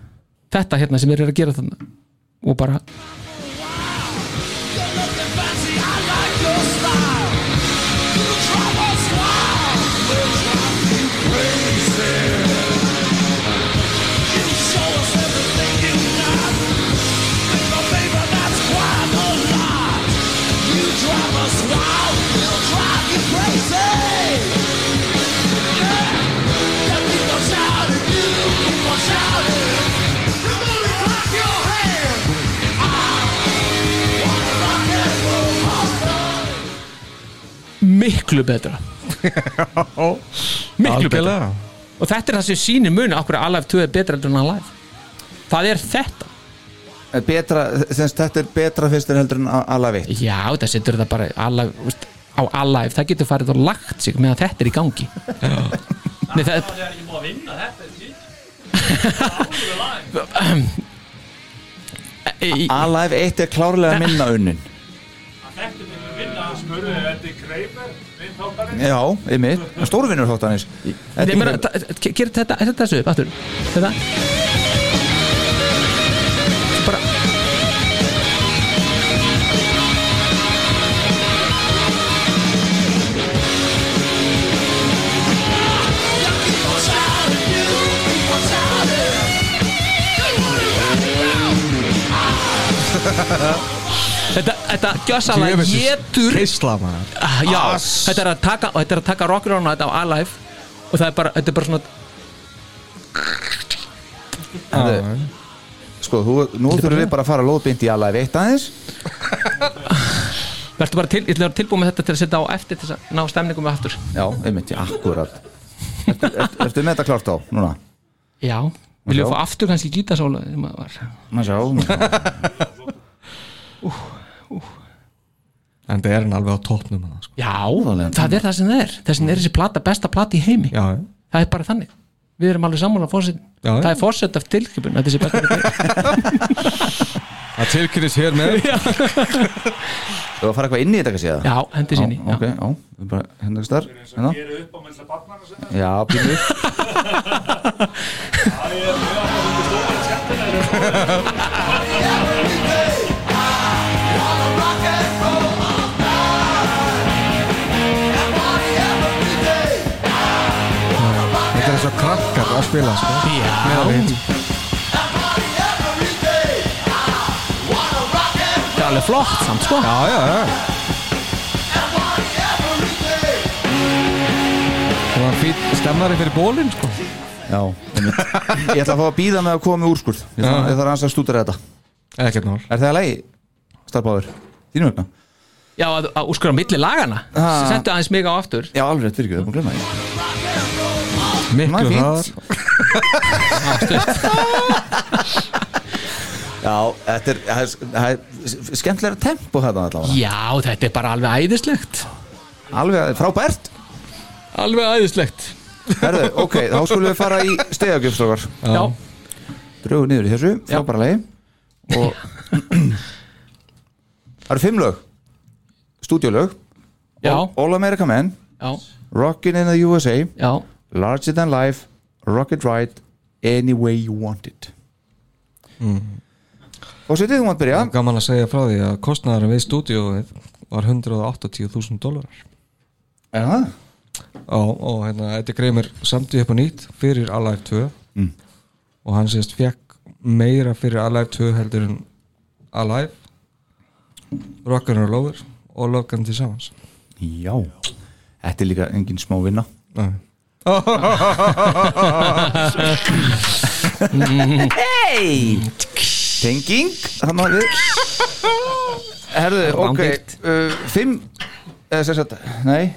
D: Þetta hérna sem þeir eru að gera þarna Og bara miklu betra miklu
E: Algjörlega.
D: betra og þetta er það sem sýnir muni okkur að Alive 2 er betra heldur en Alive það er þetta
C: betra, þess, Þetta er betra fyrst en heldur en alveg veitt
D: já þetta setur þetta bara Alive, veist, á Alive, það getur farið og lagt sig meðan þetta er í gangi Nei, það er,
F: Það er ekki búið að vinna þetta ekki
D: e, e,
C: Alive 1 er klárlega minna unnin
F: Þetta er ekki vinna Smurðu þið þetta í Kreiber Við þáttarinn
C: Já, einmitt, stórvinnur þóttanis
D: ég meina, það- gerir þetta, þetta þessu upp aftur þetta bara Þetta, þetta gjössalega getur
E: Keisla maður
D: Ah, Já, þetta er að taka og þetta er að taka Rocky Rona þetta á Alive og það er bara, þetta er bara svona
E: Já,
C: Sko, þú, nú þurfum við bara að fara lóðbynd í Alive 1 aðeins
D: verður bara til, ég ætla að vera tilbúið með þetta til að setja á eftir til þess að ná stemningum við aftur
C: Já, einmitt, já, akkurat Ertu, ertu, ertu með þetta klárt á, núna?
D: Já,
C: Já.
D: viljum við fá aftur kannski gítasóla sem að
C: Má
D: var
C: sjá, má sjá
E: en það er hann alveg á toppnum hann, sko.
D: Já, það er það sem það er þessin er þessi plata, besta plata í heimi
E: já, já.
D: það er bara þannig, við erum alveg sammála fórsett,
E: Já, já.
D: það er fórsett af tilkipun þetta er þessi besta plata
E: að tilkynnis hér með
C: Þú að fara eitthvað inn í þetta kannski eða?
D: Já, hendi sinni
C: ok, já, við bara, hérna ekki starf Hérna,
F: Ég eru upp á mennsa barnana sinna
C: já, pínu
F: Það er mjög að það er stóðan skemmtilega
E: þetta er svo krakkar að spila sko.
D: Já, það er alveg flott samt, sko
E: já, já, já fýtt stemmari fyrir bólinn sko
C: Já, einmitt. ég ætla að fá að býða með að koma með úrskurð
E: Já.
C: Ég þarf, ég þarf aðeins að stúdera þetta
E: ekkert mál
C: Er það að lægi, starfbáður? Þínum vegna?
D: Já, að, að úrskur á milli lagana
C: Ah.
D: Settu aðeins mig á aftur
C: Já, alveg rétt virkið, það er búin að glemma því Ná,
E: miklu
C: fínt.
E: hraðar
C: Já, þetta er, það er- það er skemmtilega tempo þetta allavega
D: Já, þetta er bara alveg æðislegt
C: Alveg frábært
D: Alveg æðislegt
C: Herðu, ok, þá skulum við fara í stegagjöfstrókar
D: Já,
C: Drögu niður í þessu, frábæra lagi Og Það eru fimm lög Stúdíolög
D: já,
C: All America Men,
D: já,
C: Rockin' in the USA
D: já
C: Larger Than Life, Rocket Ride Any Way You Want It Og svo þú mátt byrja
E: gaman að segja frá því að kostnæðarinn við stúdíóið var 180.000 dólarar
C: Er það?
E: Já, og hérna, Eddie Kramer samtíð upp á nýtt fyrir Alive 2 mm. og hann sést fekk meira fyrir Alive 2 heldur en Alive Rockin' Lover og Logan til samans
C: Já Þetta er líka engin smá vinna Hey Tenging Þannig að við Herðu, ok
D: Rándýrt.
C: uh, Fimm eða sem sagt, Nei,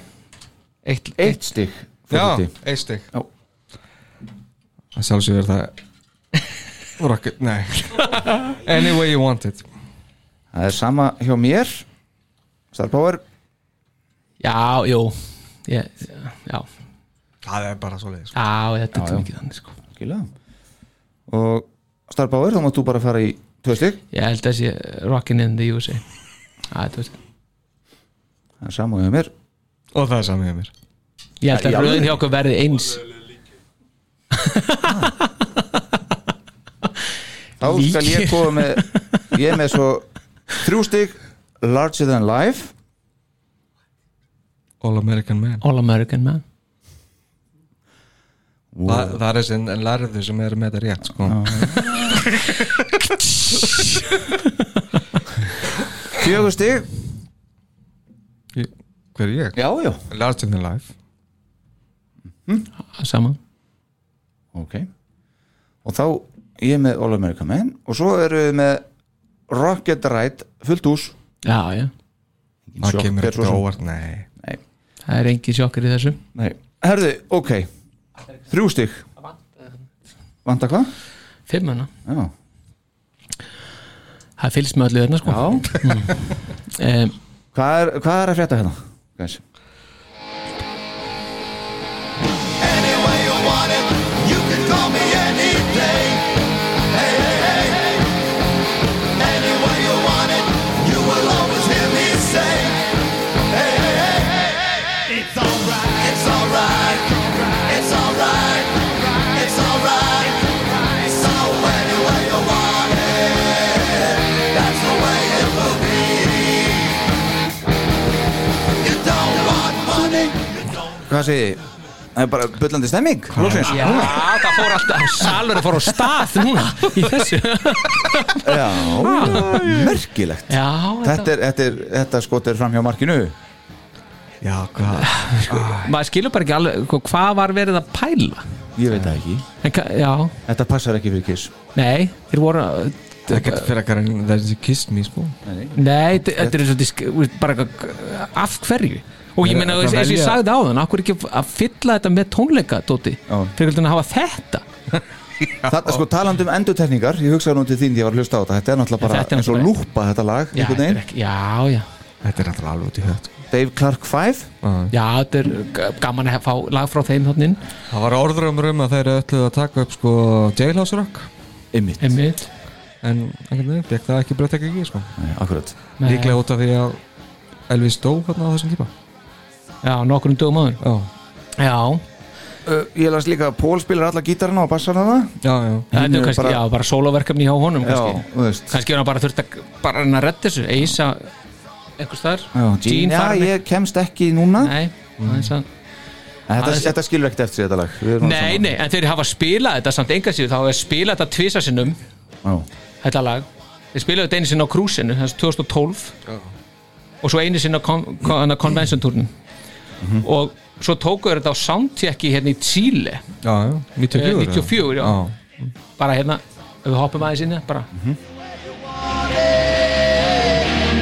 D: Eitt,
C: eitt stig
E: Já,
C: forseti.
E: eitt stygg
C: Já.
E: Það sjálfsögur það Rocket, nei Any way you want it
C: Það er sama hjá mér Starpower
D: Já, jú Ég, Já,
E: Það er bara svo leiðis
D: já,
C: Já,
D: þetta er
C: já.
D: til mikið þannig sko
C: Skilja Og Starpower, þá máttu bara fara í Tvö stig
D: Ég held að sé Rockin' in the USA Já, þetta veist
C: Það er sama hjá mér
E: Og það er samið mér
D: Ég
C: Já,
D: held að
C: í
D: röðin
C: alvöru?
D: hjá okkur verði eins
C: Þá skal ég
D: Líkir.
C: koma með Ég er með svo Þrjú stig Larger than life
E: All American Man
D: All American Man
E: það, það er þessi en lærðu sem er með þetta rétt sko.
C: Fjögur stig
E: Ég- Hver er ég?
C: Já, já
E: Larger than life
D: Saman
C: Ok Og þá ég er með All America Man Og svo eru við með Rocket Ride Fullt hús
D: Já, já,
E: Það
C: Sjokk,
E: kemur
C: hver svo
E: ekki
C: sem.
E: óvart, nei
D: það er engin sjokkar í þessu
C: Nei Herðu, ok Þrjú stig Vanda hvað?
D: Fimm hana
C: Já
D: Það fylgst með öllu þarna sko
C: Já
D: um,
C: Hvað er, hvað er að frétta hérna? Guys?
G: Any way you want it, you can call me any day. Hey, hey, hey, hey. Any way you want it, you will always hear me say. Hey, hey, hey, hey, hey, hey. It's alright. It's alright. It's alright. It's alright. So any way you want it, that's the way it will be. You don't want money. You don't
C: Hvað segir þið? Það er bara bullandi stemming Lóksins
D: Já, það fór alltaf Salverið fór á stað núna Í þessu
C: Já, merkilegt
D: Já,
C: Þetta, er, þetta, er, þetta skot er fram hjá markinu
E: Já, hvað?
D: maður skilur bara ekki alveg hva- hvað var verið að pæla
C: Ég veit það ekki
D: en, hva- já,
C: Þetta passar ekki fyrir kiss
D: nei, þeir voru
E: Það er ekkert fyrir að gera en þessi kissed me, sko
D: nei, þe- þetta er eins og disk, bara eitthvað- af hverju og ég
E: Þeir-
D: meina,
E: þeir
D: eins eins og ég
E: velja-
D: sagði á þann akkur ekki að fylla þetta með tónleika Dóti,
C: Já.
D: fyrir hvernig að hafa þetta
C: Þetta sko talandi um endurtekningar Ég hugsaði nú til þín þegar ég var að hlusta á þetta Þetta er náttúrulega bara
D: Þetta er
C: eins og
D: náttúrulega-
C: lúpa þetta lag
D: já,
C: einhvern
D: þetta er
C: veginn.
D: ekki, já, já,
E: Þetta er náttúrulega alveg út í hött sko.
C: Dave Clark 5
D: já, þetta er g- gaman að fá lag frá þeim þannig
E: Það var orðrömmur um að þeir ætluðu að taka upp sko Jailhouse Rock
C: Ymmit
D: einmitt
E: En einhvern veginn fekk það ekki breytt ekki ekki sko.
C: Akkurat
D: Nei.
E: Líklega út af því að Elvis dó hérna á þessum tíma
D: já, nokkrum dögum áður
E: Já,
D: já,
C: uh, Ég las líka að Pól spilar alla gítarina og bassarna það
E: já, já
D: þetta
C: Hinn
D: er
C: er
D: kannski,
C: bara-
D: já, bara sóloverkefni hjá honum kannski
C: þú veist
D: kannski er hann bara þurft að bara hann að retta þessu Eisa einhvers staðar
C: Já, Gene, já,
D: farinn
C: ég Mm. kemst ekki núna
D: nei, aðeins að
C: Þetta,
D: Aðeins-
C: þetta skilur ekkert eftir sér þetta lag Við erum
D: nei, nei, en þeir hafa spilað þetta samt enga síður, þá hafa þeir spilað þetta tvisa sinnum
C: saman.
D: þetta lag, þeir spilaðu þetta einu sinni á krúsinu þessi
C: Mhm.
D: 2012 og svo einu sinni á kon, kon, konvensentúrnum og svo tóku þeir þetta á soundtjekki hérna í Chile
E: já, já, 94
D: Eh,
E: eða?
D: 94, já.
E: já.
D: bara hérna, ef við hoppum aðeins inn í það, bara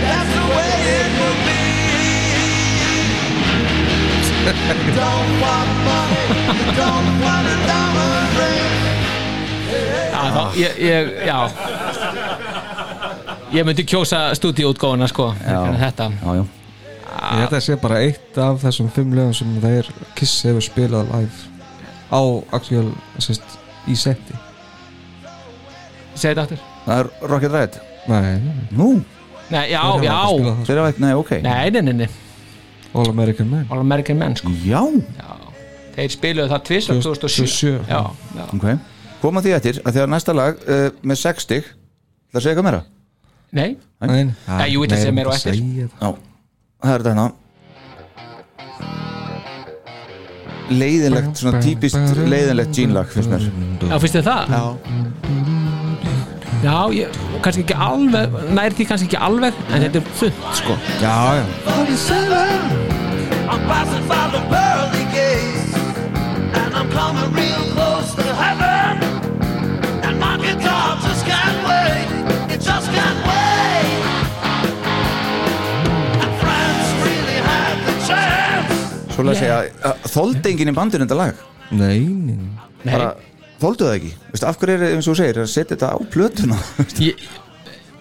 B: That's the way it will be. You don't want money, you don't want a diamond ring.
D: já, þá, ég, ég, já ég myndi kjósa stúdíóutgóðuna sko, en þetta
C: já, já.
E: Ég held að sé bara eitt af þessum fimm lögum sem þeir Kiss hefur spilað live á actual, sérst, í seti
D: segi þetta aftur
C: það er Rocket Ride
E: Nei, nei,
C: nú,
D: nei,
E: þeir
D: já,
E: hafa
D: já,
E: ekki spilað það,
C: þeir hafa ekki, nei, ok
D: sko. nei, nei, nei, nei
E: sko. All American Man
D: All American Men sko,
C: já,
D: já þeir spiluðu það tvist 2007
E: 2007,
D: já, já,
C: ok koma því eftir að því að næsta lag uh, með 60 það segja eitthvað meira
D: nei
E: Nei, nei.
D: Nei, jú, þetta
E: Nei,
D: sé
E: ég
D: meira á
E: myndi
D: eftir.
E: segja það.
C: já, það er þetta hérna leiðinlegt, svona típist leiðinlegt gínlag finnst mér
D: já, finnst þið það? já já, ég, kannski ekki alveg nær því kannski ekki alveg, en þetta er þund sko
E: Já, já,
B: I'm passing by the pearly gates, and I'm coming real close to heaven. And my guitar just can't wait, it just can't wait. And friends really had the chance.
C: svo að segja, að þoldi enginn í bandinu þetta lag
E: nei, nei, nei.
D: nei,
C: bara, þoldu það ekki, Veistu, af hverju er eins og þú segir, að setja þetta á plötuna
D: ég,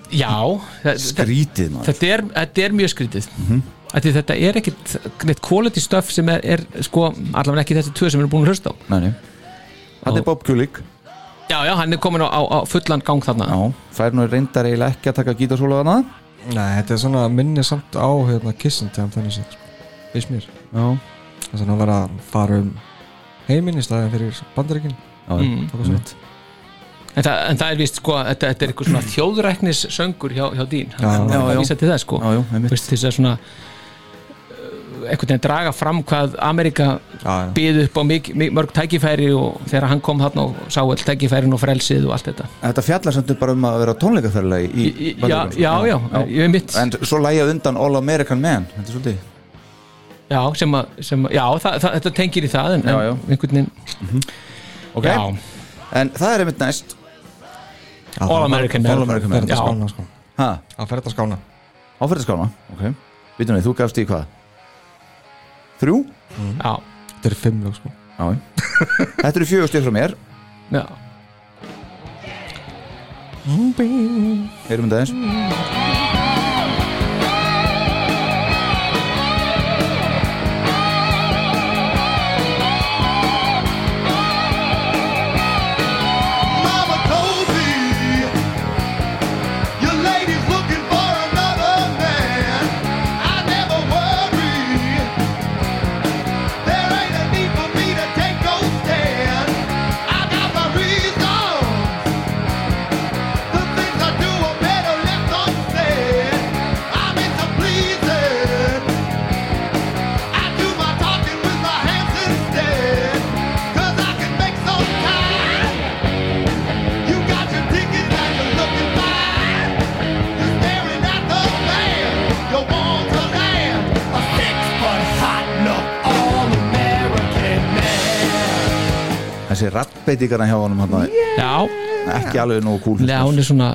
D: já það-
C: skrítið maður
D: þetta er, þetta er mjög skrítið mm þetta er ekkit neitt quality stuff sem er, er sko, allavega ekki þessi tvö sem eru búin að hlusta á
C: Nei, nei. Þetta er Bob Kulik
D: já, já, hann er komin á, á, á fullan gang þarna
C: Já, fær nú reyndar eiginlega ekki að taka gítarsólu hana
E: Nei, þetta er svona minni samt á hérna kissin til hann þannig sér Veist sko. mér
C: Já,
E: Þess að hann var að fara um heiminn í staðin fyrir bandaríkin
C: já, mm. einmitt.
D: en, það, en það er vist, sko, þetta, þetta er eitthvað svona þjóðræknis söngur hjá, hjá dín hann
E: Já,
D: hann
C: já,
D: er
C: já.
D: að vísa til það, sko
C: já, já, einmitt.
D: Veist, þess að svona uh, einhvern veginn draga fram hvað Amerika
E: Já, já,
D: býð upp á mik, mik, mörg tækifæri og þegar hann kom þarna og sá all tækifærin og frelsið og allt þetta
C: Þetta fjallar samt bara um að vera tónleikaferðlega í,
D: Í-
C: í
D: í- já, já, já, ég er mitt
C: En svo lægja undan All American Man Þetta er svolítið
D: já, sem að, sem að, já það, það, þetta tengir í það en,
C: Já, Mhm. já.
D: en einhvern veginn
C: okay.
D: já,
C: En það er einmitt næst
D: All American
C: All American
E: fer
C: Man
E: þetta
D: Já.
E: skána sko
C: Ha,
E: Hann fer þetta skána
C: áferðaskána okay. Býtum við, þú gafst í hvað? Þrjú?
D: já,
E: Þetta er fimm lög sko
C: Já Þetta eru fjögur stið frá mér
D: já,
C: Heyrum þetta eins
B: Mama told me your lady's looking for another man. I never worry. There ain't a need for me to take no stand. I got my reasons. The things I do are better left unsaid. I'm into pleasing. I do my talking with my hands instead. 'Cause I can make some time. You got your ticket like you're looking fine. You're staring at the man. You want to land a six-foot hot, no all-American man.
C: Þessi rappeitikana hjá honum hann
D: já,
C: Ekki alveg nógu kúl
D: Nei, hún er svona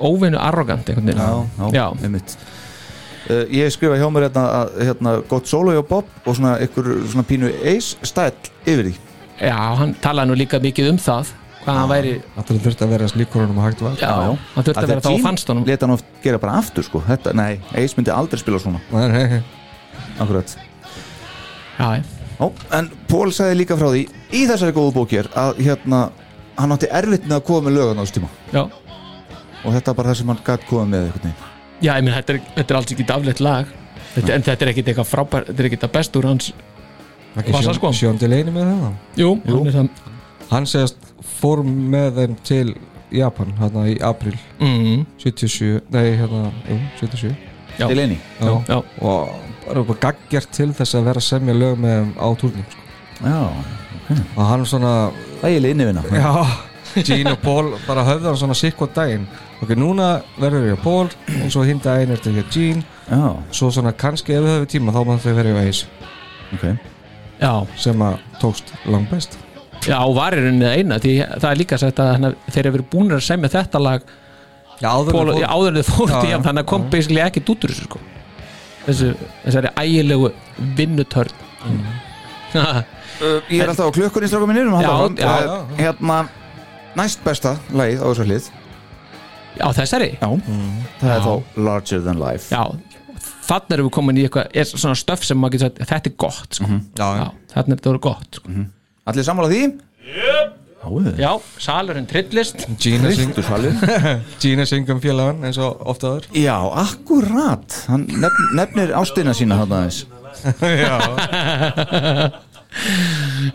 D: óvinnu arrogant einhvern
C: já,
D: veginn
C: já, einmitt uh, ég skrifa hjá mér hérna, að, hérna gott solo hjá Bob og svona ykkur svona pínu eis stæll yfir því
D: já, hann talaði nú líka mikið um það hvað hann væri,
E: Þetta þurfti að vera slíkur honum að hægt var
D: já, hann þurfti að vera þá og fannst honum
C: leta hann oft gera bara aftur sko þetta, nei, eis myndi aldrei spila svona
E: Nei, nei, nei
C: akkurat
D: já, já.
C: Ó, en Pól sagði líka frá því í þessari góðu bókir að hérna hann átti erfitt með að koma með lögan á þessu tíma
D: já,
C: og þetta er bara það sem hann gætt komið með einhvern veginn
D: já, ég minn þetta er, þetta er alls ekki daflegt lag þetta, en þetta er ekkit eitthvað frábær þetta er ekkit að best úr hans
E: Ekki
D: Passa, sko.
E: Sjón- Sjón til einu með það
D: jú, hann er það
E: Hann segist fór með þeim til Japan hérna í april
D: mm,
E: 77, nei hérna, jú, 77
D: Já.
C: til eini
E: Já.
D: já,
E: og bara bara gaggjart til þess að vera að semja lög með þeim á túrning sko.
C: já,
E: og hann svona
C: það er innivina
E: já, Gene og Paul bara höfðu hann svona sikk og daginn ok, núna verður ég á Paul og svo hinn daginn er þetta hjá Gene
C: já,
E: svo svona kannski ef við höfum tíma þá maður þau verið á Ace
C: ok
D: já,
E: sem að tókst langbest
D: já, og var í rauninni það eina því það er líka sagt að hana, þeir eru verið búnir að semja þetta lag
E: Já, áður
D: Pól, já, áður en þau fóru
E: Já,
D: til jafn
E: já,
D: þannig að kom basically ekkert út úr þessu sko. þessu, þessari ægilegu vinnutörn mm.
C: Ég er alltaf á klukkunni stráka mínir um að halda
D: Já,
C: áfram.
D: já,
C: Eh, Hérna Næst besta lagið á þessu hlið
D: á þessari
C: Já Það er þá Larger Than Life
D: já, þannig erum við komin í eitthvað er svona stöf sem maður getur sagt, þetta er gott sko.
E: já, já.
D: já, þannig er þetta voru gott sko.
C: Allir sammála því? Yep.
D: já, salurinn trillist
E: Gina, syng,
C: Salur
E: Gina syngum félagann eins og ofta aður
C: Já, akkurat Hann nefn, nefnir ástina sína hann aðeins
E: já,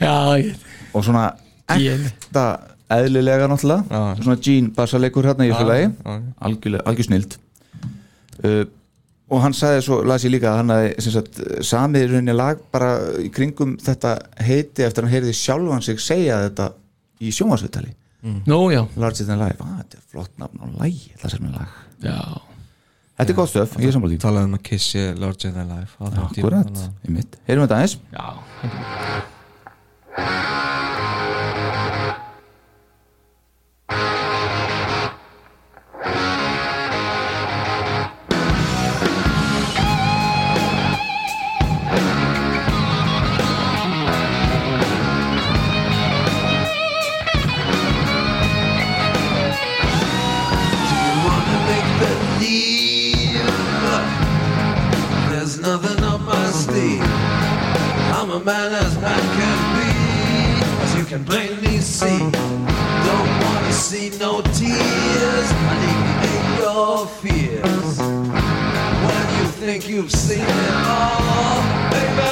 D: já, ég-
C: Og svona
D: Gene.
C: ekta eðlilega náttúrulega
E: Já.
C: Svona Gene basalegur hérna í félagi
E: já.
C: Algjörlega- Algjör snild uh, Og hann sagði svo, las ég líka að hann hafði sem sagt, samið í rauninni lag bara í kringum þetta heiti eftir að hann heyrði sjálfan sig segja þetta í sjónvarsvittali
D: nú já,
C: Larger than life, ah, þetta er flott nafn á lagi það sem er lag
D: já
C: Þetta er gott stöf, ég er sammála því
E: talaði um að kissi larger than life á þeim tíma,
C: Akkurat,
E: þannig að-
C: í mitt, heyrum þetta aðeins
D: já,
G: wanna make believe There's nothing up my sleeve I'm a man as man can be As you can plainly see Don't wanna see no tears I eliminate your fears When you think you've seen it all Baby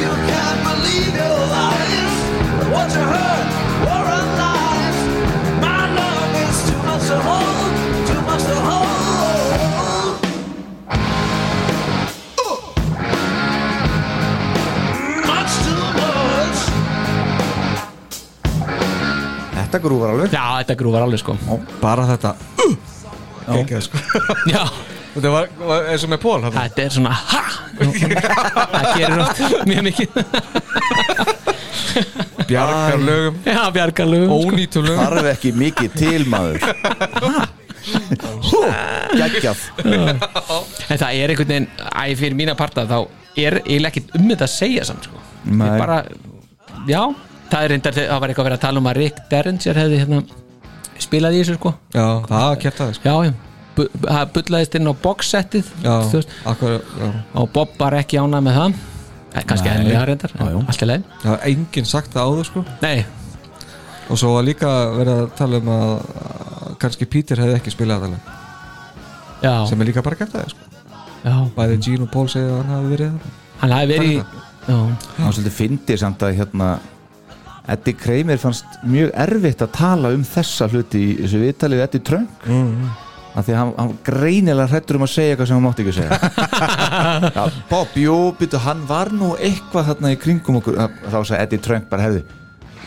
G: You can't believe your lies What you heard were a lies My love is too much to hold Too much to hold Much too much
C: Þetta grúfar alveg
D: já þetta grúfar alveg sko
E: bara þetta Gekka, sko.
D: já,
E: þetta var, var eins og með Pól þarna.
D: þetta er svona ha það gerir oft mjög mikið
E: bjargar lögum,
D: já, bjargalugum sko.
E: ónýtum lögum
C: Þarf ekki mikið til maður Gægjaf
D: en það er einhvern veginn, æ, fyrir mína parta þá er eiginlega ekkert um þetta að segja samt sko.
C: Nei.
D: Ég bara, já það er reyndar, það var eitthvað verið að tala um að Rick Derringer hefði hérna spilað í þessu sko,
E: já, það kjartaði sko.
D: já, já Bu- það bullaðist inn á boxsettið þú
E: já,
D: veist,
E: akkur, já.
D: og Bob var ekki ánað með það Eh, kannski henni að reyndar,
C: Já, já.
D: allt í leið
E: það var enginn sagt það áður sko.
D: nei,
E: og svo var líka verið að tala um að að kannski Peter hefði ekki spilað þetta lag,
D: já,
E: sem er líka bara kjartaði sko.
D: já
E: bæði Gene og Pól segja að hann hafi verið þetta
D: hann hafi verið í já,
C: Það var svolítið fyndið samt að hérna Eddie Kramer fannst mjög erfitt að tala um þessa hluti í þessu viðtalið við Eddie Trunk mm. að því að hann, hann greinilega hrættur um að segja eitthvað sem hann mátti ekki að segja Já, Bob, jú, byttu, hann var nú eitthvað þarna í kringum okkur þá sagði Eddie Trunk bara herði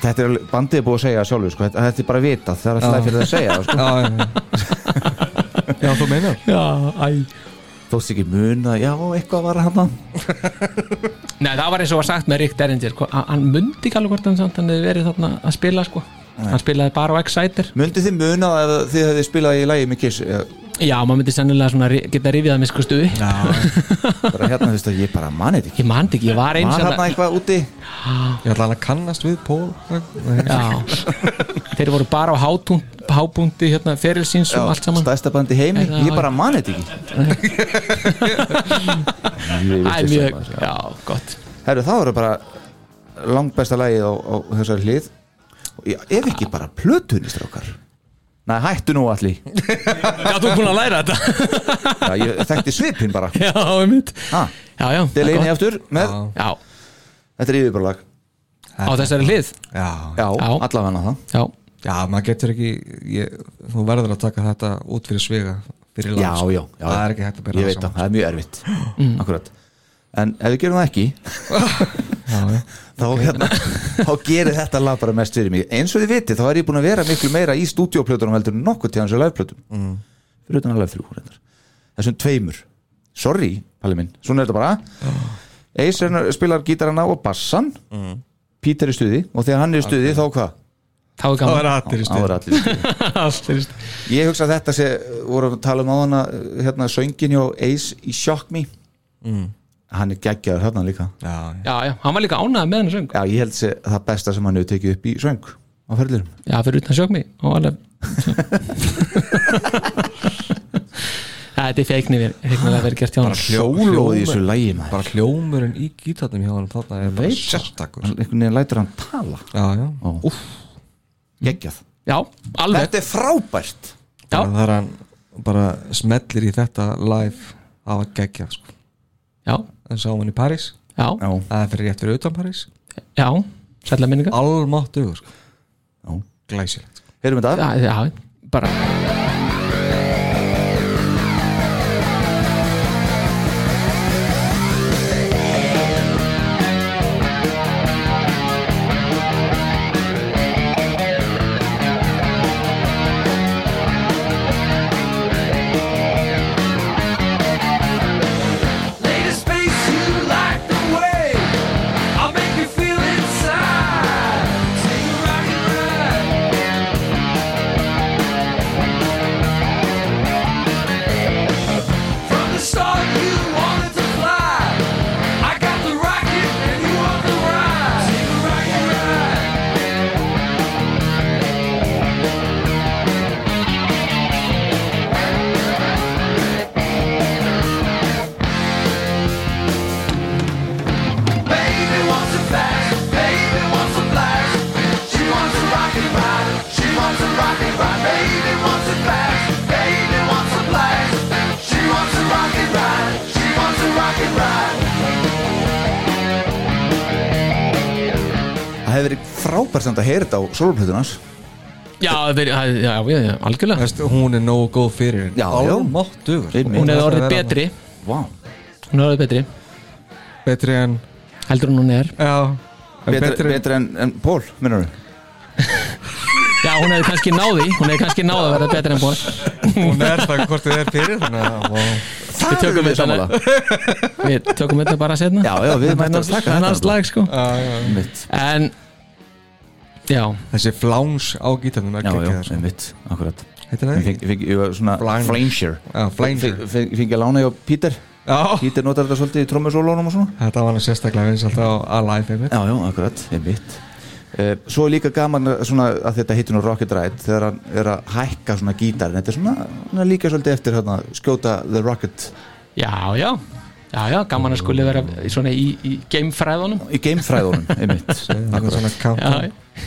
C: þetta er alveg- bandið er búið að segja það sjálfur sko, þetta, þetta er bara vitað, það er alltaf fyrir það að segja það, sko.
E: já, já, já. já, þú meinar
D: já, æ
C: þóst ekki muna, já, eitthvað var hann
D: Nei, það var eins og var sagt með Rick Derringer sko. hann hann mundi ekki alveg hvort hann samt hann hefði verið þarna að spila sko. hann spilaði bara á Exciter
C: Mundið þið munað að þið hefði spilað í lægi með Kiss eða
D: já, maður myndi sennilega svona ri- geta rifið það með sko stuði
C: bara hérna, þú veist að ég bara manið ekki
D: ég mandi ekki, ég var eins
C: var hérna
D: hérna-
C: eitthvað úti
E: ég ætla hann að kannast við Pól Nei.
D: já, þeir voru bara á hátún, hábúndi hérna, ferilsins og allt saman
C: stæðsta bandi heimi,
D: Já,
C: ég bara mani þetta
D: Æ,
C: ekki
D: mjög, já, gott
C: Herru, það voru bara langbesta lagið á, á þessari hlið Og ég- ef ekki bara plötunni strákar Nei, hættu nú allir
D: já, þú er búin að læra þetta
C: Já, ég þekkti svipin bara
D: já, um mitt
C: Ha,
D: já, já,
C: Þetta er
D: gott.
C: leiðinni aftur með,
D: já,
C: þetta er yfirbarlag
D: á þessari hlið
E: já,
C: Já,
D: Já.
C: allavega það
D: já,
E: já, maður getur ekki ég, þú verður að taka þetta út fyrir svega fyrir
C: Já,
E: lands
C: já, já
E: sko. það er ekki hægt að byrja Mm.
C: Ég veit það, það er mjög erfitt Akkurat En ef við gerum það ekki
E: já.
C: þá, hérna, þá gerir þetta lag bara mest fyrir mig Eins og þið vitið, þá er ég búin að vera miklu meira í stúdíóplötunum heldur en nokkuð til hans og liveplötum mm.
E: Ah.
C: Fyrir utan alveg þrjú reyndar Þessum tveimur Sorry, Palli minn, svona er þetta bara Ace er- spilar gítarana og bassan
E: Mm.
C: Peter er í stuði og þegar hann er í stuði þá hvað?
D: þá er
E: Það
D: gaman
E: er allir í
C: Þá
E: stuði
C: er allir í stuði.
D: Allt er í stuði.
C: Ég hugsa að þetta sé, vorum að tala um á hana hérna, söngin hjá Ace í Shock Me Mm. Hann er geggjaður hérna líka
E: Já, já.
D: já, já, hann var líka ánægð með hennar söng
C: Já, ég held sé það besta sem hann hefur tekið upp í söng á ferðlurum
D: já, fyrir utan sjókmi og alveg Já, þetta er feiknir feiknilega verið gert hjá hann
C: Sólóð í þessu lægi maður
E: Bara hljómurinn í gítarnum hjá hann þarna er bara
C: Veit það. Mm.
E: sérstakur
C: Hann- Einhvern veginn lætur hann tala
E: Já, já
C: Úff, geggjað
D: já, alveg,
C: Þetta er frábært
D: Já.
E: Það er hann bara smellir í þetta live af að gegja sko.
D: já,
E: En sá hann í París
D: já,
C: Já,
E: Það er fyrir rétt fyrir utan París
D: já sætla minninga
E: Almáttu sko.
C: já
E: Glæsilegt sko.
C: Heyrum þetta
D: já, já, bara
C: Það hefur verið frábært samt að heyra þetta á sólplötunars
D: já, það er- það er- já, já, já, algjörlega
E: Veist, Hún er nógu góð fyrir henn
C: Já, já.
E: Almáttu
C: Einmitt.
D: hún
E: Það
D: hefði
E: er
D: orðið
E: að vera
D: betri
C: Vá
D: hún hefði orðið betri,
E: Betri en
D: heldur en hún er
E: Já en
C: Betri, betri, en, en Pól, minnur við
D: já, hún hefði kannski náði, hún hefði kannski náði að vera betri en búin
E: Hún er það hvort þið er fyrir Þannig að vá.
C: Það
D: tökum
C: erum
D: þetta
C: sammála.
D: við tökum þetta bara setna
C: Já, já, við mættum að taka
D: en
C: þetta
D: alls lag sko
C: Einmitt,
D: en já,
E: Þessi fláns á gítarnum er
C: já, já,
E: geggjað, sko.
C: einmitt, akkurat
E: Heitir það
C: Ég
E: ekki?
C: fengi, fengi, ég var svona
E: Flange.
C: Flameshare
E: Já, Flanger.
C: Fengi- Fengi fengi að lána hjá Peter
E: Já
C: Peter notar þetta svolítið í trommusólónum og svona
E: Þetta var hann sérstaklega eins alltaf á Alive einmitt
C: Já, já, akkurat, einmitt Uh, svo er líka gaman að- svona að þetta heitir nú Rocket Ride þegar hann er að hækka svona gítar þetta er svona, svona líka svolítið eftir hérna, skjóta The Rocket
D: já, já já, já, gaman að skuli vera svona í, í geimfræðunum
C: í geimfræðunum, einmitt
E: Akkurat svona
D: já,
E: countdown
D: já.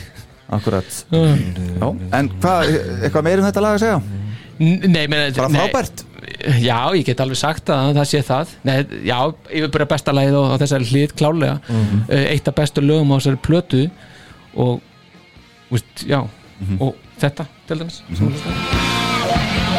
C: akkurat já. en hvað, eitthvað meir um þetta lag að segja?
D: N- nei, meni,
C: bara
D: nei,
C: frábært?
D: já, ég get alveg sagt að það sé það nei, já, yfirbyrja besta lagið á, á þessari hlýð klálega
C: Mhm.
D: Eh, eitt af bestu lögum á þessari plötu og úst, já,
C: Mhm.
D: og þetta til dæmis mm -hmm.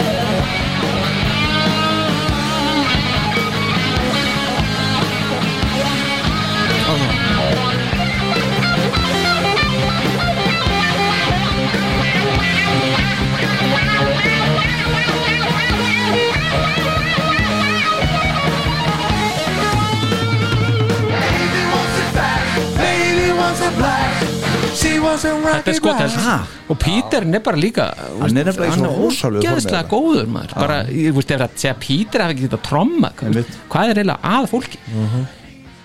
D: þetta er skotelt
C: Ha?
D: og Píter er bara líka
C: Hann er nefnilega í svona ósálegu formi
D: ógeðslega
C: þarna.
D: góður maður bara, ég veist, ef að segja Píter hafi ekki getað tromma hvað
C: Einmitt. Mhm.
D: hvað er eiginlega að fólki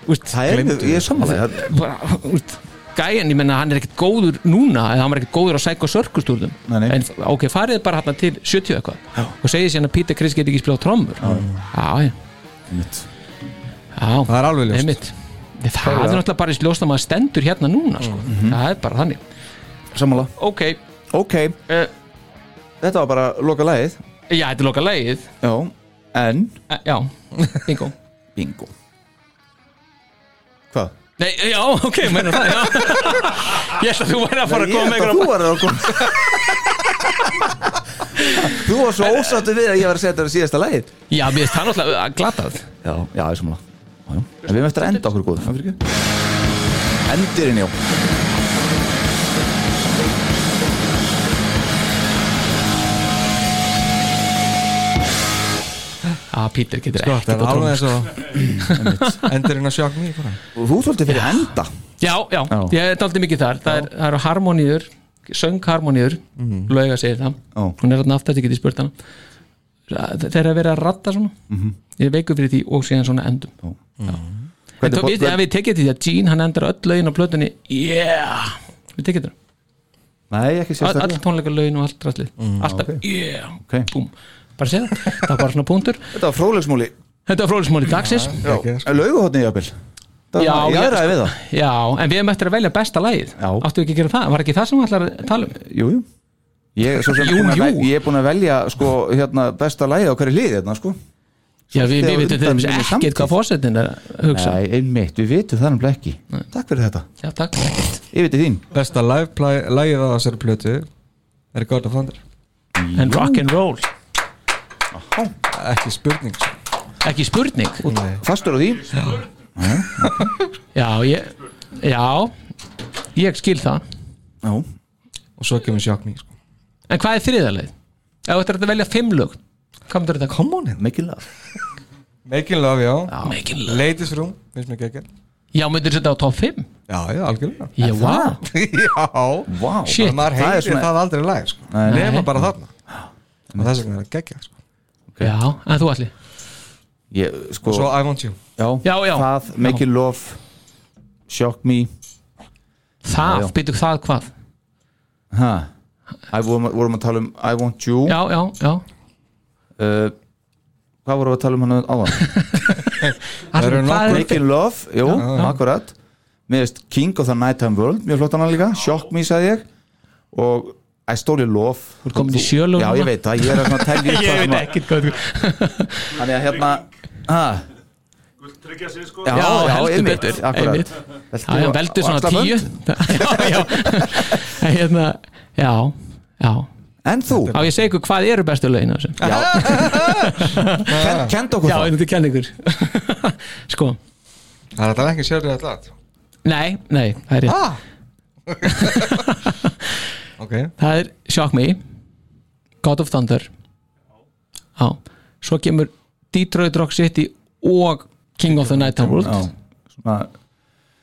D: úst,
C: það er, ég er samanlega
D: bara, úst, gæjan, ég menna, hann er ekkert góður núna eða hann var ekkert góður á sæk og sörkustúrðum
C: Nei, nei.
D: en ok, farið bara hann til 70 eitthvað og segið síðan að Píter Chris geti ekki spilað á trommur já, já,
C: einmitt.
D: já
E: Það er alveg ljóst
D: einmitt það, er náttúrulega bara ljóst að maður stendur hérna núna sko.
C: Mhm.
D: það er bara þannig
C: samanlega,
D: ok,
C: ok
D: uh,
C: þetta var bara loka lagið
D: já, þetta er loka lagið
C: já, en
D: Eh, Já, bingo
C: bingo hvað?
D: Nei, já, ok, meina það, já Ég ætla að þú væri að fara að
C: Ég
D: koma
C: held að þú
D: með einhverja
C: var að koma Þú var svo ósáttu við að ég var að setja þetta í síðasta lagið
D: Já, mér finnst það náttúrulega Ah, glatað
C: Já, já, ég samla En við erum eftir að enda okkur góð Endirinn, já
D: Já, að Peter Ah, getur
E: Sko,
D: ekkert
E: það er
D: á
E: alveg
D: trommur.
E: eins og endurinn að sjokk mér bara
C: og þú ert svolítið fyrir enda
D: já, já,
C: Já.
D: ég er aldrei mikið þar það, er, það eru harmoníur, söngharmoníur mm. lauga segir það
C: Mhm. Já.
D: hún er þarna aftast, ég geti spurt hana Það- þeir eru að vera að ratta svona
C: Mhm.
D: ég er veikur fyrir því og síðan svona endum já. en
C: Hvernig
D: tók,
C: bot-
D: við, ef við tekið til því að Gene hann endar öll lögin á plötunni yeah, við tekið það
C: nei, ekki
D: All- all
C: sérstaklega
D: tónleika laun og allt ræslið alltaf,
C: Mm, ok.
D: yeah,
C: Ok.
D: búm bara segja það, það var bara svona punktur
C: þetta var frólegsmúli
D: þetta var fróðismóli dagsins
C: lauguhotni jafnvel það var
D: Já, ég- sko-
C: ég aðraði við það
D: já, en við hefum eftir að velja besta lagið
C: Já.
D: áttu ekki að gera það, var ekki það sem við ætlar að tala um
C: jú, jú Ég, svo sem
D: Jú,
C: búin að
D: jú.
C: vel- ég er búin að velja sko, hérna, besta lægið á hverju liði hérna, sko.
D: já, við,
C: Svolítið
D: við
C: á
D: veitum til
C: undan
D: dæmis
C: minni
D: ekkert
C: samtíð.
D: hvað fósettin er að hugsa
C: Nei, einmitt, við vitum það nefnilega ekki Takk fyrir þetta,
D: já, takk, ekkert
C: yfir til þín
E: besta live-lægið á þessari plötu er God of Thunder
D: en rock'n'roll,
E: ekki spurning sko.
D: ekki spurning
C: Fastur á því,
D: já, ég já, ég skil það
C: já,
E: og svo kemur sjokk mér sko.
D: en hvað er þriðalagið? ef þú ættir að velja fimm lög hvað myndir þetta?
E: come on
C: mikilvæg
E: making love já,
D: Making Love.
E: ladies room finnst mér geggjör
D: já, myndir þetta á top 5?
E: já, já, algjörlega
D: já, wow.
E: já,
C: Vá,
D: Shit.
E: Bara maður
C: Það er
E: heyrir
C: svona-
E: það aldrei live sko.
C: Nei, nei.
E: nema bara þarna og þess vegna er það geggjör sko.
D: já, en þú allir
C: ég, sko,
E: og svo I want you
C: já,
D: Já, já.
C: Það, make it love Shock me Já,
D: það,
C: já.
D: byrju það hvað
C: ha. I, vorum, vorum að tala um I want you
D: já, já, já
C: uh, Hvað vorum við að tala um hann áðan?
D: Það
E: eru nokkur-
C: make it love, jú,
E: já.
C: akkurat Mér veist King of the Nighttime World Mjög flott hann líka, Shock me sagði ég Og I stole your love Þú
D: ert komin í sjö lög
C: Já, ég
D: núna.
C: veit það, ég er að svona telja upp það sem að-
D: ekkert hvað
C: Þannig að hérna ha,
F: Tryggja sér sko
C: Já,
D: Já,
C: já,
D: heldur
C: einmitt,
D: betur,
C: akkurat.
D: einmitt.
C: Veltu
D: Já, já,
C: og-
D: veldu
C: og
D: svona
C: axlabönd.
D: tíu Já, já En hérna, já, já
C: En þú,
D: Á ég segi ykkur hvað eru bestu lögin á þessu
C: Ken- kenda okkur
D: Já,
C: það
D: einhvern kenn ykkur Sko,
E: það er alltaf ekki sérrið að það
D: nei, nei, það er rétt
E: ah ok,
D: Það er Shock Me God of Thunder Já, svo kemur Detroit Rock City og King of the Night and World
C: Já, svona,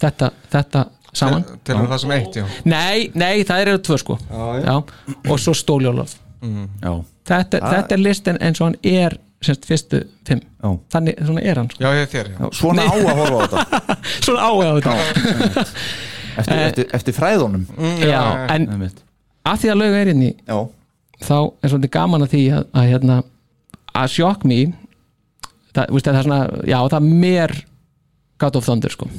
D: Þetta, þetta saman
E: telum við það sem eitt já
D: Nei, nei, það eru tvö sko
E: Já, já.
D: Og svo Stóljólof
C: já,
D: þetta, þetta er listin eins og hann er semst fyrstu fimm
C: já,
D: þannig svona er hann sko.
E: já, ég er þér já
C: já, svona á að horfa á þetta
D: svona áhuga á þetta
C: eftir, eftir, eftir fræðunum
D: já, en
C: Einmitt.
D: að því að lauga er inn í
C: Já,
D: þá er svolítið gaman að því að, að hérna að sjokk mý það, veist, það er svona, já það er mér God of Thunder sko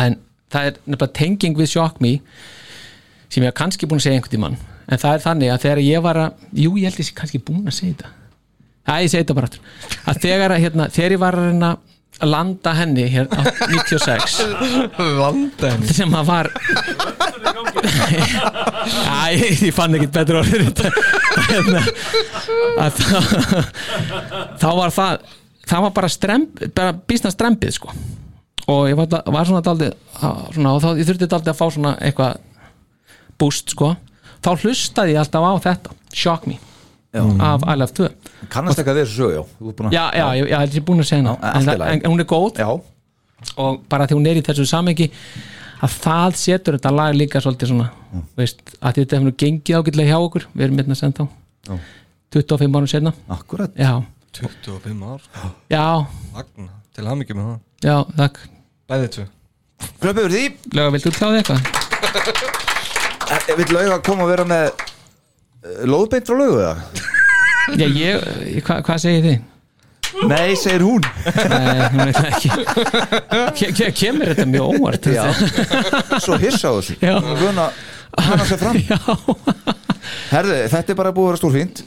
D: en það er nefnilega tenging við sjokk mý sem ég hef kannski búin að segja einhvern tímann en það er þannig að þegar ég var að jú ég held ég sé kannski búin að segja þetta Æ, ég segi þetta bara aftur að þegar, að, hérna, þegar ég var að reyna að landa henni hér á 96
E: landa henni
D: sem að var Æ, ég, ég fann ekkert betur orðið þetta hérna, að þá, þá var það það var bara, stremb, bara býstna strempið sko og ég var, var svona daldið svona, og þá ég þurfti daldið að fá svona eitthvað boost sko þá hlustaði ég alltaf á þetta Shock Me af I Love 2
C: kannast ekki að þessu sög, já Þú ert búin að-
D: já, já, ég, ég held ég búin að segja
C: Já,
D: hana
C: allt í
D: en, það-
C: lagi.
D: en, en hún er góð
C: já,
D: og bara því hún er í þessu samengi að það setur þetta lag líka svolítið svona,
C: Mm.
D: veist, að þetta hefur nú gengið ágætlega hjá okkur, við erum hérna sent á 25 árum senna
C: akkurat
D: já,
E: 25 ár
D: já,
E: Magna, til hamingi með það
D: já, takk
E: Bæðið tvö
C: Klöpum við því,
D: Lega, viltu kláði eitthvað?
C: Eh, vill lauga koma að vera með eh, lóðbeint frá laugu það?
D: Já, ég, ég- hva, hvað segir þið?
C: Nei, segir hún
D: Nei, hún veit það ekki ke, ke, Kemur þetta mjög óvart
C: Já, svo hissa á þessu
D: Já.
C: Vöna, hana sér fram
D: já,
C: Herðu, þetta er bara búið að vera stórfínt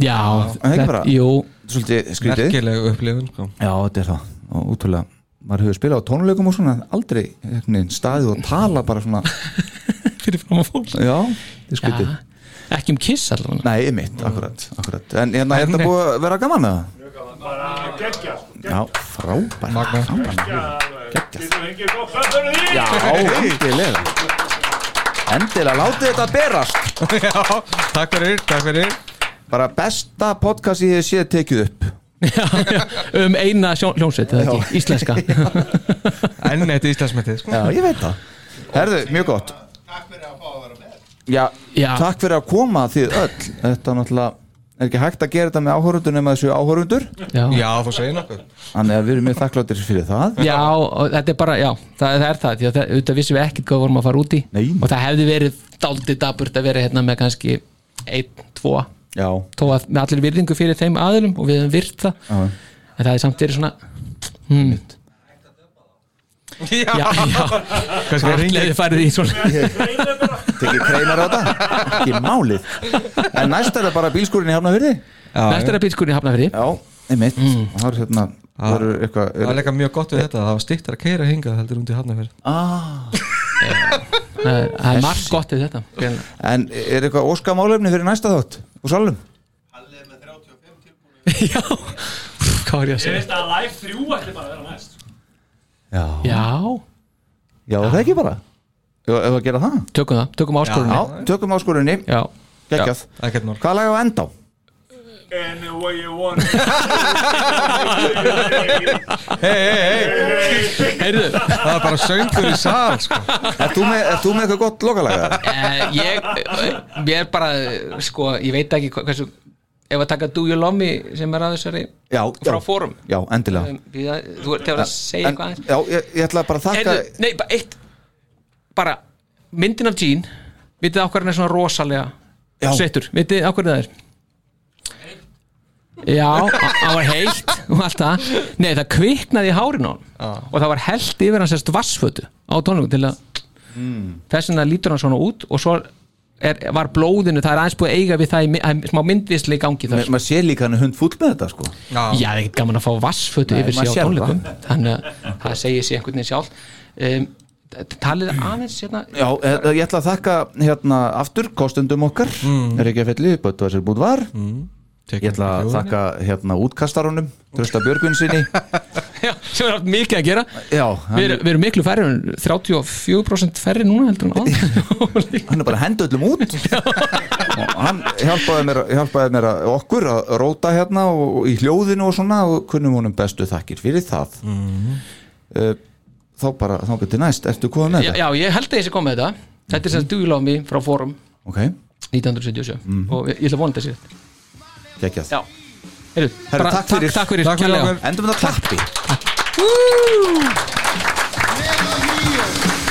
D: já
C: ekki
D: þetta-
C: bara?
D: Jú,
C: Svolítið skrítið
E: Merkileg upplifun sko.
C: Já, þetta er það og útrúlega, maður hefur spilað á tónleikum og svona aldrei einhvern veginn staðið og tala bara svona,
D: fyrir fram að fólk
C: já, þetta er
D: já,
C: skutið
D: Ekki um kiss allavega
C: Nei, mitt, akkurat, akkurat En hérna, hérna búið að vera gaman að
F: Bara geggja sko
C: Já, frábært
E: Magna.
F: Geggja Þetta er ekki gott Það er því
C: Já, endilega Endilega, látið þetta berast
E: Já, takk fyrir, takk fyrir
C: Bara besta podcast ég hef séð tekið upp
D: um eina sjón, hljómsveit eða ekki, íslenska
E: enn eitt íslensmetið sko.
C: Já, ég veit það Herðu, mjög gott
A: Takk fyrir að fá að vera með
C: Já,
D: Já.
C: takk fyrir að koma þið öll Þetta er náttúrulega er ekki hægt að gera þetta með áhorundur nema þessu áhorundur
D: já.
E: já, þú segir nokkuð
C: Þannig að við erum mjög þakkláttir fyrir það
D: Já, og þetta er bara, já, það, það er það því að það, auðvitað vissum við ekkert hvað við vorum að fara út í
C: Nei.
D: og það hefði verið dálítið daburt að vera hérna með kannski einn, tvo,
C: Já,
D: þó að með allir virðingu fyrir þeim aðilum og við hefum virt það
C: Já.
D: en það er samt verið svona hmm. Já, já,
E: kannski
D: allir
E: ringið
D: hefði farið í svona
C: tekið kreinar á þetta Ekki málið En næst er það bara bílskúrin í Hafnafyrði
D: Næst er að bílskurinn hafna fyrir
C: Já, einmitt mm. Það eru hérna, það eru eitthvað
E: það er
C: er,
E: líka mjög gott við þetta það var stíktar að keira hingað heldur undir hafnaferð
D: Það er- það er margt gott við þetta greinilega.
C: En er eitthvað óskamálefni fyrir næsta þátt Úr salum?
D: Já, hvað er ég
F: Ég
D: að segja?
F: veist að Live 3 ætti bara að vera næst
C: Já,
D: Já,
C: já það ekki bara Já, ef að gera það
D: tökum það, tökum
C: Já,
D: áskorunni
C: tökum áskorinni,
D: Já,
C: geggjað
E: ekkert mál
C: Hvað laga á enda á?
F: Any way you want
D: heyrðu
E: það er bara söngur í sal sko.
C: Ert þú með, ert þú með eitthvað gott lokalaga?
D: Eh, ég, ég er bara eh, sko, ég veit ekki hva- hversu ef að taka Do You Love Me sem er að þessari
C: Já,
D: frá
C: já.
D: fórum
C: Já, endilega
D: Um, við að- þú ert að segja
C: En-
D: eitthvað aðeins
C: Já, ég, ég ætla bara að þakka
D: Heyrðu, nei, bara eitt bara myndin af Jean vitið á hvernig er svona rosalega
C: Já.
D: sveittur, vitið á hvernig það er Já, á- hann var heitt og allt það Nei, það kviknaði í hárin á hann og það var held yfir hans sérst vassfötu á tónleikum til að
C: Hmm.
D: þess vegna lítur hann svona út og svo er, var blóðinu, það er aðeins búið að eiga við það í, mi- það er smá myndvisli í gangi þar
C: Ma- Maður sé líka hann er hund fúll með þetta sko
D: Já, það er ekkert gaman að fá vassfötu
C: Nei,
D: yfir
C: maður
D: sig
C: sér
D: á tónleikum þannig að það segir sér einhvern veginn sjálf um, talið aðeins hérna
C: Já, eh, ég ætla að þakka hérna aftur kostendum okkar mm. er ekki að felli, bættu að sér búið var
D: Mm.
C: Ég ætla að þakka hérna útkastarunum Trösta Björgvin sinni
D: já, sem er allt mikið að gera
C: Já,
D: við
C: hann,
D: erum, við erum miklu færri, en 34% færri núna heldur en áðan
C: hann er bara að henda öllum út og hann hjálpaði mér, hjálpaði mér að, okkur að róta hérna og, og í hljóðinu og svona og kunnum honum bestu þakkir fyrir það mm.
D: Mhm.
C: Þá bara, þá getur næst, ertu komið með
D: já,
C: þetta?
D: já, ég held að ég sé komið með þetta þetta er sem duglámi frá fórum
C: Ok,
D: 1977 og ég, ég ætla að vona þessi
C: geggjað
D: já, heyrðu,
C: Herru,
D: bara
C: takk fyrir.
D: takk, takk fyrir,
E: Takk fyrir
D: kærlega.
E: okkur.
C: Endum við að klappi
A: Never hear